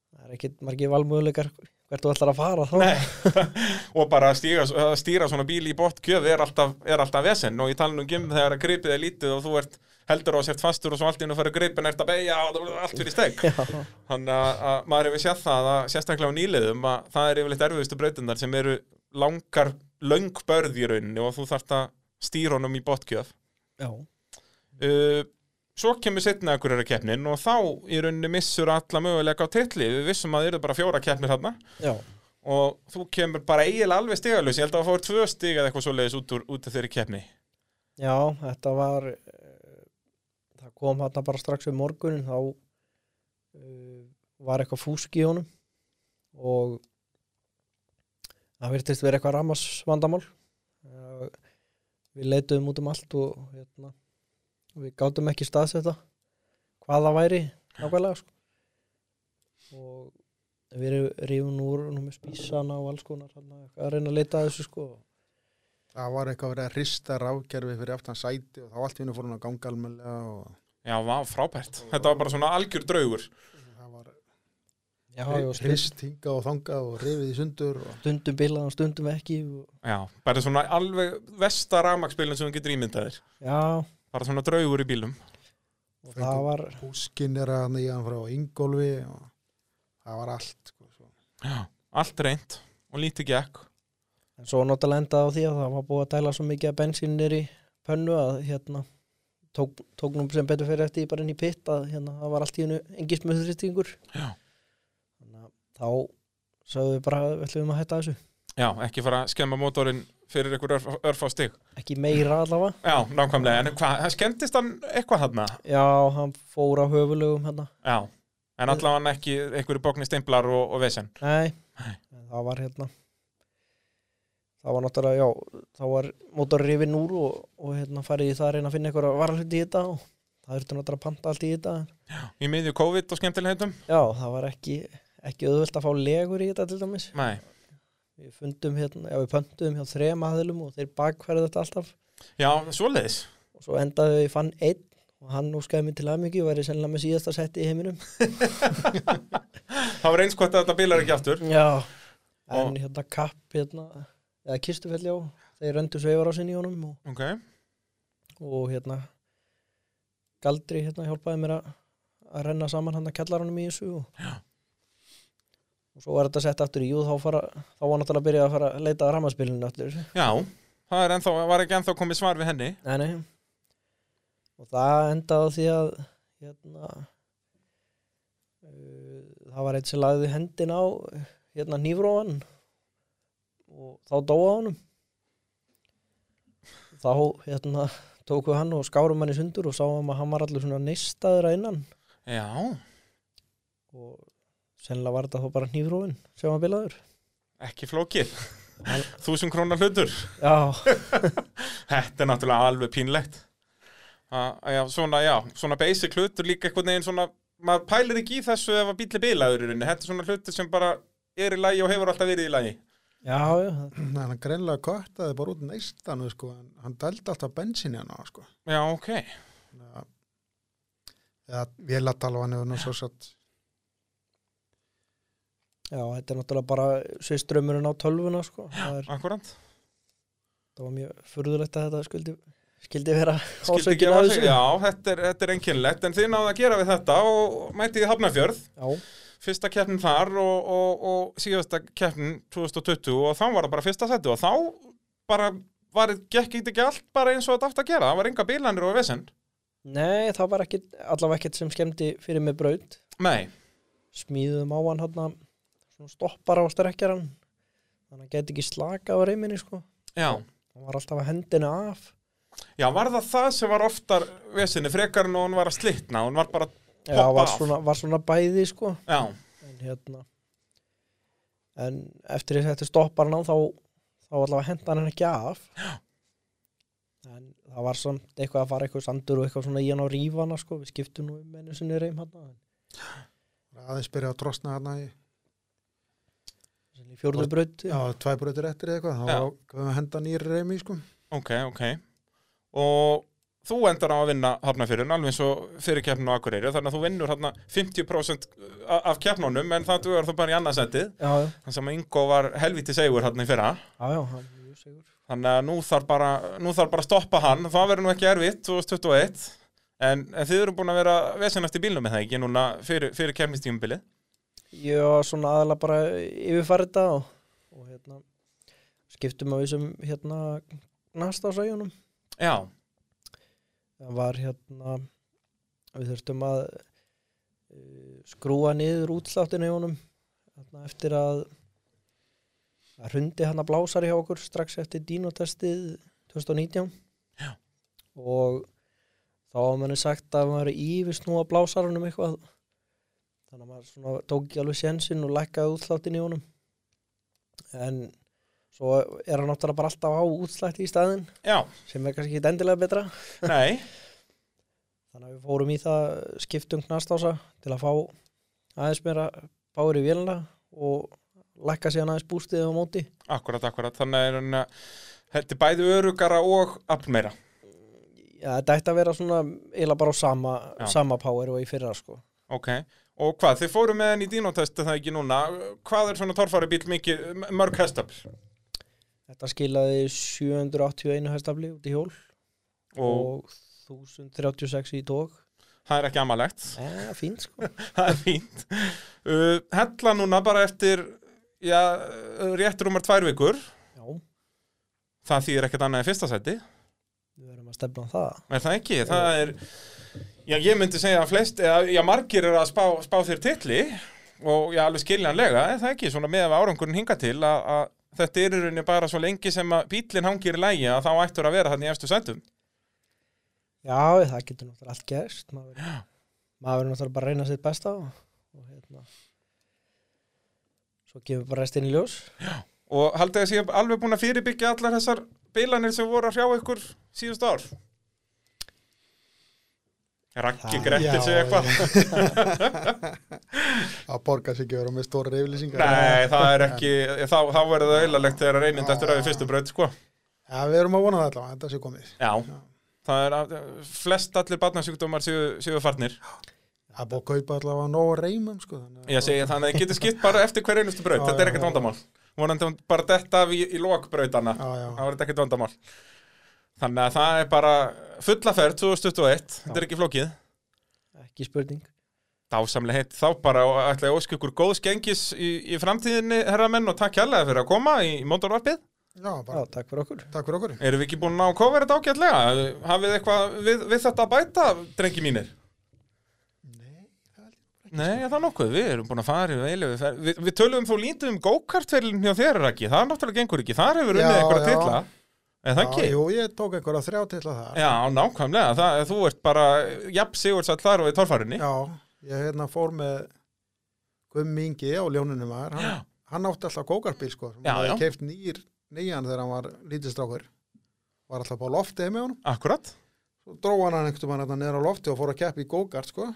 Speaker 3: það það er ekkit margir valmöguleikar hvert þú ætlar að fara þá
Speaker 1: Nei. og bara að stýra, að stýra svona bíl í bótt kjöð er alltaf, er alltaf vesinn og ég tala nú ekki um þegar að gripið er lítið og þú ert heldur á sért fastur og svo allt í hennu fyrir gripin ert að beigja og það er allt fyrir steg
Speaker 3: [laughs] Já,
Speaker 1: þannig að, að maður hefur séð það að sérstaklega á nýliðum að það er yfirleitt erfiðustu breytindar sem eru langar löng börð í rauninni og þú þarft að stýra honum í bottkjöf
Speaker 3: já,
Speaker 1: uh, svo kemur setna ykkur er að keppnin og þá í rauninni missur alla möguleika á titli við vissum að það eru bara fjóra keppnir þarna
Speaker 3: já,
Speaker 1: og þú kemur bara eiginlega alveg stigalus ég held að það fór tvö stig eða eitthvað svoleiðis út úr, út af þeirri keppni
Speaker 3: já, þetta var eh, það kom þarna bara strax um morgunin þá uh, var eitthvað fúsk í honum og það virtist verið eitthvað ramas vandamál við leituðum út um allt og hérna, við gátum ekki staðsetta hvað það væri nákvæmlega sko. og við rífum úr honum með spísana og alls konar þarna, eitthvað að reyna að leita að þessu sko.
Speaker 2: það var eitthvað verið að rista ráðkerfi fyrir aftan sæti og þá allt í hennu fór hún að ganga almennilega og
Speaker 1: já, vá, frábært, þetta var bara svona algjör draugur
Speaker 2: það var
Speaker 3: Já, já, stundum,
Speaker 2: rist hingað og þangað og rifið í sundur og
Speaker 3: stundum bilaðan, stundum ekki og, já,
Speaker 1: já, bara svona alveg vesta rafmaksbílun sem þú getur ímyndaðir
Speaker 3: og
Speaker 1: bara svona draugur í bílum
Speaker 3: það var
Speaker 2: húskinn er að nýjan frá Ingólfi og það var allt sko, svo.
Speaker 1: já. allt reynt og lítið gekk
Speaker 3: en svo náttúrulega endaði á því að það var búið að dæla svo mikið að bensín er í pönnu að hérna tók, tók nú sem betur fyrir eftir því bara inn í pitt að hérna það var allt í hennu engin smöðuristingur
Speaker 1: Já.
Speaker 3: þannig að þá sagðum við bara að við ætlum að hætta þessu
Speaker 1: já, ekki fara að skemma mótorinn fyrir ykkur örf, örf á stig
Speaker 3: ekki meira allavega
Speaker 1: já, nákvæmlega, en hvað, það skemmtist hann eitthvað þarna
Speaker 3: já, hann fór á höfulegum hérna
Speaker 1: já, en allavega ekki einhverju bóknir steimplar og, og vesen
Speaker 3: Nei,
Speaker 1: Nei.
Speaker 3: En það var hérna það var náttúrulega, já það var mótor rifin úr og, og hérna farið í það að reyna að finna eitthvað varalhund í þetta og það þurfti náttúrulega að panta allt í þetta
Speaker 1: í miðju COVID og skemmtilegheitum
Speaker 3: Já, það var ekki ekki auðvöld að fá legur í þetta til dæmis
Speaker 1: nei,
Speaker 3: við fundum hérna, já við pöntum hjá þrema aðilum og þeir bakfærið þetta alltaf
Speaker 1: já, svoleiðis
Speaker 3: og svo endaði við fann einn og hann óskaði mér til aðmyggi og væri sennilega með síðasta setti í heiminum
Speaker 1: það var eins gott að þetta bílar ekki aftur
Speaker 3: Já, en hérna kapp hérna, eða kistufell já þeir rendu sveifarásin í honum og
Speaker 1: ok,
Speaker 3: og hérna galdri hérna hjálpaði mér að að renna saman hann að kjallaranum í þessu og, og svo var þetta sett aftur í jú þá, fara, þá var náttúrulega að byrja að fara að leita að rammaspilinu allir
Speaker 1: já það er ennþá, var ekki ennþá komið svar við henni
Speaker 3: nei, nei. og það endaði á því að hérna uh, það var eitt sem lagði hendin á hérna nýfróan og þá dóa honum þá hérna tóku hann og skárum hann í sundur og sáum að hann var allur svona neistaður að innan
Speaker 1: já,
Speaker 3: og sennilega var þetta þá bara nýfróin sem hann bilaður
Speaker 1: ekki flókið þúsund krónar hlutur
Speaker 3: já,
Speaker 1: þetta er náttúrulega alveg pínlegt að, að já, svona, já, svona basic hlutur líka einhvern veginn svona maður pælir ekki í þessu ef að bíli bilaður í rauninni. þetta er svona hlutur sem bara er í lagi og hefur alltaf verið í lagi
Speaker 3: já, já
Speaker 2: en hann greinlega kvartaði bara út neistanu sko, en hann dældi alltaf bensinni hann á sko.
Speaker 1: já, ok,
Speaker 2: Þannig að- eða vélatalvan hefur nú svo satt
Speaker 3: já, þetta er náttúrulega bara sviströmmurinn á tölvuna sko. það, er,
Speaker 1: akkurant
Speaker 3: það var mjög furðulegt að þetta skildi, skildi vera [laughs]
Speaker 1: Skildi
Speaker 3: ásökin
Speaker 1: gefa
Speaker 3: að
Speaker 1: sig-
Speaker 3: þessu já,
Speaker 1: Já, þetta er, þetta er einkennlegt En þið náðu að gera við þetta og mætið í Hafnarfjörð Fyrsta keppnin þar og, og, og síðasta keppnin 2020 Og þá var það bara fyrsta seti Og þá bara var, gekk ekki allt bara eins og þetta átt að gera Það var enga bílanir og vesend
Speaker 3: nei, það var ekkit, allavega ekkit sem skemmti fyrir mig braut
Speaker 1: Nei,
Speaker 3: smíðum á hann hann svona stoppar á strekkjaran þannig að gæti ekki slaka á reyminni sko.
Speaker 1: já
Speaker 3: hann var alltaf að hendina af
Speaker 1: Já, var það það sem var oftar vesinni frekar en hún var að slitna Hún var bara,
Speaker 3: já,
Speaker 1: Hoppa
Speaker 3: var
Speaker 1: af.
Speaker 3: svona, var svona bæði sko.
Speaker 1: já,
Speaker 3: en hérna en eftir þess að þetta stoppar hann á, þá þá allavega henda hann ekki af en það var samt eitthvað að fara eitthvað sandur og eitthvað svona í hann á rífana sko, við skiptum nú um einu sinni reym hann
Speaker 2: aðeins byrja að trosna hann í
Speaker 3: í fjórðu braut
Speaker 2: já, tvæ brötur eftir eða eitthvað þá
Speaker 1: Já.
Speaker 2: var hann hendan í reymi sko.
Speaker 1: ok, ok Og þú endar á að vinna hafnafyrin alveg eins og fyrir keppninu á Akureyri þannig að þú vinnur hérna 50% a- af keppnunum en það duður þú bara í annarsendið
Speaker 3: já, já,
Speaker 1: þannig sem að Ingo var helviti segur hérna í fyrra
Speaker 3: já, já, hann er mjög sigur
Speaker 1: þannig að nú þarf bara, nú þarf bara að stoppa hann það verður nú ekki erfitt 2021 en, en þið eru búin að vera vesinast í bílnum með það ekki núna fyrir, fyrir keppnistíumbilið
Speaker 3: Ég var svona aðalega bara yfirfæri þetta og, og hérna, skiptum á þessum hérna næsta á sæjunum.
Speaker 1: já,
Speaker 3: Það var hérna, við þurftum að uh, skrúa niður útsláttinu í honum hérna, eftir að að hrundi hann að blásari hjá okkur strax eftir dínotestið 2019
Speaker 1: Já.
Speaker 3: og þá var manni sagt að maður yfir snúa blásarunum eitthvað þannig að maður svona tók ekki alveg sénsinn og lækkaði útsláttin í honum en svo er hann náttúrulega bara alltaf á útslætti í staðinn
Speaker 1: já,
Speaker 3: sem er kannski ekki endilega betra
Speaker 1: nei
Speaker 3: þannig að við fórum í það skiptum knastása til að fá aðeins meira báir í vélina og lækka síðan aðeins bústið á móti
Speaker 1: akkurat, akkurat, þannig er hann að þetta er bæði örugara og aflmeira
Speaker 3: Já, þetta ætti að vera svona eiginlega bara á sama,
Speaker 1: Já.
Speaker 3: sama power og í fyrra sko.
Speaker 1: ok, og hvað, þið fóru með hann í dínotesti það ekki núna, hvað er svona torfari bíl mikið, m- mörg hestafl
Speaker 3: Þetta skilaði 781 hestafli út í hjól
Speaker 1: og
Speaker 3: og 1036 í tók
Speaker 1: það er ekki amalegt [laughs]
Speaker 3: eh, Fínt sko
Speaker 1: það er fínt uh, hella núna bara eftir já, réttur umar tvær vikur
Speaker 3: Já,
Speaker 1: það þýðir ekkert annað en fyrsta seti
Speaker 3: við verðum að stefna á það
Speaker 1: er það ekki, það er já, ég myndi segja að flest eða, já, margir eru að spá, spá þér tilli og já, alveg skiljanlega, er það ekki svona með að árangurinn hinga til að, að þetta er í rauninni bara svo lengi sem að bílinn hangir í lægi að þá ættur að vera þarna í efstu sætum
Speaker 3: Já, það getur náttúrulega allt gerst maður verður maður verður náttúrulega bara að reyna sitt besta og, og hérna Svo gefum við bara restinn í ljós
Speaker 1: og haldið að sé alveg búin að fyrirbyggja allar þessar bilanir sem voru að hrjá ykkur síðust ár Raggi
Speaker 3: Það-
Speaker 1: Grettir
Speaker 2: Já,
Speaker 1: segja eitthvað
Speaker 2: Það borgar sig ekki að vera með stóra reyflýsingar.
Speaker 1: Nei, það er ekki, þá, þá verður það auðalegt þegar að reynind eftir að við fyrstu braut, sko.
Speaker 2: Já, við erum að vona það allavega, þetta sé komið.
Speaker 1: Já. Það er að flest allir barnasjúkdómar séu, séu farnir.
Speaker 2: Það er búið að kaupa allavega nóg reymum, sko. þannig að-
Speaker 1: Ég segi þannig að þið getur skipt bara eftir hver einustu braut,
Speaker 2: Já,
Speaker 1: þetta er
Speaker 2: já,
Speaker 1: ekkert
Speaker 2: já.
Speaker 1: vandamál. Vonandi hún bara detta af í, í lokbrautana,
Speaker 2: Já, já.
Speaker 1: þá er þetta ekkert vandamál. Þannig að það er bara fullaferð 2021, þetta er ekki flókið.
Speaker 3: Ekki spurning
Speaker 1: Dásamlega heitt þá bara og ætla ég að óska ykkur góðs gengis í, í framtíðinni, herramenn, og takk hérlega fyrir að koma í mótorvarpið.
Speaker 2: Já,
Speaker 3: Já,
Speaker 2: bara
Speaker 3: takk fyrir okkur
Speaker 2: takk fyrir okkur.
Speaker 1: Erum við ekki búin að ná að kofra þetta ágætlega? Hafið þið eitthvað við, við þetta að bæta, drengi mínir?
Speaker 2: Nei, það er
Speaker 1: Nei, það er nokkuð, við erum búin að fara yfir eilu við, við, við tölum þó lítið um go-kart-ferlin hjá þér, Raki, það er náttúrulega gengur ekki Þar hefur unnið
Speaker 2: Já,
Speaker 1: eitthvað
Speaker 2: já.
Speaker 1: titla En það
Speaker 2: Já,
Speaker 1: ekki?
Speaker 2: jú, ég tók eitthvað að þrjá til að það.
Speaker 1: Já, nákvæmlega, það, þú ert bara jafn sigursall þar og í torfarinni
Speaker 2: Já, ég hérna fór með Gummi Ingi á ljónunum maður, hann, hann átti alltaf kókarbíl sko, sem
Speaker 1: Já,
Speaker 2: hann
Speaker 1: já.
Speaker 2: hafði keift nýr, nýjan þegar hann var lítistrákur, var alltaf á lofti með honum,
Speaker 1: Akkurat,
Speaker 2: svo dróð hann hann einhvern veginn hérna niður á lofti og fór að keppa í kókart sko.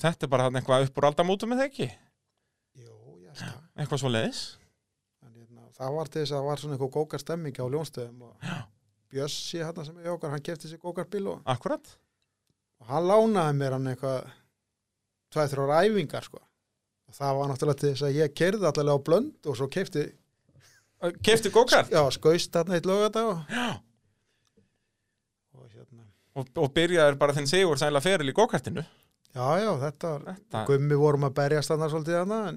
Speaker 1: þetta er bara þarna eitthvað upp úr aldamótum með það ekki
Speaker 2: Jú, ég held það.
Speaker 1: Eitthvað svo leiðis
Speaker 2: En, hérna, það var til þess að það var svona eitthvað kókart stemming á ljónstöðum og já. Bjössi hérna sem er hjá okkar, hann kefti sér kókarbíl og,
Speaker 1: Akkurat,
Speaker 2: og hann lánaði mér hann eitthvað tvæð þrjóra æfingar sko. Og Það var náttúrulega til þess að ég kerði allavega á blönd og svo kefti
Speaker 1: kefti go-kart
Speaker 2: Já, skauðst þarna eitt lögadag og,
Speaker 1: Já,
Speaker 2: og hérna.
Speaker 1: og, og byrjaður bara þinn sigursæla feril í go-kartinu
Speaker 2: Já, já, þetta var,
Speaker 1: Þetta,
Speaker 2: gummi vorum að berjast þarna svolítið þarna, en,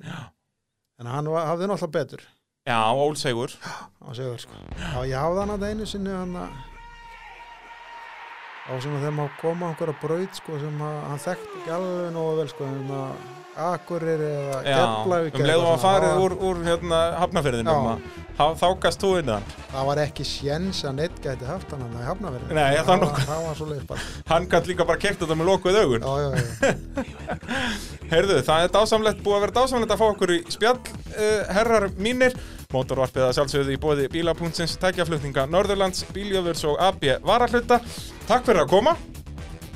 Speaker 2: en hann var, hafði náttúrulega betur
Speaker 1: já, ólsegur
Speaker 2: á segur, sko. Já, ég hafði hann að einu sinni hann að á sem að þegar maður koma einhverja braut, sko, sem að hann þekkti ekki alveg nógu vel, sko, en að Akurir eða
Speaker 1: Já,
Speaker 2: Keflavík
Speaker 1: um
Speaker 2: eða
Speaker 1: leiðum
Speaker 2: eitthvað
Speaker 1: að
Speaker 2: svona,
Speaker 1: farið
Speaker 2: það var-
Speaker 1: úr, úr hérna, hafnaferðinum
Speaker 2: Já.
Speaker 1: að- þá- Þá gast þú hérna. innan
Speaker 2: Það var ekki sjens að neitt gæti haft hann að hafna verið
Speaker 1: Nei, það er
Speaker 2: það,
Speaker 1: nokkuð.
Speaker 2: var- það var svo leið bara
Speaker 1: Hann gætt líka bara keft þetta með lokuð augun
Speaker 2: Já, já,
Speaker 1: [laughs]
Speaker 2: já,
Speaker 1: Heyrðu, það er dásamlegt, búið að vera dásamlegt að fá okkur í spjall, uh, herrar mínir. Mótorvarpið að sjálfsögðu í bóði bíla.sins, tækjaflutninga Norðurlands, bíljöfurs og AB varahluta. Takk fyrir að koma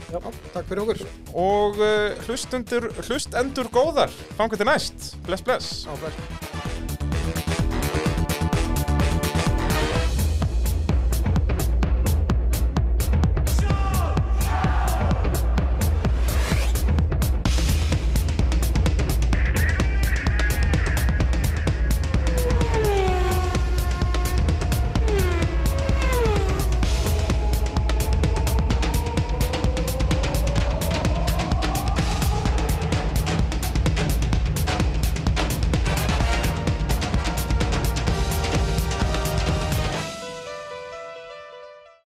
Speaker 2: já, takk fyrir okkur Já,
Speaker 1: eh, og uh, hlustundur, hlustendur góðar. Fangum til næst. Bless, bless.
Speaker 2: bless